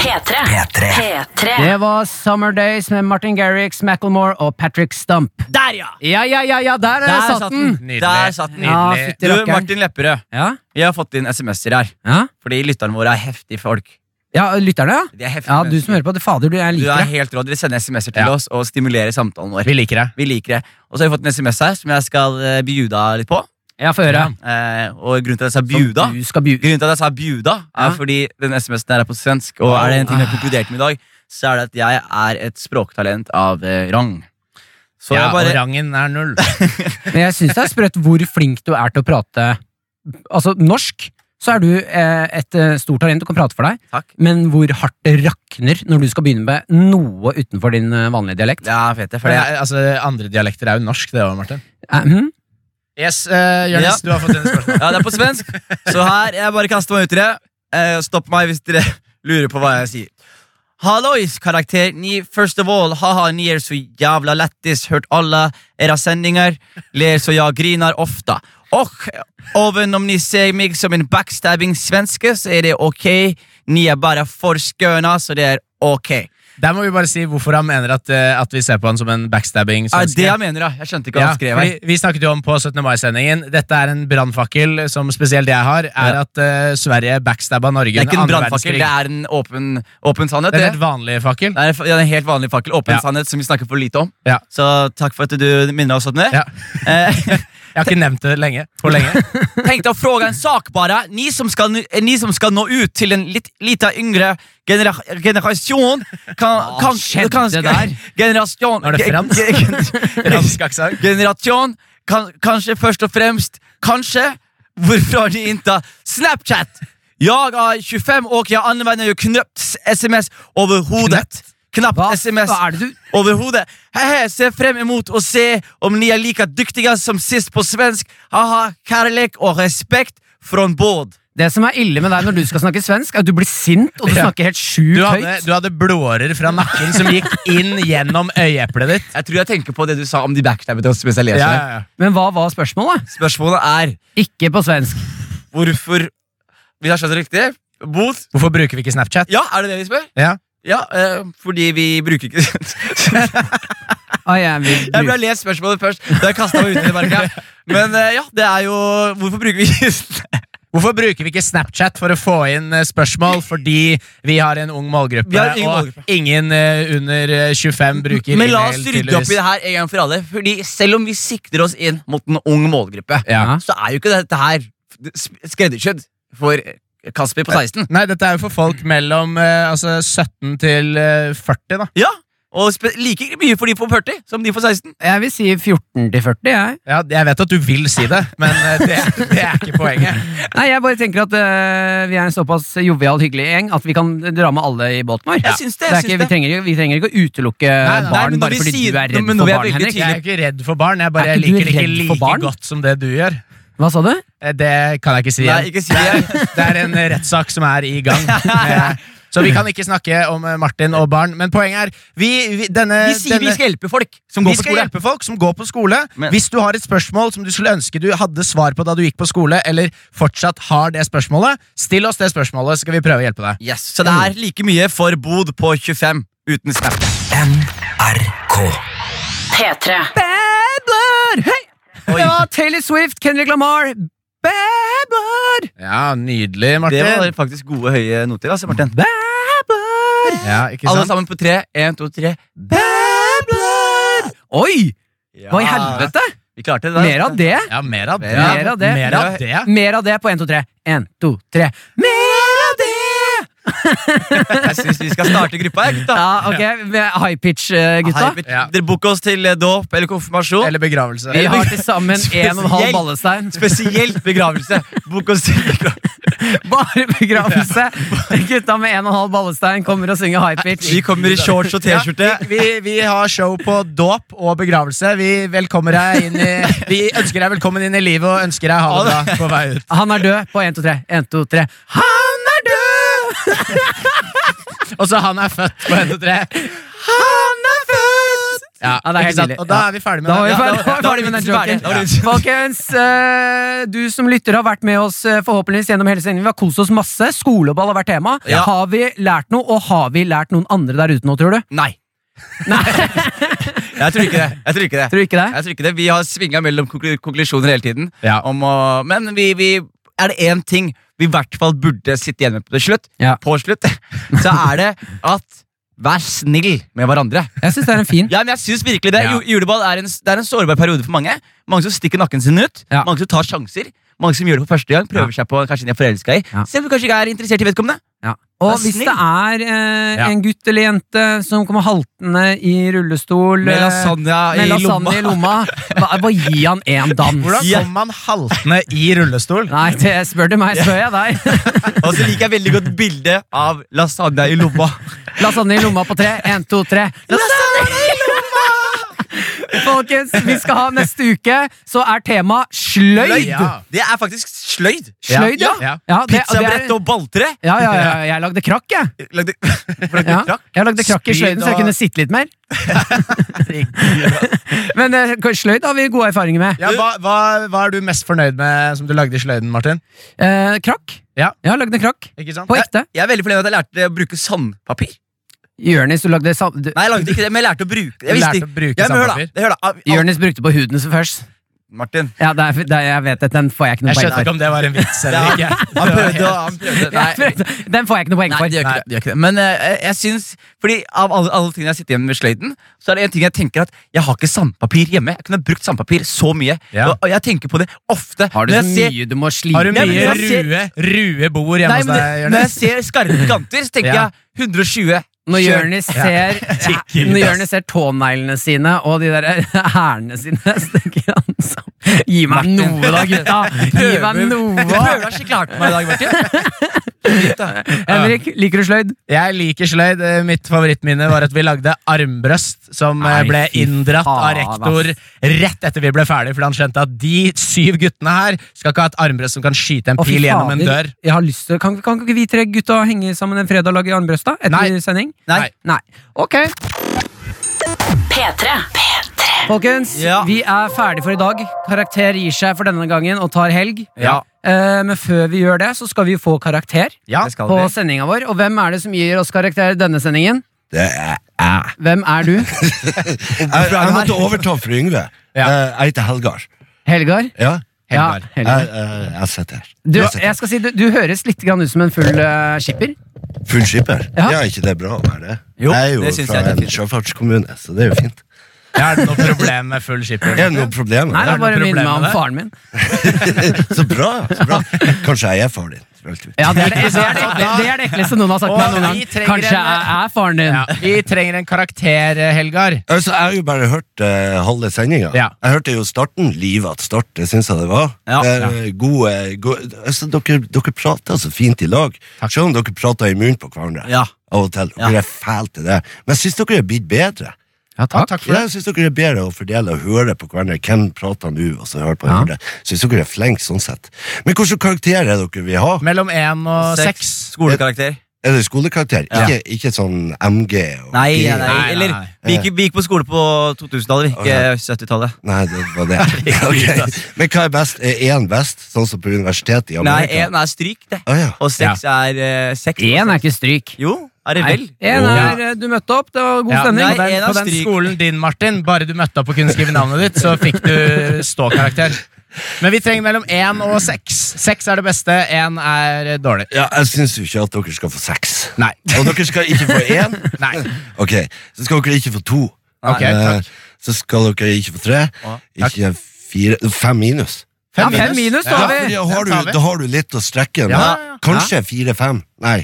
[SPEAKER 4] P3. P3.
[SPEAKER 2] Det var Summer Days med Martin Garrix, Macklemore og Patrick Stump.
[SPEAKER 1] Der, ja!
[SPEAKER 2] Ja, ja, ja, ja, der, eh, satt den!
[SPEAKER 3] Nydelig.
[SPEAKER 1] Der satt den.
[SPEAKER 2] Ja,
[SPEAKER 3] Nydelig.
[SPEAKER 2] fytti
[SPEAKER 1] Du,
[SPEAKER 2] rakkeren.
[SPEAKER 1] Martin Lepperød,
[SPEAKER 2] Ja?
[SPEAKER 1] vi har fått inn SMS-er her.
[SPEAKER 2] Ja?
[SPEAKER 1] Fordi lytterne våre er heftige folk.
[SPEAKER 2] ja, lytterne, ja?
[SPEAKER 1] De er heftige
[SPEAKER 2] Ja, Du som
[SPEAKER 1] mennesker.
[SPEAKER 2] hører på, det fader, du, jeg
[SPEAKER 1] Du
[SPEAKER 2] liker
[SPEAKER 1] er
[SPEAKER 2] det.
[SPEAKER 1] helt rå. Dere sender SMS-er til
[SPEAKER 3] Ja.
[SPEAKER 1] oss og stimulerer samtalen vår.
[SPEAKER 3] Vi liker deg.
[SPEAKER 1] Vi liker det. Og så har vi fått en SMS her som jeg skal eh, bjuda litt på.
[SPEAKER 2] Ja, få høre.
[SPEAKER 1] Eh, og grunnen til at jeg sa bjuda
[SPEAKER 2] Du skal bjude.
[SPEAKER 1] Grunnen til at jeg sa bjuda, er
[SPEAKER 2] Ja.
[SPEAKER 1] fordi den SMS-en her er på svensk. Og er det en ting jeg har konkludert med i dag, så er det at jeg er et språktalent av eh, rang. Så
[SPEAKER 3] Ja,
[SPEAKER 1] jeg bare
[SPEAKER 3] og rangen er null.
[SPEAKER 2] Men jeg syns det er sprøtt hvor flink du er til å prate Altså, norsk så er du eh, et eh, stort talent og kan prate for deg,
[SPEAKER 1] Takk.
[SPEAKER 2] men hvor hardt det rakner når du skal begynne med noe utenfor din eh, vanlige dialekt.
[SPEAKER 1] Ja, jeg vet det. For
[SPEAKER 3] For det
[SPEAKER 1] jeg,
[SPEAKER 3] er, altså, andre dialekter er jo norsk, det òg, Martin.
[SPEAKER 2] Eh, hm?
[SPEAKER 3] Yes, uh, Jonis,
[SPEAKER 1] Ja.
[SPEAKER 3] du har fått inn et spørsmål.
[SPEAKER 1] ja, det er på svensk. Så her, jeg bare kaster meg ut i det. Eh, stopp meg hvis dere lurer på hva jeg sier. Hallois, karakter. Ni, first of all, haha, ni er så jævla lættis. Hørt alle era sendinger. Ler så jeg griner ofte. Och oven om ni ser meg som en backstabbing svenske, så er det ok. Ni er bare for skøna, så det er ok.
[SPEAKER 3] (laughs) Der må vi bare si hvorfor han mener at, eh, at vi ser på han som en backstabbing
[SPEAKER 1] Ja,
[SPEAKER 3] svenske.
[SPEAKER 1] Ah, det jeg mener, da. Jeg skjønte ikke hva
[SPEAKER 3] Ja,
[SPEAKER 1] han skrev her.
[SPEAKER 3] fordi vi snakket jo om på 17. mai-sendingen Dette er en brannfakkel som spesielt jeg har, er
[SPEAKER 1] Ja.
[SPEAKER 3] at eh, Sverige backstabba Norge
[SPEAKER 1] Det er ikke en
[SPEAKER 3] under andre
[SPEAKER 1] brannfakkel,
[SPEAKER 3] verdenskrig.
[SPEAKER 1] det er en åpen, åpen sannhet.
[SPEAKER 3] Det er
[SPEAKER 1] det.
[SPEAKER 3] en helt vanlig fakkel.
[SPEAKER 1] Det er en fa- ja, det er en helt vanlig fakkel. Åpen
[SPEAKER 3] Ja.
[SPEAKER 1] sannhet som vi snakker for lite om.
[SPEAKER 3] Ja.
[SPEAKER 1] Så takk for at du minner oss om det.
[SPEAKER 3] Ja.
[SPEAKER 1] (laughs) Eh,
[SPEAKER 3] Jeg har ikke nevnt det lenge. For
[SPEAKER 1] (laughs)
[SPEAKER 3] lenge.
[SPEAKER 1] tenkte å fråga en sak bare. Ni som skal, nu- eh, ni som skal nå ut til en litt, lita yngre genera generasjon kan, kan,
[SPEAKER 2] skjedde
[SPEAKER 1] kan,
[SPEAKER 2] der?
[SPEAKER 1] (laughs) Generasjon
[SPEAKER 3] Var
[SPEAKER 1] (laughs)
[SPEAKER 3] det fransk?
[SPEAKER 1] ge- ge-
[SPEAKER 3] Fransk aksent.
[SPEAKER 1] Generasjon kan, Kanskje først og fremst Kanskje Hvorfor ni inte har Snapchat Jeg er 25 og jeg anvender jo knapt sms overhodet
[SPEAKER 2] Hva,
[SPEAKER 1] Knapt sms
[SPEAKER 2] hva er det du
[SPEAKER 1] overhodet. Hehe, ser frem imot å se om ni er like dyktige som sist på svensk. Haha, kærlek og respekt fra båd.
[SPEAKER 2] Det som er ille med deg når du skal snakke svensk, er at du blir sint,
[SPEAKER 1] (laughs)
[SPEAKER 2] og du
[SPEAKER 3] Ja.
[SPEAKER 2] snakker helt
[SPEAKER 3] Du
[SPEAKER 2] sjukt
[SPEAKER 3] hadde,
[SPEAKER 2] høyt.
[SPEAKER 3] du hadde blårer fra nakken som gikk inn gjennom øyeeplet ditt.
[SPEAKER 1] Jeg tror jeg tenker på det du sa om de backstabbede oss mens jeg leser det.
[SPEAKER 2] Men hva var spørsmålet?
[SPEAKER 1] Spørsmålet er
[SPEAKER 2] Ikke på svensk.
[SPEAKER 1] hvorfor Vi har skjønt det riktig. Bot?
[SPEAKER 3] Hvorfor bruker vi ikke Snapchat?
[SPEAKER 1] Ja, er det det vi spør?
[SPEAKER 3] Ja.
[SPEAKER 1] Ja, eh, fordi vi bruker ikke (laughs) Jeg
[SPEAKER 2] Ah, jeg vil
[SPEAKER 1] ble
[SPEAKER 2] bruke-
[SPEAKER 1] lest spørsmålet først, da jeg kastet meg ut i det. merker jeg. Men eh, ja, det er jo Hvorfor bruker vi ikke
[SPEAKER 3] Hvorfor bruker vi ikke Snapchat for å få inn eh, spørsmål? Fordi vi har en ung målgruppe,
[SPEAKER 1] Vi har ingen
[SPEAKER 3] og
[SPEAKER 1] målgruppe.
[SPEAKER 3] ingen eh, under eh, 25 bruker
[SPEAKER 1] Men la oss
[SPEAKER 3] e-mail,
[SPEAKER 1] rydde opp i
[SPEAKER 3] tydeligvis.
[SPEAKER 1] det her en gang for alle. Fordi selv om vi sikter oss inn mot en ung målgruppe,
[SPEAKER 3] Ja.
[SPEAKER 1] så er jo ikke dette her skreddersydd for Kasper på 16.
[SPEAKER 3] Nei, dette er jo for folk mellom eh, altså 17 til eh, 40, da.
[SPEAKER 1] Ja, Og spe like mye for de på 40 som de på 16.
[SPEAKER 2] Jeg vil si 14 til 40, jeg.
[SPEAKER 3] Ja, jeg vet at du vil si det, men eh, det, det er ikke poenget.
[SPEAKER 1] (laughs)
[SPEAKER 2] Nei, jeg bare tenker at øh, vi er en såpass jovial, hyggelig gjeng at vi kan dra med alle i båten vår.
[SPEAKER 1] Jeg syns det, jeg
[SPEAKER 2] er
[SPEAKER 1] syns det.
[SPEAKER 2] ikke, vi, trenger, vi trenger ikke å utelukke
[SPEAKER 3] nei, nei,
[SPEAKER 2] barn
[SPEAKER 1] men når
[SPEAKER 2] bare
[SPEAKER 1] vi
[SPEAKER 2] fordi
[SPEAKER 1] sier-
[SPEAKER 2] du er redd
[SPEAKER 1] men når
[SPEAKER 2] for
[SPEAKER 1] vi er
[SPEAKER 2] barn,
[SPEAKER 1] veldig
[SPEAKER 2] Henrik.
[SPEAKER 3] Jeg er jo ikke redd for barn, jeg
[SPEAKER 2] Er
[SPEAKER 3] bare
[SPEAKER 2] ikke du
[SPEAKER 3] liker det ikke
[SPEAKER 2] redd for
[SPEAKER 3] like
[SPEAKER 2] barn?
[SPEAKER 3] godt som det du gjør.
[SPEAKER 2] Hva sa du?
[SPEAKER 3] Eh, Det kan jeg ikke si. igjen.
[SPEAKER 1] Nei, ikke si det.
[SPEAKER 3] Det er en rettssak som er i
[SPEAKER 1] (laughs)
[SPEAKER 3] gang. Eh, Så vi kan ikke snakke om eh, Martin og barn, men poenget er vi, vi, denne,
[SPEAKER 1] Vi sier
[SPEAKER 3] denne,
[SPEAKER 1] vi skal hjelpe folk som
[SPEAKER 3] Vi
[SPEAKER 1] går på
[SPEAKER 3] skal
[SPEAKER 1] skole.
[SPEAKER 3] hjelpe folk som går på skole.
[SPEAKER 1] Men-
[SPEAKER 3] Hvis du har et spørsmål som du skulle ønske du hadde svar på da du gikk på skole, eller fortsatt har det spørsmålet, still oss det spørsmålet, så skal vi prøve å hjelpe deg.
[SPEAKER 1] Yes, Så det er like mye for bod på 25 uten snap.
[SPEAKER 4] P3.
[SPEAKER 2] Bad blood! Hei! Det var Taylor Swift, Kendrick Lamar. Bad blood!
[SPEAKER 3] Ja, nydelig,
[SPEAKER 1] Det var
[SPEAKER 3] Martin.
[SPEAKER 1] faktisk gode høye noter. altså, Martin.
[SPEAKER 2] Bad blood!
[SPEAKER 3] Ja, ikke
[SPEAKER 1] Alle
[SPEAKER 3] sant?
[SPEAKER 1] sammen på tre. En, to, tre.
[SPEAKER 2] Bad blood! Oi! Hva i
[SPEAKER 1] Ja.
[SPEAKER 2] helvete?
[SPEAKER 1] Vi klarte det. da.
[SPEAKER 2] Mer av det?
[SPEAKER 3] Ja, mer av det.
[SPEAKER 2] Mer av det.
[SPEAKER 3] Mer av det.
[SPEAKER 2] Mer av det på 1, 2, 3. 1, 2, 3. Mer av det!
[SPEAKER 1] Jeg syns vi skal starte gruppa. her, gutta.
[SPEAKER 2] Ja, ok. vi er High pitch, eh, gutta.
[SPEAKER 1] Hei, vi-
[SPEAKER 3] Ja.
[SPEAKER 1] Dere book oss til eh, dåp eller konfirmasjon.
[SPEAKER 3] Eller (laughs) begravelse.
[SPEAKER 2] Vi har til sammen en og en halv
[SPEAKER 1] Spesielt.
[SPEAKER 2] ballestein.
[SPEAKER 1] Spesielt begravelse. Book oss til begravelse.
[SPEAKER 2] Bare begravelse. Gutta med en og en halv ballestein kommer og synger high pitch.
[SPEAKER 1] Vi kommer i shorts og
[SPEAKER 3] Ja,
[SPEAKER 1] T-skjorte.
[SPEAKER 3] vi, vi, vi har show på dåp og begravelse. Vi, velkommer deg inn i, vi ønsker deg velkommen inn i livet og ønsker deg ha det bra på vei ut.
[SPEAKER 2] Han er død på 1, 2, 3. 1, 2, 3. Han er død!
[SPEAKER 3] Og så han er født på 1 og 3.
[SPEAKER 2] Han er født!
[SPEAKER 3] Ja,
[SPEAKER 2] Ja, det er
[SPEAKER 3] ikke
[SPEAKER 2] helt
[SPEAKER 3] sant?
[SPEAKER 2] nydelig.
[SPEAKER 3] Og da
[SPEAKER 2] Ja.
[SPEAKER 3] er vi ferdig med
[SPEAKER 2] Da var vi
[SPEAKER 3] det.
[SPEAKER 1] da
[SPEAKER 2] ferdig- (laughs) da var
[SPEAKER 1] var
[SPEAKER 2] vi ferdig med den
[SPEAKER 1] vi ferdig.
[SPEAKER 2] joken.
[SPEAKER 1] Da var vi
[SPEAKER 2] Ja. Folkens, eh, du som lytter har vært med oss eh, forhåpentligvis gjennom hele sendingen. Vi har kost oss masse. Skoleball har vært tema.
[SPEAKER 1] Ja.
[SPEAKER 2] Har vi lært noe, og har vi lært noen andre der ute nå, tror du? (laughs)
[SPEAKER 1] Nei. jeg tror ikke det. Jeg tror ikke det.
[SPEAKER 2] Tror du ikke det?
[SPEAKER 1] Jeg tror ikke det. Vi har svinga mellom konklu- konklusjoner hele tiden.
[SPEAKER 3] Ja.
[SPEAKER 1] Om å, men vi, vi, er det én ting vi i hvert fall burde sitte igjen med på slutt,
[SPEAKER 2] Ja.
[SPEAKER 1] på slutt, (laughs) så er det at vær snill med hverandre.
[SPEAKER 2] Jeg syns det er en fin.
[SPEAKER 1] Ja, men jeg synes virkelig det
[SPEAKER 3] Ja.
[SPEAKER 1] Ju- Juleball er en, det er en sårbar periode for mange. Mange som stikker nakken sin ut.
[SPEAKER 2] Ja.
[SPEAKER 1] Mange som tar sjanser. Mange som gjør det for første gang. Prøver seg på kanskje en de er forelska i.
[SPEAKER 2] Ja.
[SPEAKER 1] Selv om du kanskje ikke er interessert i vedkommende.
[SPEAKER 2] Ja. Og
[SPEAKER 1] Vær
[SPEAKER 2] hvis
[SPEAKER 1] snill.
[SPEAKER 2] det er eh,
[SPEAKER 3] Ja.
[SPEAKER 2] en gutt eller jente som kommer haltende i rullestol
[SPEAKER 1] Med
[SPEAKER 2] eh,
[SPEAKER 1] lasagne
[SPEAKER 2] med
[SPEAKER 1] i
[SPEAKER 2] lasagne
[SPEAKER 1] lomma.
[SPEAKER 2] i lomma, hva- bare gi han en dans.
[SPEAKER 3] Hvordan
[SPEAKER 1] Ja.
[SPEAKER 3] kom man haltende i rullestol?
[SPEAKER 2] Nei, det spør du meg, spør jeg deg.
[SPEAKER 1] (laughs)
[SPEAKER 2] (laughs)
[SPEAKER 1] Og så liker jeg veldig godt bildet av lasagna i (laughs) lomma.
[SPEAKER 2] Lasagne i lomma på tre. En, to, tre. Lasagne i lomma! Folkens, vi skal ha neste uke, så er tema sløyd.
[SPEAKER 3] Ja.
[SPEAKER 1] Det er faktisk sløyd.
[SPEAKER 2] Sløyd, ja.
[SPEAKER 3] Ja.
[SPEAKER 2] Ja, det- det er-
[SPEAKER 1] Pizzabrett og balltre.
[SPEAKER 2] Ja, ja, ja, jeg lagde krakk, jeg.
[SPEAKER 1] Lagde, lagde
[SPEAKER 2] Ja.
[SPEAKER 1] krakk.
[SPEAKER 2] Jeg lagde krakk i
[SPEAKER 3] Spyd
[SPEAKER 2] sløyden, så jeg
[SPEAKER 3] og-
[SPEAKER 2] kunne sitte litt mer. Men eh, sløyd har vi gode erfaringer med.
[SPEAKER 3] Ja, hva, hva, hva er du mest fornøyd med som du lagde i sløyden, Martin?
[SPEAKER 2] Eh, krakk.
[SPEAKER 3] Ja.
[SPEAKER 2] Jeg har lagd en krakk.
[SPEAKER 3] Ikke sant?
[SPEAKER 2] På ekte.
[SPEAKER 1] Jeg er veldig fornøyd med at jeg lærte å bruke sandpapir.
[SPEAKER 2] Jørnis, du lagde sam... Du...
[SPEAKER 1] Nei, jeg lagde ikke det, men jeg lærte å bruke det.
[SPEAKER 3] Du
[SPEAKER 1] Jeg visste
[SPEAKER 3] lærte
[SPEAKER 1] ikke-
[SPEAKER 3] å bruke
[SPEAKER 1] ja, men hør da,
[SPEAKER 3] sandpapir.
[SPEAKER 1] hør da. Av- av-
[SPEAKER 2] Jørnis brukte på huden som først.
[SPEAKER 1] Martin.
[SPEAKER 2] Ja, det er, det er, jeg vet at Den får jeg ikke noe
[SPEAKER 3] Jeg
[SPEAKER 2] poeng
[SPEAKER 3] skjønte
[SPEAKER 2] for.
[SPEAKER 3] ikke om det var en vits
[SPEAKER 1] Ja,
[SPEAKER 3] eller
[SPEAKER 1] han,
[SPEAKER 3] ikke.
[SPEAKER 1] han prøvde, og han (laughs) prøvde.
[SPEAKER 2] Jeg
[SPEAKER 1] Nei,
[SPEAKER 2] prøvde- (laughs) Den får jeg ikke noe poeng
[SPEAKER 1] Nei,
[SPEAKER 2] for.
[SPEAKER 1] det gjør ikke det. Det gjør ikke det. Men eh, jeg syns Fordi av alle, alle tingene jeg sitter hjemme med sløyden, så er det en ting jeg tenker at jeg har ikke sandpapir hjemme. Jeg kunne brukt sandpapir så mye.
[SPEAKER 3] Ja.
[SPEAKER 1] Og, og jeg tenker på det ofte.
[SPEAKER 2] Har du
[SPEAKER 1] Når
[SPEAKER 2] så
[SPEAKER 1] jeg ser-
[SPEAKER 2] mye du må slite
[SPEAKER 3] Har du
[SPEAKER 1] Ja, men
[SPEAKER 3] mye
[SPEAKER 1] jeg ser-
[SPEAKER 3] rue, rue bord hjemme
[SPEAKER 1] Nei,
[SPEAKER 3] hos
[SPEAKER 1] men
[SPEAKER 3] deg,
[SPEAKER 1] det, når jeg
[SPEAKER 3] Jonis?
[SPEAKER 1] ser skarpe kanter, så tenker
[SPEAKER 3] Ja.
[SPEAKER 1] jeg 120.
[SPEAKER 2] Når
[SPEAKER 1] Kjør.
[SPEAKER 2] Jonis ser, ja,
[SPEAKER 3] Tikker,
[SPEAKER 2] når
[SPEAKER 3] ass.
[SPEAKER 2] Jonis ser tåneglene sine og de der (laughs) hælene sine, så tenker han sånn Gi meg noe, da, gutta! Gi meg
[SPEAKER 1] Du prøver
[SPEAKER 2] noe!
[SPEAKER 1] deg skikkelig hardt på meg i dag, Martin. Shit, da.
[SPEAKER 2] Henrik, liker du sløyd?
[SPEAKER 3] Jeg liker sløyd. Eh, Mitt favorittminne var at vi lagde armbrøst, som eh,
[SPEAKER 2] Nei,
[SPEAKER 3] ble
[SPEAKER 2] fy
[SPEAKER 3] inndratt av
[SPEAKER 2] faen,
[SPEAKER 3] rektor
[SPEAKER 2] ass.
[SPEAKER 3] rett etter vi ble ferdig, fordi han skjønte at de syv guttene her skal ikke ha et armbrøst som kan skyte en
[SPEAKER 2] Å, fy
[SPEAKER 3] pil gjennom en
[SPEAKER 2] fader,
[SPEAKER 3] dør.
[SPEAKER 2] Jeg har lyst til, kan, kan ikke vi tre gutta henge sammen en fredag og lage armbrøst da, etter
[SPEAKER 3] Nei.
[SPEAKER 2] sending?
[SPEAKER 3] Nei.
[SPEAKER 2] Nei. Ok,
[SPEAKER 4] P3. P3.
[SPEAKER 2] folkens.
[SPEAKER 1] Ja.
[SPEAKER 2] Vi er ferdig for i dag. Karakter gir seg for denne gangen og tar helg.
[SPEAKER 1] Ja.
[SPEAKER 2] Eh, men før vi gjør det, så skal vi jo få karakter
[SPEAKER 3] Ja,
[SPEAKER 1] Det skal
[SPEAKER 2] på
[SPEAKER 1] vi.
[SPEAKER 2] sendinga vår. Og hvem er det som gir oss karakter i denne sendingen?
[SPEAKER 6] Det er jeg.
[SPEAKER 2] Hvem er
[SPEAKER 6] (laughs)
[SPEAKER 2] du?
[SPEAKER 6] Jeg, jeg måtte overta for Yngve.
[SPEAKER 3] Ja.
[SPEAKER 6] Eh, Jeg heter Helgar.
[SPEAKER 2] Helgar?
[SPEAKER 6] Ja.
[SPEAKER 3] Helgar.
[SPEAKER 2] Ja,
[SPEAKER 6] Jeg,
[SPEAKER 2] Helgar.
[SPEAKER 6] eh, jeg sitter her.
[SPEAKER 2] Du,
[SPEAKER 6] Jeg sitter.
[SPEAKER 2] jeg skal si, du, du høres litt grann ut som en full eh, skipper.
[SPEAKER 6] Full skipper?
[SPEAKER 2] Ja.
[SPEAKER 6] Ja. er ikke det bra å være det?
[SPEAKER 1] Jo,
[SPEAKER 6] jeg er jo
[SPEAKER 1] det syns
[SPEAKER 6] fra
[SPEAKER 1] jeg det er
[SPEAKER 6] en
[SPEAKER 1] fint.
[SPEAKER 6] sjøfartskommune, så det er jo fint.
[SPEAKER 3] Er det noe problem med full
[SPEAKER 2] (laughs)
[SPEAKER 3] skipper?
[SPEAKER 6] Er det noe problem?
[SPEAKER 2] Nei,
[SPEAKER 6] med
[SPEAKER 2] da
[SPEAKER 3] er noe
[SPEAKER 2] bare
[SPEAKER 3] problem
[SPEAKER 2] minner meg
[SPEAKER 3] med
[SPEAKER 2] om
[SPEAKER 3] det.
[SPEAKER 6] (laughs)
[SPEAKER 2] faren min.
[SPEAKER 6] det? så bra! så bra Kanskje jeg er far din. sprølt ut.
[SPEAKER 2] Ja, det er det, det, er det, det, er det ekleste noen har sagt til meg noen
[SPEAKER 3] Og vi
[SPEAKER 2] gang.
[SPEAKER 3] trenger
[SPEAKER 2] Kanskje
[SPEAKER 3] en-
[SPEAKER 2] jeg er faren din.
[SPEAKER 3] Ja, vi trenger en karakter, eh, Helgar.
[SPEAKER 6] Altså, jeg har jo bare hørt eh, halve sendinga.
[SPEAKER 3] Ja.
[SPEAKER 6] Jeg hørte jo starten. Livet til start, det syns jeg det var.
[SPEAKER 1] Ja,
[SPEAKER 6] Det er, eh, god, eh, god, altså, dere, dere prater så fint i lag, selv om dere prater i munnen på hverandre
[SPEAKER 1] Ja.
[SPEAKER 6] av og til. Dere
[SPEAKER 1] Ja.
[SPEAKER 6] er fæle til det. Men jeg syns dere er blitt bedre.
[SPEAKER 2] Ja,
[SPEAKER 3] Ja,
[SPEAKER 2] takk.
[SPEAKER 3] takk for det.
[SPEAKER 6] Jeg syns dere er bedre å fordele og høre på hverandre. Hvem prater nå, og så hører på
[SPEAKER 2] Ja.
[SPEAKER 6] hverandre. Syns dere er flinke sånn sett. Men hvilken karakter er det dere vil ha?
[SPEAKER 3] Mellom én og seks.
[SPEAKER 1] Skolekarakter.
[SPEAKER 6] Er det skolekarakter?
[SPEAKER 1] Ja.
[SPEAKER 6] Ikke, ikke sånn MG? Og
[SPEAKER 1] Nei,
[SPEAKER 6] G?
[SPEAKER 1] nei, nei.
[SPEAKER 3] nei.
[SPEAKER 1] Eller, vi gikk, vi gikk på skole på 2000-tallet, vi, eh, ikke 70-tallet.
[SPEAKER 6] Nei, det
[SPEAKER 1] (laughs)
[SPEAKER 6] var det. (laughs) Ok. Men hva er best? Er én best, sånn som på universitetet i
[SPEAKER 1] Nei,
[SPEAKER 6] Amerika?
[SPEAKER 1] én er stryk, det.
[SPEAKER 6] Å, ja.
[SPEAKER 1] Og seks er eh, seks.
[SPEAKER 2] Én er ikke stryk.
[SPEAKER 1] Jo, er det vel?
[SPEAKER 2] En er eh, Du møtte opp, det var god
[SPEAKER 3] Ja,
[SPEAKER 2] stemning.
[SPEAKER 1] nei,
[SPEAKER 3] på den,
[SPEAKER 1] en av
[SPEAKER 3] på den
[SPEAKER 1] stryk.
[SPEAKER 3] skolen din, Martin, bare du møtte opp og kunne skrive navnet ditt, så fikk du ståkarakter. Men vi trenger mellom én og seks. Seks er det beste, én er eh, dårlig.
[SPEAKER 6] Ja, jeg syns jo ikke at dere skal få seks.
[SPEAKER 3] Nei.
[SPEAKER 6] Og dere skal ikke få én.
[SPEAKER 1] (laughs)
[SPEAKER 3] Nei.
[SPEAKER 6] Ok, så skal dere ikke få to.
[SPEAKER 3] Ok,
[SPEAKER 6] Eh,
[SPEAKER 3] takk.
[SPEAKER 6] Så skal dere ikke få tre. Ikke fire Fem minus.
[SPEAKER 2] Ja, fem minus, da
[SPEAKER 6] Ja,
[SPEAKER 2] har
[SPEAKER 6] fordi
[SPEAKER 2] vi.
[SPEAKER 6] da, har du,
[SPEAKER 3] Den tar vi.
[SPEAKER 6] da har du litt å strekke med.
[SPEAKER 3] Ja, ja, ja.
[SPEAKER 6] Kanskje fire-fem. Nei.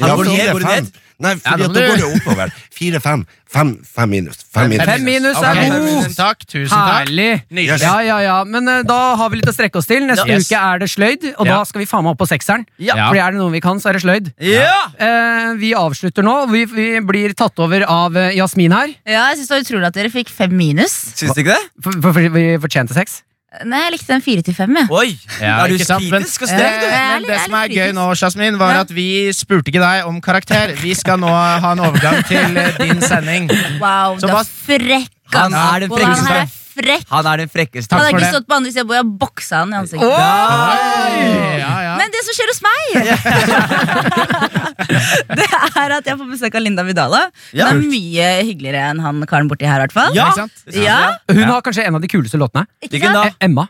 [SPEAKER 1] Ja, går det
[SPEAKER 6] fire,
[SPEAKER 1] ned, går det
[SPEAKER 6] fem.
[SPEAKER 1] ned?
[SPEAKER 6] Nei,
[SPEAKER 3] Ja,
[SPEAKER 6] fordi
[SPEAKER 3] da
[SPEAKER 6] at
[SPEAKER 3] må
[SPEAKER 6] da
[SPEAKER 3] du-
[SPEAKER 6] går det oppover. Fire-fem. Fem, fem minus. Fem minus.
[SPEAKER 2] Fem minus
[SPEAKER 3] Ok,
[SPEAKER 2] er
[SPEAKER 3] Tusen
[SPEAKER 2] god.
[SPEAKER 3] takk. tusen takk
[SPEAKER 2] Herlig.
[SPEAKER 3] Nydelig.
[SPEAKER 2] Ja, ja, ja. Men eh, da har vi litt å strekke oss til. Neste
[SPEAKER 3] Yes.
[SPEAKER 2] uke er det sløyd, og
[SPEAKER 3] Ja.
[SPEAKER 2] da skal vi faen meg opp på sekseren.
[SPEAKER 1] Ja.
[SPEAKER 2] Fordi er det noe vi kan, så er det sløyd.
[SPEAKER 1] Ja!
[SPEAKER 2] Eh, vi avslutter nå. Vi, vi blir tatt over av eh, Jasmin her.
[SPEAKER 7] Ja, jeg synes det var utrolig at dere fikk fem minus.
[SPEAKER 1] Syns du ikke det?
[SPEAKER 2] For, for, for vi fortjente sex.
[SPEAKER 7] Nei, jeg likte den fire til fem, jeg.
[SPEAKER 1] Oi!
[SPEAKER 3] Ja,
[SPEAKER 1] er du
[SPEAKER 3] ikke sant, men-
[SPEAKER 1] kritisk og streng, du?
[SPEAKER 7] Eh,
[SPEAKER 3] Men det
[SPEAKER 7] Jeg er
[SPEAKER 3] som er
[SPEAKER 7] litt
[SPEAKER 3] gøy
[SPEAKER 7] kritisk.
[SPEAKER 3] nå, Jasmin, var
[SPEAKER 7] Ja.
[SPEAKER 3] at vi spurte ikke deg om karakter. Vi skal nå ha en overgang til eh, din sending.
[SPEAKER 7] Wow,
[SPEAKER 3] Så
[SPEAKER 7] det
[SPEAKER 3] hva-
[SPEAKER 7] er frekk,
[SPEAKER 1] Han
[SPEAKER 7] ass.
[SPEAKER 1] er den
[SPEAKER 7] Hvordan
[SPEAKER 1] frekkeste.
[SPEAKER 7] her er frekk.
[SPEAKER 1] Han er den frekkeste.
[SPEAKER 7] Hadde jeg
[SPEAKER 3] for
[SPEAKER 7] ikke
[SPEAKER 3] det.
[SPEAKER 7] stått på andre siden, hvor jeg boksa han i ansiktet.
[SPEAKER 3] Ja, ja.
[SPEAKER 7] Men det som skjer hos
[SPEAKER 1] (laughs)
[SPEAKER 7] meg, (laughs) det er at jeg får besøk av Linda Vidala. Hun
[SPEAKER 1] Ja.
[SPEAKER 7] er mye hyggeligere enn han karen borti her, i hvert fall.
[SPEAKER 1] Ja!
[SPEAKER 3] Ikke sant?
[SPEAKER 7] Ja,
[SPEAKER 2] Hun har kanskje en av de kuleste låtene.
[SPEAKER 7] ikke
[SPEAKER 1] Hvilken
[SPEAKER 7] sant?
[SPEAKER 1] da?
[SPEAKER 2] Eh, Emma.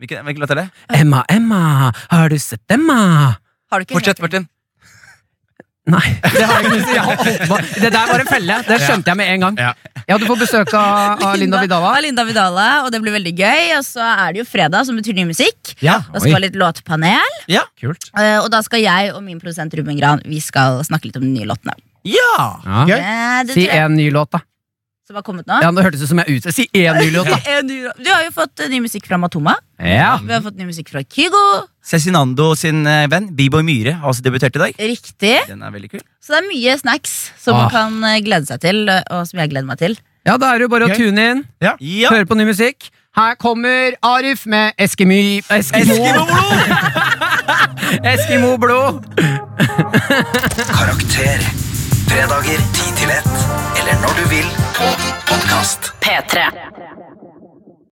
[SPEAKER 1] Hvilken, hvilken låt er det?
[SPEAKER 2] Emma, Emma, har du sett Emma?
[SPEAKER 7] Har du ikke
[SPEAKER 1] Fortsett,
[SPEAKER 7] hørt
[SPEAKER 1] Martin.
[SPEAKER 7] den?
[SPEAKER 2] Nei. Det, har jeg ikke lyst til. Jeg har holdt meg. det der var en felle. Det skjønte jeg med en gang.
[SPEAKER 3] Ja.
[SPEAKER 2] Ja, Du får besøk av, av Linda Vidala.
[SPEAKER 7] Av Linda Vidala, og det blir veldig gøy. Og så er det jo fredag, som betyr ny musikk.
[SPEAKER 3] Ja,
[SPEAKER 7] Da skal
[SPEAKER 2] Oi.
[SPEAKER 7] vi ha litt låtpanel.
[SPEAKER 1] Ja.
[SPEAKER 3] Kult.
[SPEAKER 7] eh, Og da skal jeg og min produsent Ruben Gran Vi skal snakke litt om de nye låtene.
[SPEAKER 1] Ja!
[SPEAKER 2] Ja.
[SPEAKER 3] Gøy.
[SPEAKER 7] Eh, Det
[SPEAKER 2] Si
[SPEAKER 7] tror jeg
[SPEAKER 2] en ny låt, da.
[SPEAKER 7] som har kommet nå.
[SPEAKER 2] Ja, Det hørtes ut som jeg ute. Si en ny låt, da.
[SPEAKER 7] En ny låt. Du har jo fått eh, ny musikk fra Matoma.
[SPEAKER 2] Ja.
[SPEAKER 7] Vi har fått ny musikk fra Kygo.
[SPEAKER 1] Cezinando sin eh, venn, B-boy Myhre, har også debutert i dag.
[SPEAKER 7] Riktig.
[SPEAKER 1] Den er veldig kul.
[SPEAKER 7] Så det er mye snacks som
[SPEAKER 2] Ah.
[SPEAKER 7] man kan eh, glede seg til, eh, og som jeg gleder meg til.
[SPEAKER 2] ja, da er det jo bare å
[SPEAKER 3] Gøy.
[SPEAKER 2] tune inn,
[SPEAKER 1] Ja!
[SPEAKER 2] høre på ny musikk. Her kommer Arif med Eskimo Eskimo,
[SPEAKER 1] Eskimo-blod!
[SPEAKER 2] Eskimo blod.
[SPEAKER 8] Karakter. Fredager 10 til 1. Eller når du vil på podkast.
[SPEAKER 4] P3.